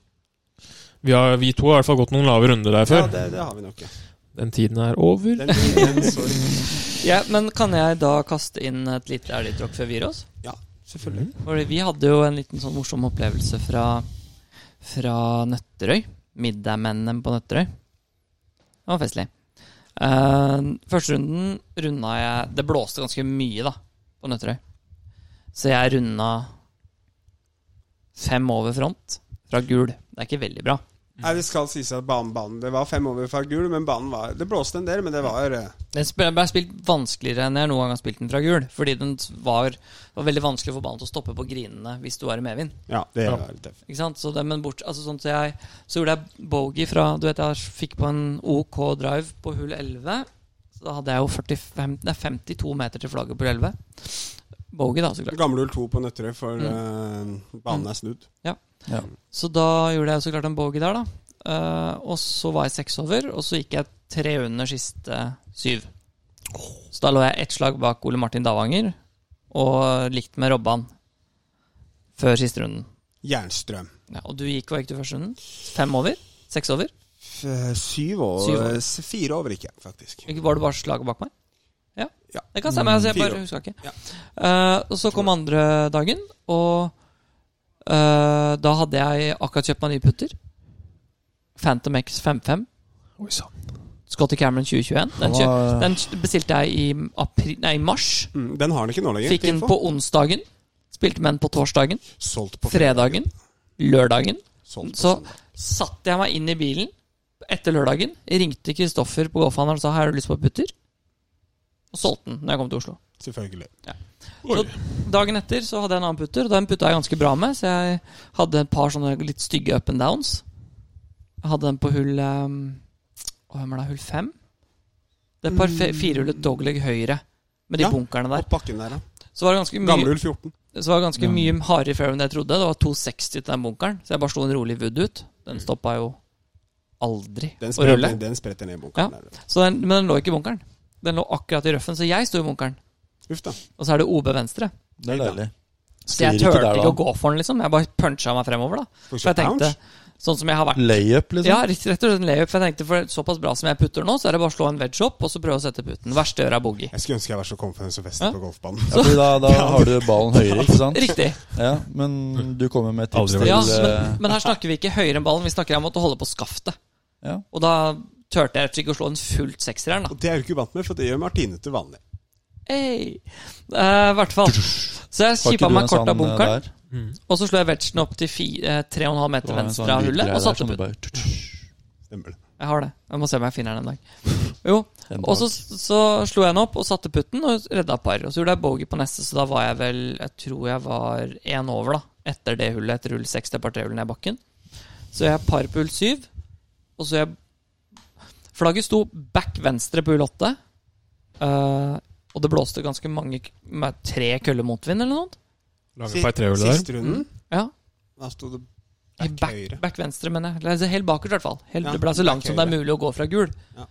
B: Vi, har, vi to har i hvert fall gått noen lave runder der
C: Ja,
B: før.
C: det, det har vi nok. ja.
B: Den tiden er over.
C: Den, den, sorry.
A: Ja, men kan jeg da kaste inn et lite elgtråkk før vi gir oss? Mm.
C: Ja, selvfølgelig.
A: Fordi vi hadde jo en liten sånn morsom opplevelse fra, fra Nøtterøy. Middagmennene på Nøtterøy. Det var festlig. Eh, første runden runda jeg Det blåste ganske mye, da, på Nøtterøy. Så jeg runda fem over front fra gul. Det er ikke veldig bra.
C: Nei, Det skal sies at banen, banen Det var fem over fra gul, men banen var Det blåste en del, men det var eh,
A: Den sp- ble spilt vanskeligere enn jeg noen gang har spilt den fra gul. Fordi den var, var veldig vanskelig å få banen til å stoppe på grinene hvis du var i medvind.
C: Ja, det
B: Ja.
C: var tøft.
A: Ikke sant? Så det, men bort, altså sånn, så, jeg, så gjorde jeg bogey fra Du vet jeg fikk på en OK drive på hull 11. Så da hadde jeg jo 45, nei, 52 meter til flagget på hull 11. Bogey, da, så klart.
C: Gamle hull 2 på Nøtterøy, for
A: Mm.
C: eh, banen er snudd.
A: Så da gjorde jeg så klart en bogey der, da. Eh, og så var jeg seks over, og så gikk jeg tre under siste syv. Så da lå jeg ett slag bak Ole Martin Davanger, og likt med Robban før siste runden.
C: Jernstrøm.
A: Ja, og du gikk, hva gikk du første runden? Fem over? Seks over?
C: F- eh, Syv over
A: Syv over.
C: s- Fire over, ikke, faktisk.
A: Ikke Var det bare slaget bak meg? Ja,
C: Ja.
A: det kan stemme. Altså, jeg
C: Fire
A: bare
C: år.
A: huska ikke.
C: Ja.
A: Eh, og så kom andre dagen, og eh, da hadde jeg akkurat kjøpt meg nye putter. Phantom X 55.
B: Oi sann.
A: Scotty Cameron 2021. Den, kjø den kj- bestilte jeg i april, nei, i mars.
C: Mm, den har han ikke nå lenger.
A: Fikk den
C: info.
A: på onsdagen. Spilte med den på torsdagen,
C: Solgt på
A: fredagen, lørdagen.
C: Solgt på
A: Så
C: søndag.
A: satte jeg meg inn i bilen etter lørdagen, ringte Kristoffer på golfhandelen og sa 'Her har du lyst på putter?' Og solgte den når jeg kom til Oslo.
C: Selvfølgelig.
A: Så dagen etter så hadde jeg en annen putter, og den putta jeg ganske bra med. Så jeg hadde et par sånne litt ehm, stygge up and downs. Jeg hadde den på hull eh, Hva var det, hull fem? Det er par fe- firehjulet dogleg høyre med de
C: Mm. Ja.
A: bunkerne der.
C: Opp bakken der, ja.
A: Så var det ganske mye,
C: Gamlehull 14.
A: så var det ganske mye hardere fairway enn jeg trodde. Det var 260 til den bunkeren, så jeg bare slo en rolig wood ut. Den
D: Mm.
A: stoppa jo aldri
C: Den
A: å rulle.
C: spretter, den spretter ned i bunkeren der.
A: Så den, men den lå ikke i bunkeren. Den lå akkurat i røffen, så jeg sto i bunkeren.
C: Uff da.
A: Og så er det OB venstre.
D: Det er deilig.
A: Så jeg
D: Sier
A: turte ikke,
D: der,
A: å gå for den, liksom. Jeg bare punchet meg fremover, da. For jeg tenkte, sånn som jeg har vært
D: Layup, liksom.
A: Ja, rett rett og slett en layup. For jeg tenkte, for såpass bra som jeg putter nå, så er det bare å slå en wedge opp, og så prøve å sette putten. Verste gjør er boogie.
C: Jeg skulle ønske jeg var så confident som
A: Ja.
C: Vester på golfbanen.
D: Ja, fordi da, da har du ballen høyere, ikke sant?
A: Riktig.
D: Ja, men du kommer med et tips
B: Aldri
D: til
A: Ja,
D: eh,
A: men, men her snakker vi ikke høyere enn ballen, vi snakker om at du holder på skaftet.
D: Ja.
A: Og da turte jeg rett og slett ikke å slå en fullt sekser her, da.
C: Og det er du ikke vant med, for det gjør Martine til vanlig.
A: Hey. Eh, I hvert fall. Så jeg
D: Har ikke
A: kippa
D: du
A: meg
D: en
A: kort av
D: sånn, eh,
A: bunkeren,
D: der?
A: og så slo jeg wedgen opp til fi- eh, 3,5
D: Det
A: meter
D: var en
A: venstre
D: sånn
A: av
D: lydgreie
A: hullet,
D: der
A: og satte
D: som
A: putten.
D: du bare-
C: Stemmer det.
A: Jeg har det. Jeg må se om jeg finner den en dag. Jo,
D: En
A: Og så,
D: dag.
A: så slo jeg den opp og satte putten og redda par. Og så gjorde jeg bogey på neste, så da var jeg vel Jeg tror jeg var én over, da. Etter det hullet, etter hull seks, det par tre hullet ned bakken. Så jeg par på hull syv, og så jeg Flagget sto back venstre på hull åtte. eh, og det blåste ganske mange k- med tre køller motvind eller noe. sånt.
B: Lager et par trehjul der.
C: Siste runden,
A: Mm. Ja.
C: da sto det
A: I
C: back
A: Back,
C: høyre.
A: back venstre, mener jeg. Eller, altså, Helt bakerst, i hvert fall. Helt,
C: Ja,
A: det ble så
C: back
A: langt som det er
C: høyre.
A: mulig å gå fra gul.
C: Ja.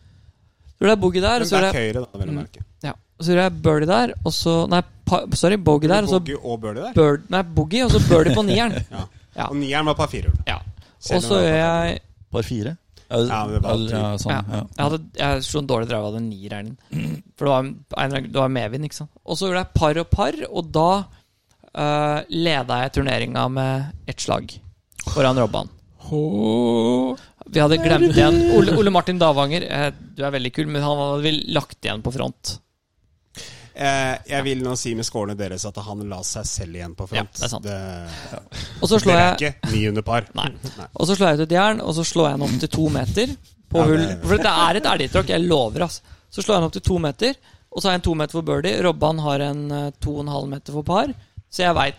A: Så gjorde jeg bogey der, og
C: Men
A: så gjorde jeg
C: back høyre, da, vel å
A: Mm.
C: merke.
A: Ja, og så gjør jeg birdie der, og så Nei, pa, sorry, bogey der, og så
C: Boogie og birdie der.
A: bird, nei, boogie, og så birdie på nieren.
C: Ja.
A: Ja.
C: Og nieren var par firehull.
A: Ja.
C: Selv
A: Og
C: om det
A: så gjør
C: var par
A: jeg
D: Par fire?
C: Ja, men det var
D: Eller, ja, sånn,
A: Ja.
D: ja.
A: Jeg, hadde, jeg slo en dårlig drive av den nieren. For det var, en- en- det var medvind, ikke sant. Og så gjorde jeg par og par, og da uh, leda jeg turneringa med ett slag foran Robban. Vi hadde glemt igjen Ole, Ole Martin Davanger, eh, du er veldig kul, men han hadde vel lagt igjen på front.
C: Eh, jeg vil nå si med skårene deres at han la seg selv igjen på
A: Ja,
C: front.
A: det er sant.
C: Det-
A: Og så slår
C: Dere
A: jeg
C: er ikke ni under par.
A: Nei. Og så slår jeg ut et jern, og så slår jeg den opp til to meter. På
C: Ja,
A: hull.
C: det er-
A: For det er et elgtråkk, jeg lover, ass. Så slår jeg den opp til to meter, og så har jeg en to meter for birdie. Robban har en eh, to og en halv meter for par. Så jeg veit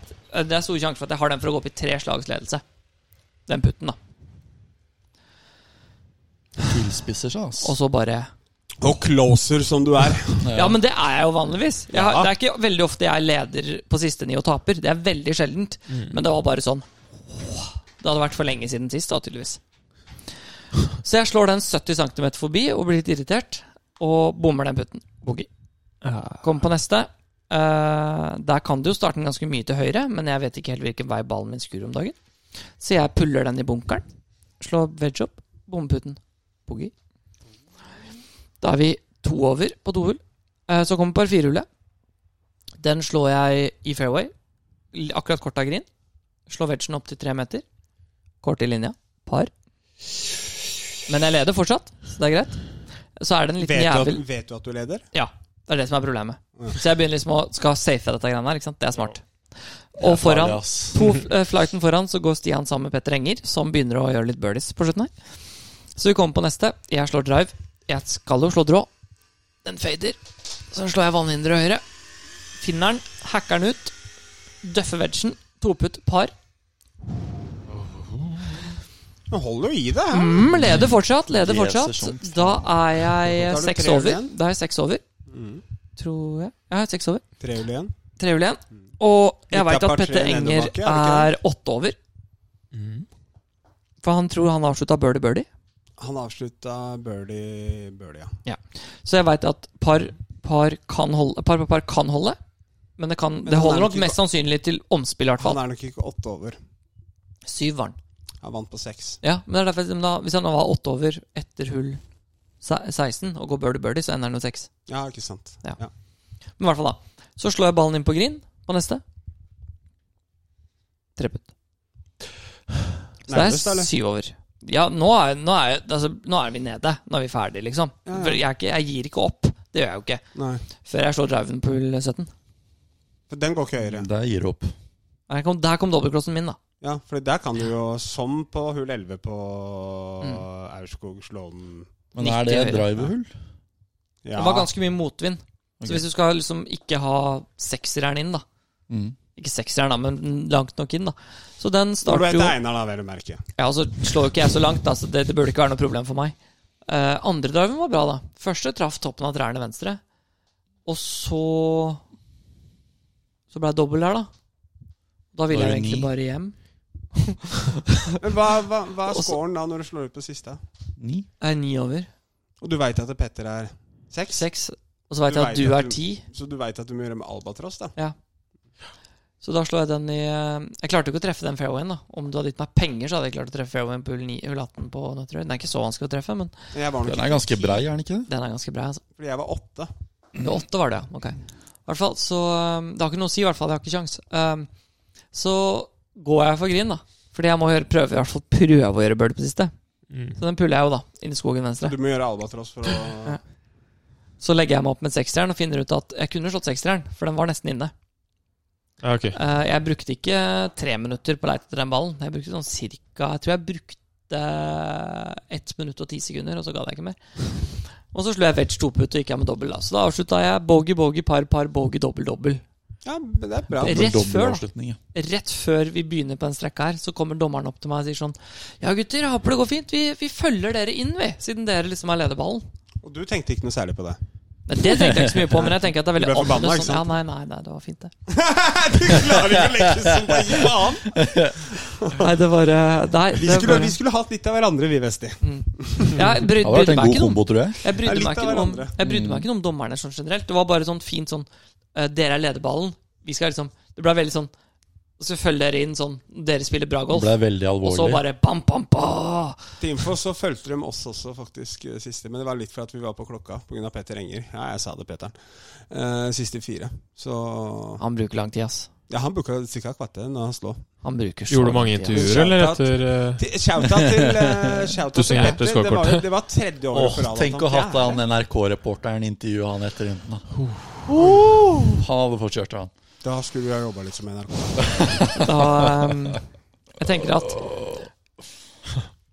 A: Det er stor sjanse for at jeg har den for å gå opp i tre slags ledelse. Den putten, da.
D: Tilspisser seg, ass.
A: Og så bare
C: Og closer som du er.
A: Ja, men det er jeg jo vanligvis. Jeg har,
C: Ja.
A: Det er ikke veldig ofte jeg er leder på siste ni og taper. Det er veldig sjeldent. Men det var bare sånn Det hadde vært for lenge siden sist, da, tydeligvis. Så jeg slår den 70 cm forbi og blir litt irritert, og bommer den putten. Boogie. Kommer på neste. Eh, der kan du jo starte den ganske mye til høyre, men jeg vet ikke helt hvilken vei ballen min skur om dagen. Så jeg puller den i bunkeren, slår wedge opp, bommer putten. Boogie. Da er vi to over på to hull. Eh, Så kommer par firehullet. Den slår jeg i fairway. L- Akkurat kort av green. Slår wedgen opp til tre meter. Kort i linja. Par. Men jeg leder fortsatt, så det er greit. Så er det en liten
C: Vet du,
A: jævel
C: at, vet du at du leder?
A: Ja, det er det som er problemet.
C: Ja.
A: Så jeg begynner liksom å skal safe dette greiene her. ikke sant? Det er smart. Og
D: Farlig,
A: foran,
D: ass.
A: på eh, flighten foran så går Stian sammen med Petter Enger, som begynner å gjøre litt birdies på slutten her. Så vi kommer på neste. Jeg slår drive. Jeg skal jo slå drå. Den fader. Så slår jeg vannhinderet høyre. Finner den, hacker den ut. Døffer wedgen. Toputt par.
C: Men hold jo i det. her.
A: Mm, leder fortsatt, leder
D: Jesus,
A: fortsatt.
D: sånn.
A: Da
C: Da
A: er jeg
C: er du
A: seks
C: tre over
A: over.
C: igjen.
A: Da er jeg seks over,
C: Mm.
A: tror jeg. Ja, Jeg er seks over.
C: Trehull igjen.
A: Trehjul igjen. Og jeg
C: Mm. Litt
A: veit
C: av par
A: at Petter
C: tre nede
A: Enger
C: bak, ja,
A: er åtte over.
B: Mm.
A: For han tror han avslutta birdie-birdie.
C: Han avslutta birdie, birdie ja.
A: Så jeg veit at par, par, kan holde, par på par kan holde. Men det, kan,
C: Men
A: det
C: han er
A: holder
C: nok
A: nok
C: ikke-
A: mest sannsynlig til omspill, i hvert
C: Han
A: fall.
C: er nok ikke åtte over.
A: Syv var han.
C: Han vant på seks.
A: Ja, men det er derfor, men da, Hvis han var åtte over etter hull se- 16 og går birdie-birdie, så ender han jo seks.
C: Ja, ikke sant.
A: Men i hvert fall, da. Så slår jeg ballen inn på green på neste. Tre putt. Så det
C: Nærmest,
A: er
C: eller?
A: syv over. Ja, nå er, nå, er, altså, nå er vi nede. Nå er vi ferdig, liksom.
C: Ja, ja.
A: For jeg, er ikke, jeg gir ikke opp. Det gjør jeg jo ikke.
C: Nei.
A: Før jeg slår driven på hull 17.
C: For den går ikke høyere.
D: Der gir du opp.
A: Der kom, der kom dobbeltcrossen min, da.
C: Ja, for der kan du jo, som på hull 11 på
A: Mm.
C: Aurskog, slå den
D: Men er det
A: 90 høyre.
D: drivehull?
C: Ja.
A: Det var ganske mye motvind.
D: Ok.
A: Så hvis du skal liksom ikke ha sekseren inn, da
D: Mm.
A: Ikke sekseren, da, men langt nok inn, da. Så den
C: Når du
A: starter jo
C: heter Einar, da, vel å merke.
A: Ja, og så slår jo ikke jeg så langt, da, så det, det burde ikke være noe problem for meg. Eh, andre driven var bra, da. Første traff toppen av trærne venstre. Og så Så ble jeg dobbel her, da. Da ville
D: Da
A: jeg
D: er det
A: egentlig
D: ni.
A: bare hjem.
C: Men hva, hva, hva er
A: Også-
C: scoren da når du slår ut på siste?
D: Ni?
A: Jeg er Eh, ni over.
C: Og du veit at Petter er seks,
A: Seks. Og så veit
C: Du
A: jeg at
C: vet
A: du
C: at du-
A: er ti.
C: så du veit at du må gjøre med albatross, da.
A: Så da slår jeg den i eh, Jeg klarte jo ikke å treffe den fairwayen, da. Om du hadde gitt meg penger, så hadde jeg klart å treffe fairwayen på hull ni- hull 18 på Nøtterøy. Den er ikke så vanskelig å treffe, men
C: Men Jeg var nok
D: Den er ganske brei, er den ikke det?
A: den er ganske brei, altså.
C: Fordi jeg var åtte.
A: Det var åtte var det, ja. Ok. I hvert fall, så um, Det har ikke noe å si, i hvert fall. Jeg har ikke kjangs. Um, så går jeg for green, da. Fordi jeg må gjøre, prøve, i hvert fall prøve å gjøre birdie på siste.
B: Mm.
A: Så den puller jeg jo, da. Inn i skogen venstre.
C: Du må gjøre albatross for å
A: Ja. Så legger jeg meg opp med seksteren og finner ut at jeg kunne slått seksteren, for den var nesten inne.
B: Ja, ok.
A: Eh, jeg brukte ikke tre minutter på å leite etter den ballen. Jeg brukte sånn cirka Jeg tror jeg brukte ett minutt og ti sekunder, og så gadd jeg ikke mer. Og så slo jeg wedge toputt og gikk av med dobbel, da. Så da avslutta jeg bogey, bogey, par, par, bogey, dobbel, dobbel.
C: Ja, men det er bra.
A: Rett
D: Dobbel
A: før, da.
D: avslutning, ja.
A: rett før vi begynner på den strekka her, så kommer dommeren opp til meg og sier sånn Ja, gutter, jeg håper det går fint. Vi, vi følger dere inn, vi. Siden dere liksom er lederballen.
C: Og du tenkte ikke noe særlig på det.
A: Men det tenkte jeg ikke så mye på, men jeg tenker at det er
C: Du
A: veldig
C: ble forbanna,
A: annerledes.
C: ikke
A: Sånn, ja,
C: sant?
A: nei, nei, nei, det var fint, det.
C: du klarer ikke å leke som deg faen!
A: Nei, det var eh, Nei,
C: Vi
A: det
C: skulle,
A: var
C: vi skulle hatt litt av hverandre, vi, Vesti.
A: Jeg
D: Det
A: brydde,
D: hadde vært
A: brydde meg ikke
D: en god
A: noe om
D: kombo, tror jeg.
A: Jeg
C: Ja,
A: brydde,
C: litt av
A: meg ikke noe om,
C: hverandre.
A: jeg brydde meg ikke noe om dommerne sånn generelt. Det var bare sånn fint sånn eh, Dere er lederballen. Vi skal liksom Det ble veldig sånn Så følger dere inn sånn Dere spiller bra
D: Det
A: golf.
D: ble veldig
A: Og så
D: alvorlig.
A: bare bam, bam, bam.
C: Til info så fulgte de oss også, faktisk, eh, siste. Men det var litt for at vi var på klokka pga. Petter Enger. Ja, jeg sa det, Petteren. Eh, siste fire. Så
A: Han bruker lang tid, ass.
C: Ja, han booka ca. et kvarter når han slår.
A: Han bruker så
B: Gjorde du mange
A: lang tid, ass.
B: intervjuer, eller
C: Shout out.
B: etter eh,
C: Til- Shout-out til, eh, shout-out
B: Du
C: til
B: signerte
C: Petter. Det var,
B: scorekortet.
C: det var tredje året
D: Åh,
C: på rad at
D: tenk
C: han
D: å ha hatt
C: fjerner.
D: han NRK-reporteren intervjue han etter runden, da. Han hadde fått kjørt han.
C: Da skulle jeg jobba litt som NRK.
A: Da ehm, Jeg tenker at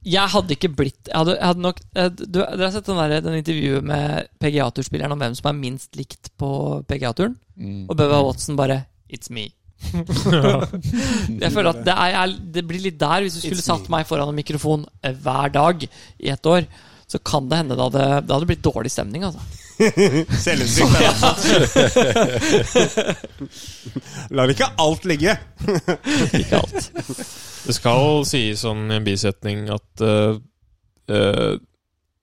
A: jeg hadde ikke blitt jeg hadde, jeg hadde nok, eh, du, Dere har sett den, der, den intervjuet med PGA-turspilleren om hvem som er minst likt på PGA-turen?
C: Mm.
A: Og Bubba Watson bare It's me. jeg føler at det, er, jeg er- det blir litt der. Hvis du skulle
C: It's
A: satt
C: me.
A: meg foran en mikrofon eh, hver dag i ett år, så kan det hende det hadde, det hadde blitt dårlig stemning. Altså.
C: Selvinnsikt. er det. Lar ikke alt ligge.
A: Ikke alt.
B: Det skal sies sånn i en bisetning at eh, eh,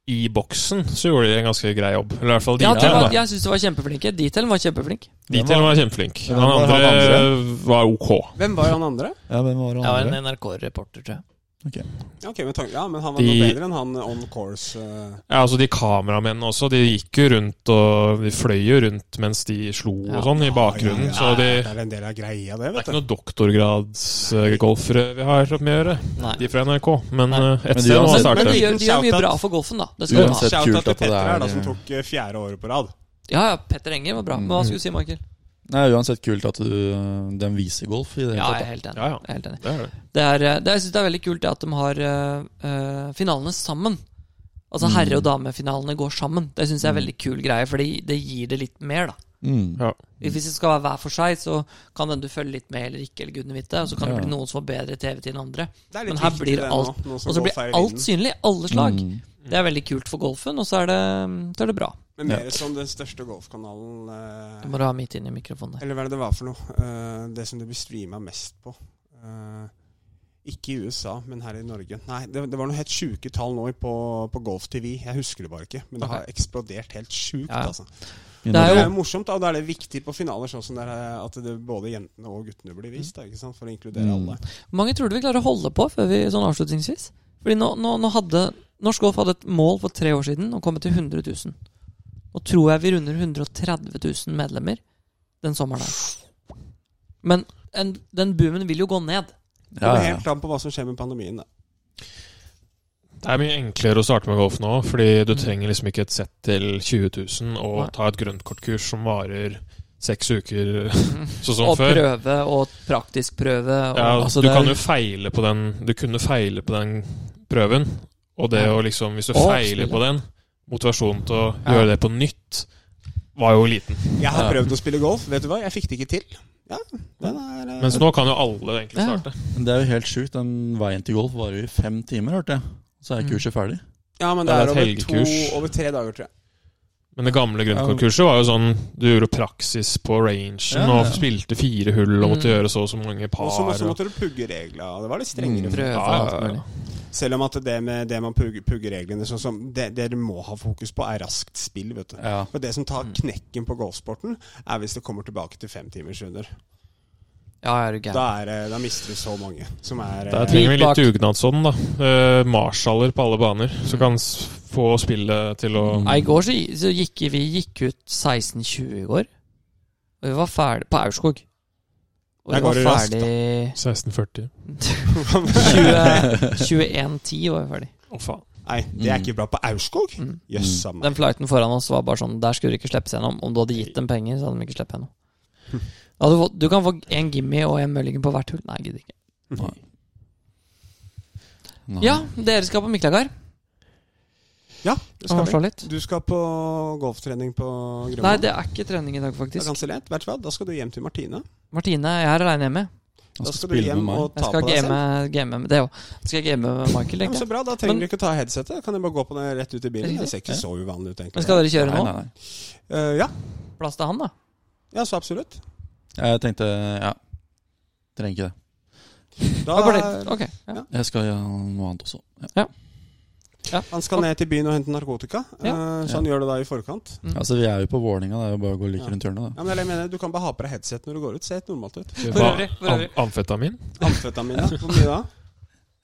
B: i boksen så gjorde de en ganske grei jobb. Eller i hvert fall
A: Ja, det
B: Detail.
A: var,
B: da.
A: jeg syns de var kjempeflinke. Detailen var kjempeflink.
B: Detail var kjempeflink.
D: Ja,
B: Han
D: hvem var han
B: andre var ok.
C: Hvem var han andre?
D: Ja, hvem var
A: Jeg var en NRK-reporter, tror jeg.
C: Ok, men, tank- ja, men han var
B: De-
C: noe bedre enn han on course. eh.
B: Ja, altså De kameramennene også, de gikk jo rundt og De fløy jo rundt mens de slo
A: Ja.
B: og sånn i
C: Ja,
B: bakgrunnen.
C: ja,
B: Så de,
C: Det er en del av greia, det,
B: det er
C: vet
B: ikke
C: du.
B: noen doktorgradsgolfere vi har med å gjøre,
A: Nei.
B: de fra NRK. Men
A: Nei.
B: eh,
D: Men
B: et sted må man
D: uansett-
A: Men
B: starte.
A: de gjør, de gjør mye
C: Shoutout.
A: bra for golfen, da. Det skal de ha.
D: Uansett
C: Shout-out
D: kult
C: til
D: at det
C: Petter her,
D: er
C: da, som tok eh, fjerde året på rad.
A: Ja, ja, Petter Enger var bra. Men hva skulle du si, Michael?
D: Nei, uansett kult at du øh, Den viser golf i det
A: Ja, jeg er
D: hele tatt.
A: helt enig.
B: Ja, ja.
A: Jeg er helt enig.
B: Det er det.
A: Det er, eh, det, jeg synes det er veldig kult det at de har eh, eh, finalene sammen. Altså herre- og damefinalene går sammen. Det syns jeg er en veldig kul greie, for det gir det litt mer, da.
D: da. Mm.
B: Ja.
A: Hvis det skal være hver for seg, så kan den du følger litt med eller ikke, eller gudene vite, og så kan det
D: Ja.
A: bli noen som har bedre TV-tid enn andre.
C: Det er
A: Men
C: litt
A: her
C: viktig
A: blir
C: det
A: alt-
C: nå, nå som
A: Og så
C: golf er i
A: blir alt
C: vinden.
A: synlig. Alle slag.
D: Mm.
A: Det er veldig kult for golfen, og så er det, mm, så er det bra.
C: Men mer som den største golfkanalen eh,
A: Du må ha midt inn i mikrofonen der.
C: Eller hva er det det var for noe? Eh, det som det blir streama mest på. Eh, ikke i USA, men her i Norge. Nei, det, det var noe helt sjuke tall nå på, på Golf-TV. Jeg husker det bare ikke. Men det
A: Ok.
C: har eksplodert helt sjukt,
A: Ja, ja.
C: altså.
A: Det
D: I
A: er
C: Det
D: Norge.
C: er jo morsomt, da, og da er det viktig på finaler sånn som det er at det både jentene og guttene blir vist. Da, ikke sant? For å inkludere
D: Mm.
C: alle.
A: Hvor mange tror du vi klarer å holde på før vi sånn avslutningsvis? Fordi nå, nå, nå hadde Norsk Golf hadde et mål for tre år siden å komme til 100 000. Nå tror jeg vi runder 130 000 medlemmer den sommeren her. Men en, den boomen vil jo gå ned.
C: Det
D: Ja,
C: kommer
D: ja, ja.
C: helt an på hva som skjer med pandemien. Da.
B: Det er mye enklere å starte med golf nå, fordi du trenger liksom ikke et sett til 20 000 og
A: Nei.
B: ta et grøntkortkurs som varer seks uker, sånn som
A: Og
B: før.
A: prøve og praktisk prøve. Og,
B: Ja,
A: altså,
B: du
A: det er-
B: kan jo feile på den Du kunne feile på den prøven, og det å liksom Hvis du
A: Og
B: feiler
A: spille.
B: på den, motivasjonen til å
A: Ja.
B: gjøre det på nytt var jo liten.
C: Jeg har
B: Ja.
C: prøvd å spille golf. Vet du hva? Jeg fikk det ikke til. Ja, den er eh,
B: Mens nå kan jo alle egentlig
A: Ja.
B: starte.
D: Men det er jo helt sjukt. Den veien til golf varer jo i fem timer, hørte jeg. Så er kurset ferdig.
C: Ja, men
B: Det
C: det
B: er
C: er,
B: et
C: over
B: helgekurs.
C: to Over tre dager, tror jeg.
B: Men det gamle grønnkortkurset var jo sånn Du gjorde praksis på rangen
D: Ja, ja.
B: og spilte fire hull og måtte
A: Mm.
B: gjøre så og så mange par. Mm.
C: Og så måtte- så
B: og-
C: måtte du pugge reglene. og Det var litt strengere.
A: Prøve
B: Ja,
A: alt
B: ja,
A: mulig.
B: ja.
C: Selv om at det med det man pugger, pugger reglene sånn som det, det dere må ha fokus på, er raskt spill. vet du.
D: Ja.
C: For Det som
B: Mm.
C: tar knekken på golfsporten, er hvis det kommer tilbake til femtimersrunder.
A: Ja, er du gæren.
C: Da, er det- da mister du så mange. Som er,
B: Der
C: eh,
B: trenger vi
A: Bak-
B: litt dugnadsånd, da. Eh, marsjaller på alle baner. Så kan s få spillet til å
A: Nei, I går så, så gikk vi gikk ut 16.20 i går. Og vi var ferdig på Aurskog. Og
C: Der
A: vi
C: går
A: var
C: det raskt, da.
A: ferdig
B: 1640.
A: 20 21.10 var vi ferdig.
B: Å, faen.
C: Nei, det er ikke bra på Aurskog.
A: Mm.
C: Jøss a meg.
A: Den flighten foran oss var bare sånn Der skulle de ikke slippes gjennom. Om du hadde gitt dem penger, så hadde de ikke sluppet gjennom. Ja, du, får- du kan få en gimme og en mulligan på hvert hull. Nei, gidder ikke.
D: Nei.
A: Ja, dere skal på Miklagard
C: Ja, det
A: og
C: skal vi.
A: slå litt.
C: Du skal på golftrening på Grønland.
A: Nei, det er ikke trening i dag,
C: Det er
A: faktisk.
C: kansellert. Vet du hva, da skal du hjem til Martine.
A: Martine, jeg er aleine hjemme.
D: Han
C: Da
D: skal
C: skal du
D: spille med
C: hjem
D: meg.
C: og
A: Jeg
C: ta
A: skal
C: på deg
A: game,
C: selv.
A: game med det òg. Skal jeg game med Michael,
C: Ja, men
A: tenker
C: så
A: jeg.
C: bra, Da trenger
A: Men-
C: du ikke ta headsetet. Da Kan jeg bare gå på den rett ut i bilen. Det ser ikke så uvanlig ut, egentlig.
A: Men skal dere kjøre
D: Nei,
A: nå?
D: nei, nei.
C: Eh, ja.
A: Plass til han, da?
C: ja, så absolutt.
D: Jeg tenkte ja. Trenger ikke det.
A: Ja,
C: Da,
A: bare det. Ok. Ja.
C: Ja.
D: Jeg skal gjøre noe annet også. Ja.
C: Han skal ned til byen og hente narkotika, eh, så han gjør det da i forkant.
D: Altså, Vi er jo på Vålinga, det er jo bare å gå like
C: Mm. Ja.
D: rundt hjørnet.
C: Ja, men det er det jeg mener, Du kan bare ha på deg headset når du går ut. Se helt normalt ut.
A: For
B: Hva-
A: øvrig, for
B: am-
A: øvrig.
B: Amfetamin?
C: Amfetamin, ja. Hvor mye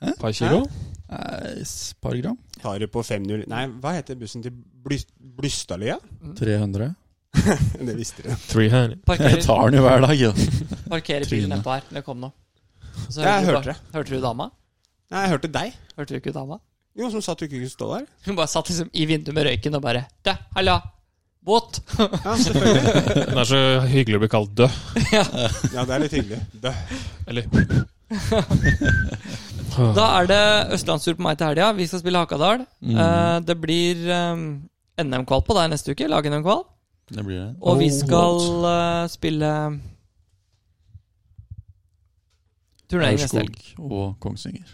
C: da?
B: Par kilo?
D: da Nei, s- Par gram?
C: Tar du på 50 Nei, hva heter bussen til Bly- Blystadlia?
D: 300?
C: Det visste dere.
B: Three hand.
D: Jeg
A: Parkerer,
D: tar den jo hver dag, jo.
A: parkerer bilen
D: Tryne.
A: nedpå her. Det kom nå. Og så
C: Jeg
A: du
C: hørte
A: bare- Hørte du dama?
C: Nei, jeg hørte deg.
A: Hørte du ikke dama?
C: Jo, som sa at du ikke kunne stå der.
A: Hun bare satt liksom i vinduet med røyken og bare Du, halla! Båt!
C: Ja, selvfølgelig.
B: Den er så hyggelig å bli kalt død.
C: Ja, det er litt hyggelig. Dø.
B: Eller
A: Da er det østlandstur på meg til helga. Vi skal spille Hakadal.
B: Mm.
A: Eh, det blir eh, NM-kval på deg neste uke. Lag-NM-kval.
D: Det blir det.
A: Og vi
B: Oh,
A: skal eh, spille turnering neste helg.
D: Aurskog og Kongsvinger.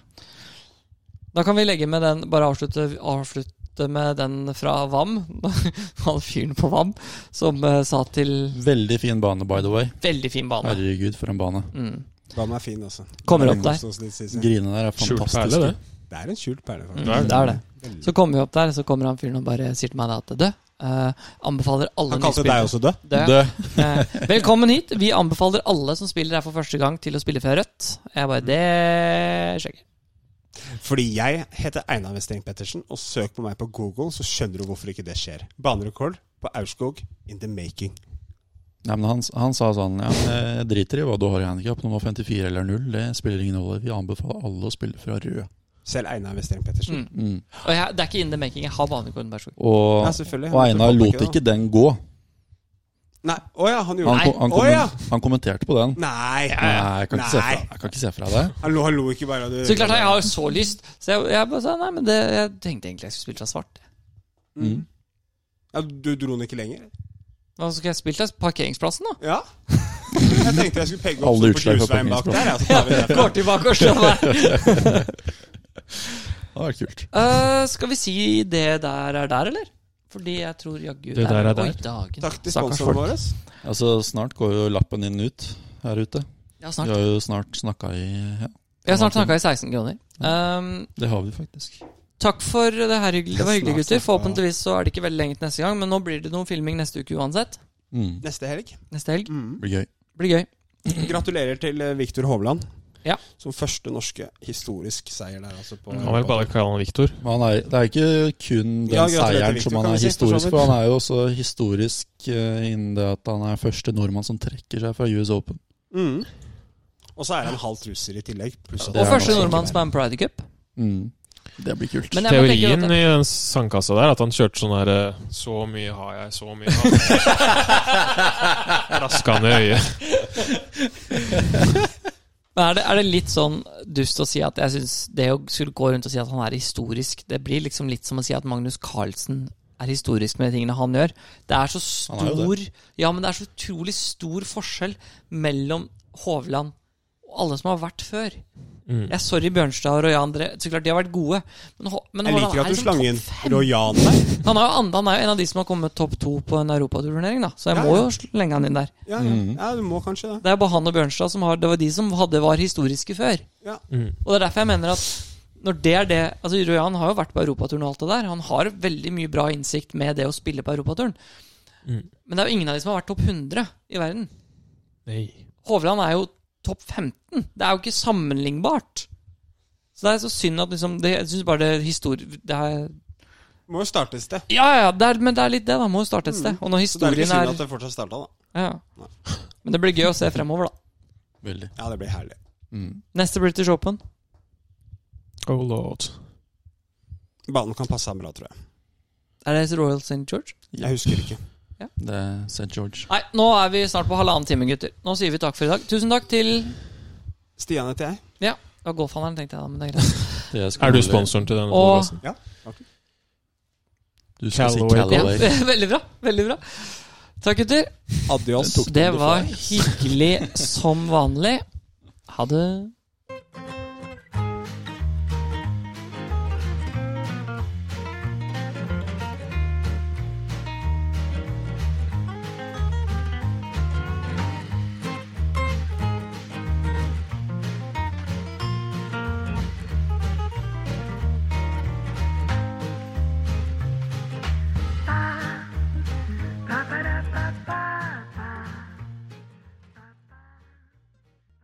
A: Da kan vi legge med den Bare avslutte, avslutte med den fra VAM. Han fyren på VAM som eh, sa til
D: Veldig fin bane, by the way.
A: Veldig fin bane.
D: Herregud, for en bane.
A: Mm.
C: Den er fin, altså.
A: Kommer opp der.
C: Koste oss litt, Sissel.
D: Grinene der er
B: skjult
D: fantastiske.
B: perle, det.
C: Det er en skjult perle,
A: Mm,
C: faktisk.
B: Det er det.
A: det er det. Så kommer vi opp der, så kommer han fyren og bare sier til meg da at du eh, anbefaler alle
C: Han kalte deg også død.
A: Død.
D: Dø.
A: Eh, velkommen hit. Vi anbefaler alle som spiller her for første gang, til å spille fra rødt. Jeg bare Det sjekker.
C: Fordi jeg heter Einar Westeng Pettersen, og søk på meg på Google, så skjønner du hvorfor ikke det skjer. Banerekord på Aurskog in the making.
D: Nei, men han, han sa sånn ja, Jeg driter i hva du har i handikap, nummer 54 eller 0. Det spiller ingen rolle. Vi anbefaler alle å spille fra rød.
C: Selv Einar Westeng Pettersen.
A: Mm. Og jeg, det er ikke in the making. Jeg har banekorden, vær så god.
D: Og,
C: Ja, selvfølgelig.
D: og Einar lot ikke den gå.
C: Nei, å ja, han gjorde
D: Han,
C: det.
D: ko- han,
C: Å ja!
D: kommen, han kommenterte på den.
C: Nei!
D: Nei, jeg kan ikke se fra,
C: Nei.
D: jeg kan ikke se fra deg.
C: Han lo, han lo ikke bare av det.
A: Så klart jeg har jo så lyst. Så jeg, jeg bare sa nei, men det, jeg tenkte egentlig jeg skulle spille fra svart.
C: Mm. Ja, du dro den ikke lenger?
A: Og så skulle jeg spilt fra parkeringsplassen, da.
C: Ja. Jeg tenkte jeg skulle pegge opp
D: Alle
C: sånn på
D: utslag på
C: grusveien bak der. Ja, så tar vi det derfra.
A: Går tilbake og slår meg.
D: Det hadde vært kult.
A: Eh, skal vi si det der er der, eller? Fordi jeg tror jaggu
B: Det der er
A: Oi,
B: der.
A: dagen.
C: Takk til
A: Stakkars
C: sponsoren
A: folk.
C: vår.
D: Altså, snart går jo lappen din ut her ute.
A: Ja,
D: Vi
A: snart.
D: har jo snart snakka i ja,
A: Jeg har snart snakka i 16 kroner. Um,
D: Det har vi faktisk.
A: takk for det her hyggelig. Det var hyggelig,
C: Snart
A: gutter.
C: snakket.
A: Forhåpentligvis så er det ikke veldig lenge til neste gang, men nå blir det noen filming neste uke uansett.
D: Mm.
C: Neste helg. Mm.
A: Neste helg.
D: Det blir gøy.
A: Blir gøy.
C: Gratulerer til eh, Viktor Hovland.
A: Ja.
C: Som første norske historisk seier der, altså. På
B: Kan vel bare kalle han Viktor.
D: Men han er, det er ikke kun den
C: Ja, gratulerer til
D: seieren
C: Victor,
D: som han
C: kan vi si,
D: er
C: for så
D: historisk
C: vidt.
D: for. Han er jo også historisk eh, innen det at han er første nordmann som trekker seg fra US Open.
C: Mm. Og så er han halvt russer i tillegg. Pluss at
D: Det
A: Og
D: er
A: første
D: nok
A: nordmann som er med Pride Cup.
D: Mm. Det blir kult.
A: Men jeg må tenke
B: Teorien
A: at-
B: i den sandkassa der, at han kjørte sånn her eh, Så mye har jeg, så mye har jeg. Raska han i øyet.
A: Men er det, er det litt sånn dust å si at jeg synes det å skulle gå rundt og si at han er historisk, det blir liksom litt som å si at Magnus Carlsen er historisk med de tingene han gjør. Det er så
D: Han er jo
A: stor Ja, men det er så utrolig stor forskjell mellom Hovland og alle som har vært før.
B: Mm.
A: Jeg er sorry Bjørnstad og Roy André. Så klart de har vært gode. Men, ho- men
C: Jeg
A: han
C: liker
A: er
C: at du
A: liksom
C: slang
A: topp
C: inn
A: fem.
C: Royan der.
A: Han er, jo and- han er jo en av de som har kommet topp to på en europaturnering, da. Så jeg
C: Ja,
A: må
C: ja.
A: jo slenge han inn der.
C: Ja, ja.
D: Mm.
C: ja, du må kanskje det.
A: Det er bare han og Bjørnstad som har Det var de som hadde var historiske før.
C: Ja.
B: Mm.
A: Og det er derfor jeg mener at når det er det Altså Rojan har jo vært på europaturn og alt det der. Han har veldig mye bra innsikt med det å spille på europaturn.
B: Mm.
A: Men det er jo ingen av de som har vært topp 100 i verden.
B: Nei.
A: Hovland er jo topp 15. Det er jo ikke sammenlignbart. Så det er så synd at liksom det, Jeg syns bare det historie... Det er,
C: Må jo starte et sted.
A: ja, ja, det er, men det er litt det, da. Må jo starte et sted. Og når
C: Mm. Så det er ikke
A: historien
C: synd
A: er
C: at det fortsatt starta, da.
A: ja. Men det blir gøy å se fremover, da.
D: Veldig.
C: Ja, det blir herlig.
D: Mm.
A: Neste British Open.
B: Oh lord.
C: Banen kan passe ham bra, tror jeg.
A: Er det Royal St. George?
C: Jeg husker ikke.
D: Det er St. George.
A: Nei, nå er vi snart på halvannen time, gutter. Nå sier vi takk for i dag. Tusen takk til
C: Stian heter jeg.
A: Ja, det var golfhandleren, tenkte jeg da, men det er greit.
D: Det skal
B: Er du
D: være-
B: sponsoren til denne
A: Og-
B: podcasten?
D: Du skal si
B: Callaway.
A: Ja,
D: Callaway.
A: veldig bra. Veldig bra. Takk, gutter.
C: Adios.
A: Det var hyggelig som vanlig. Ha det.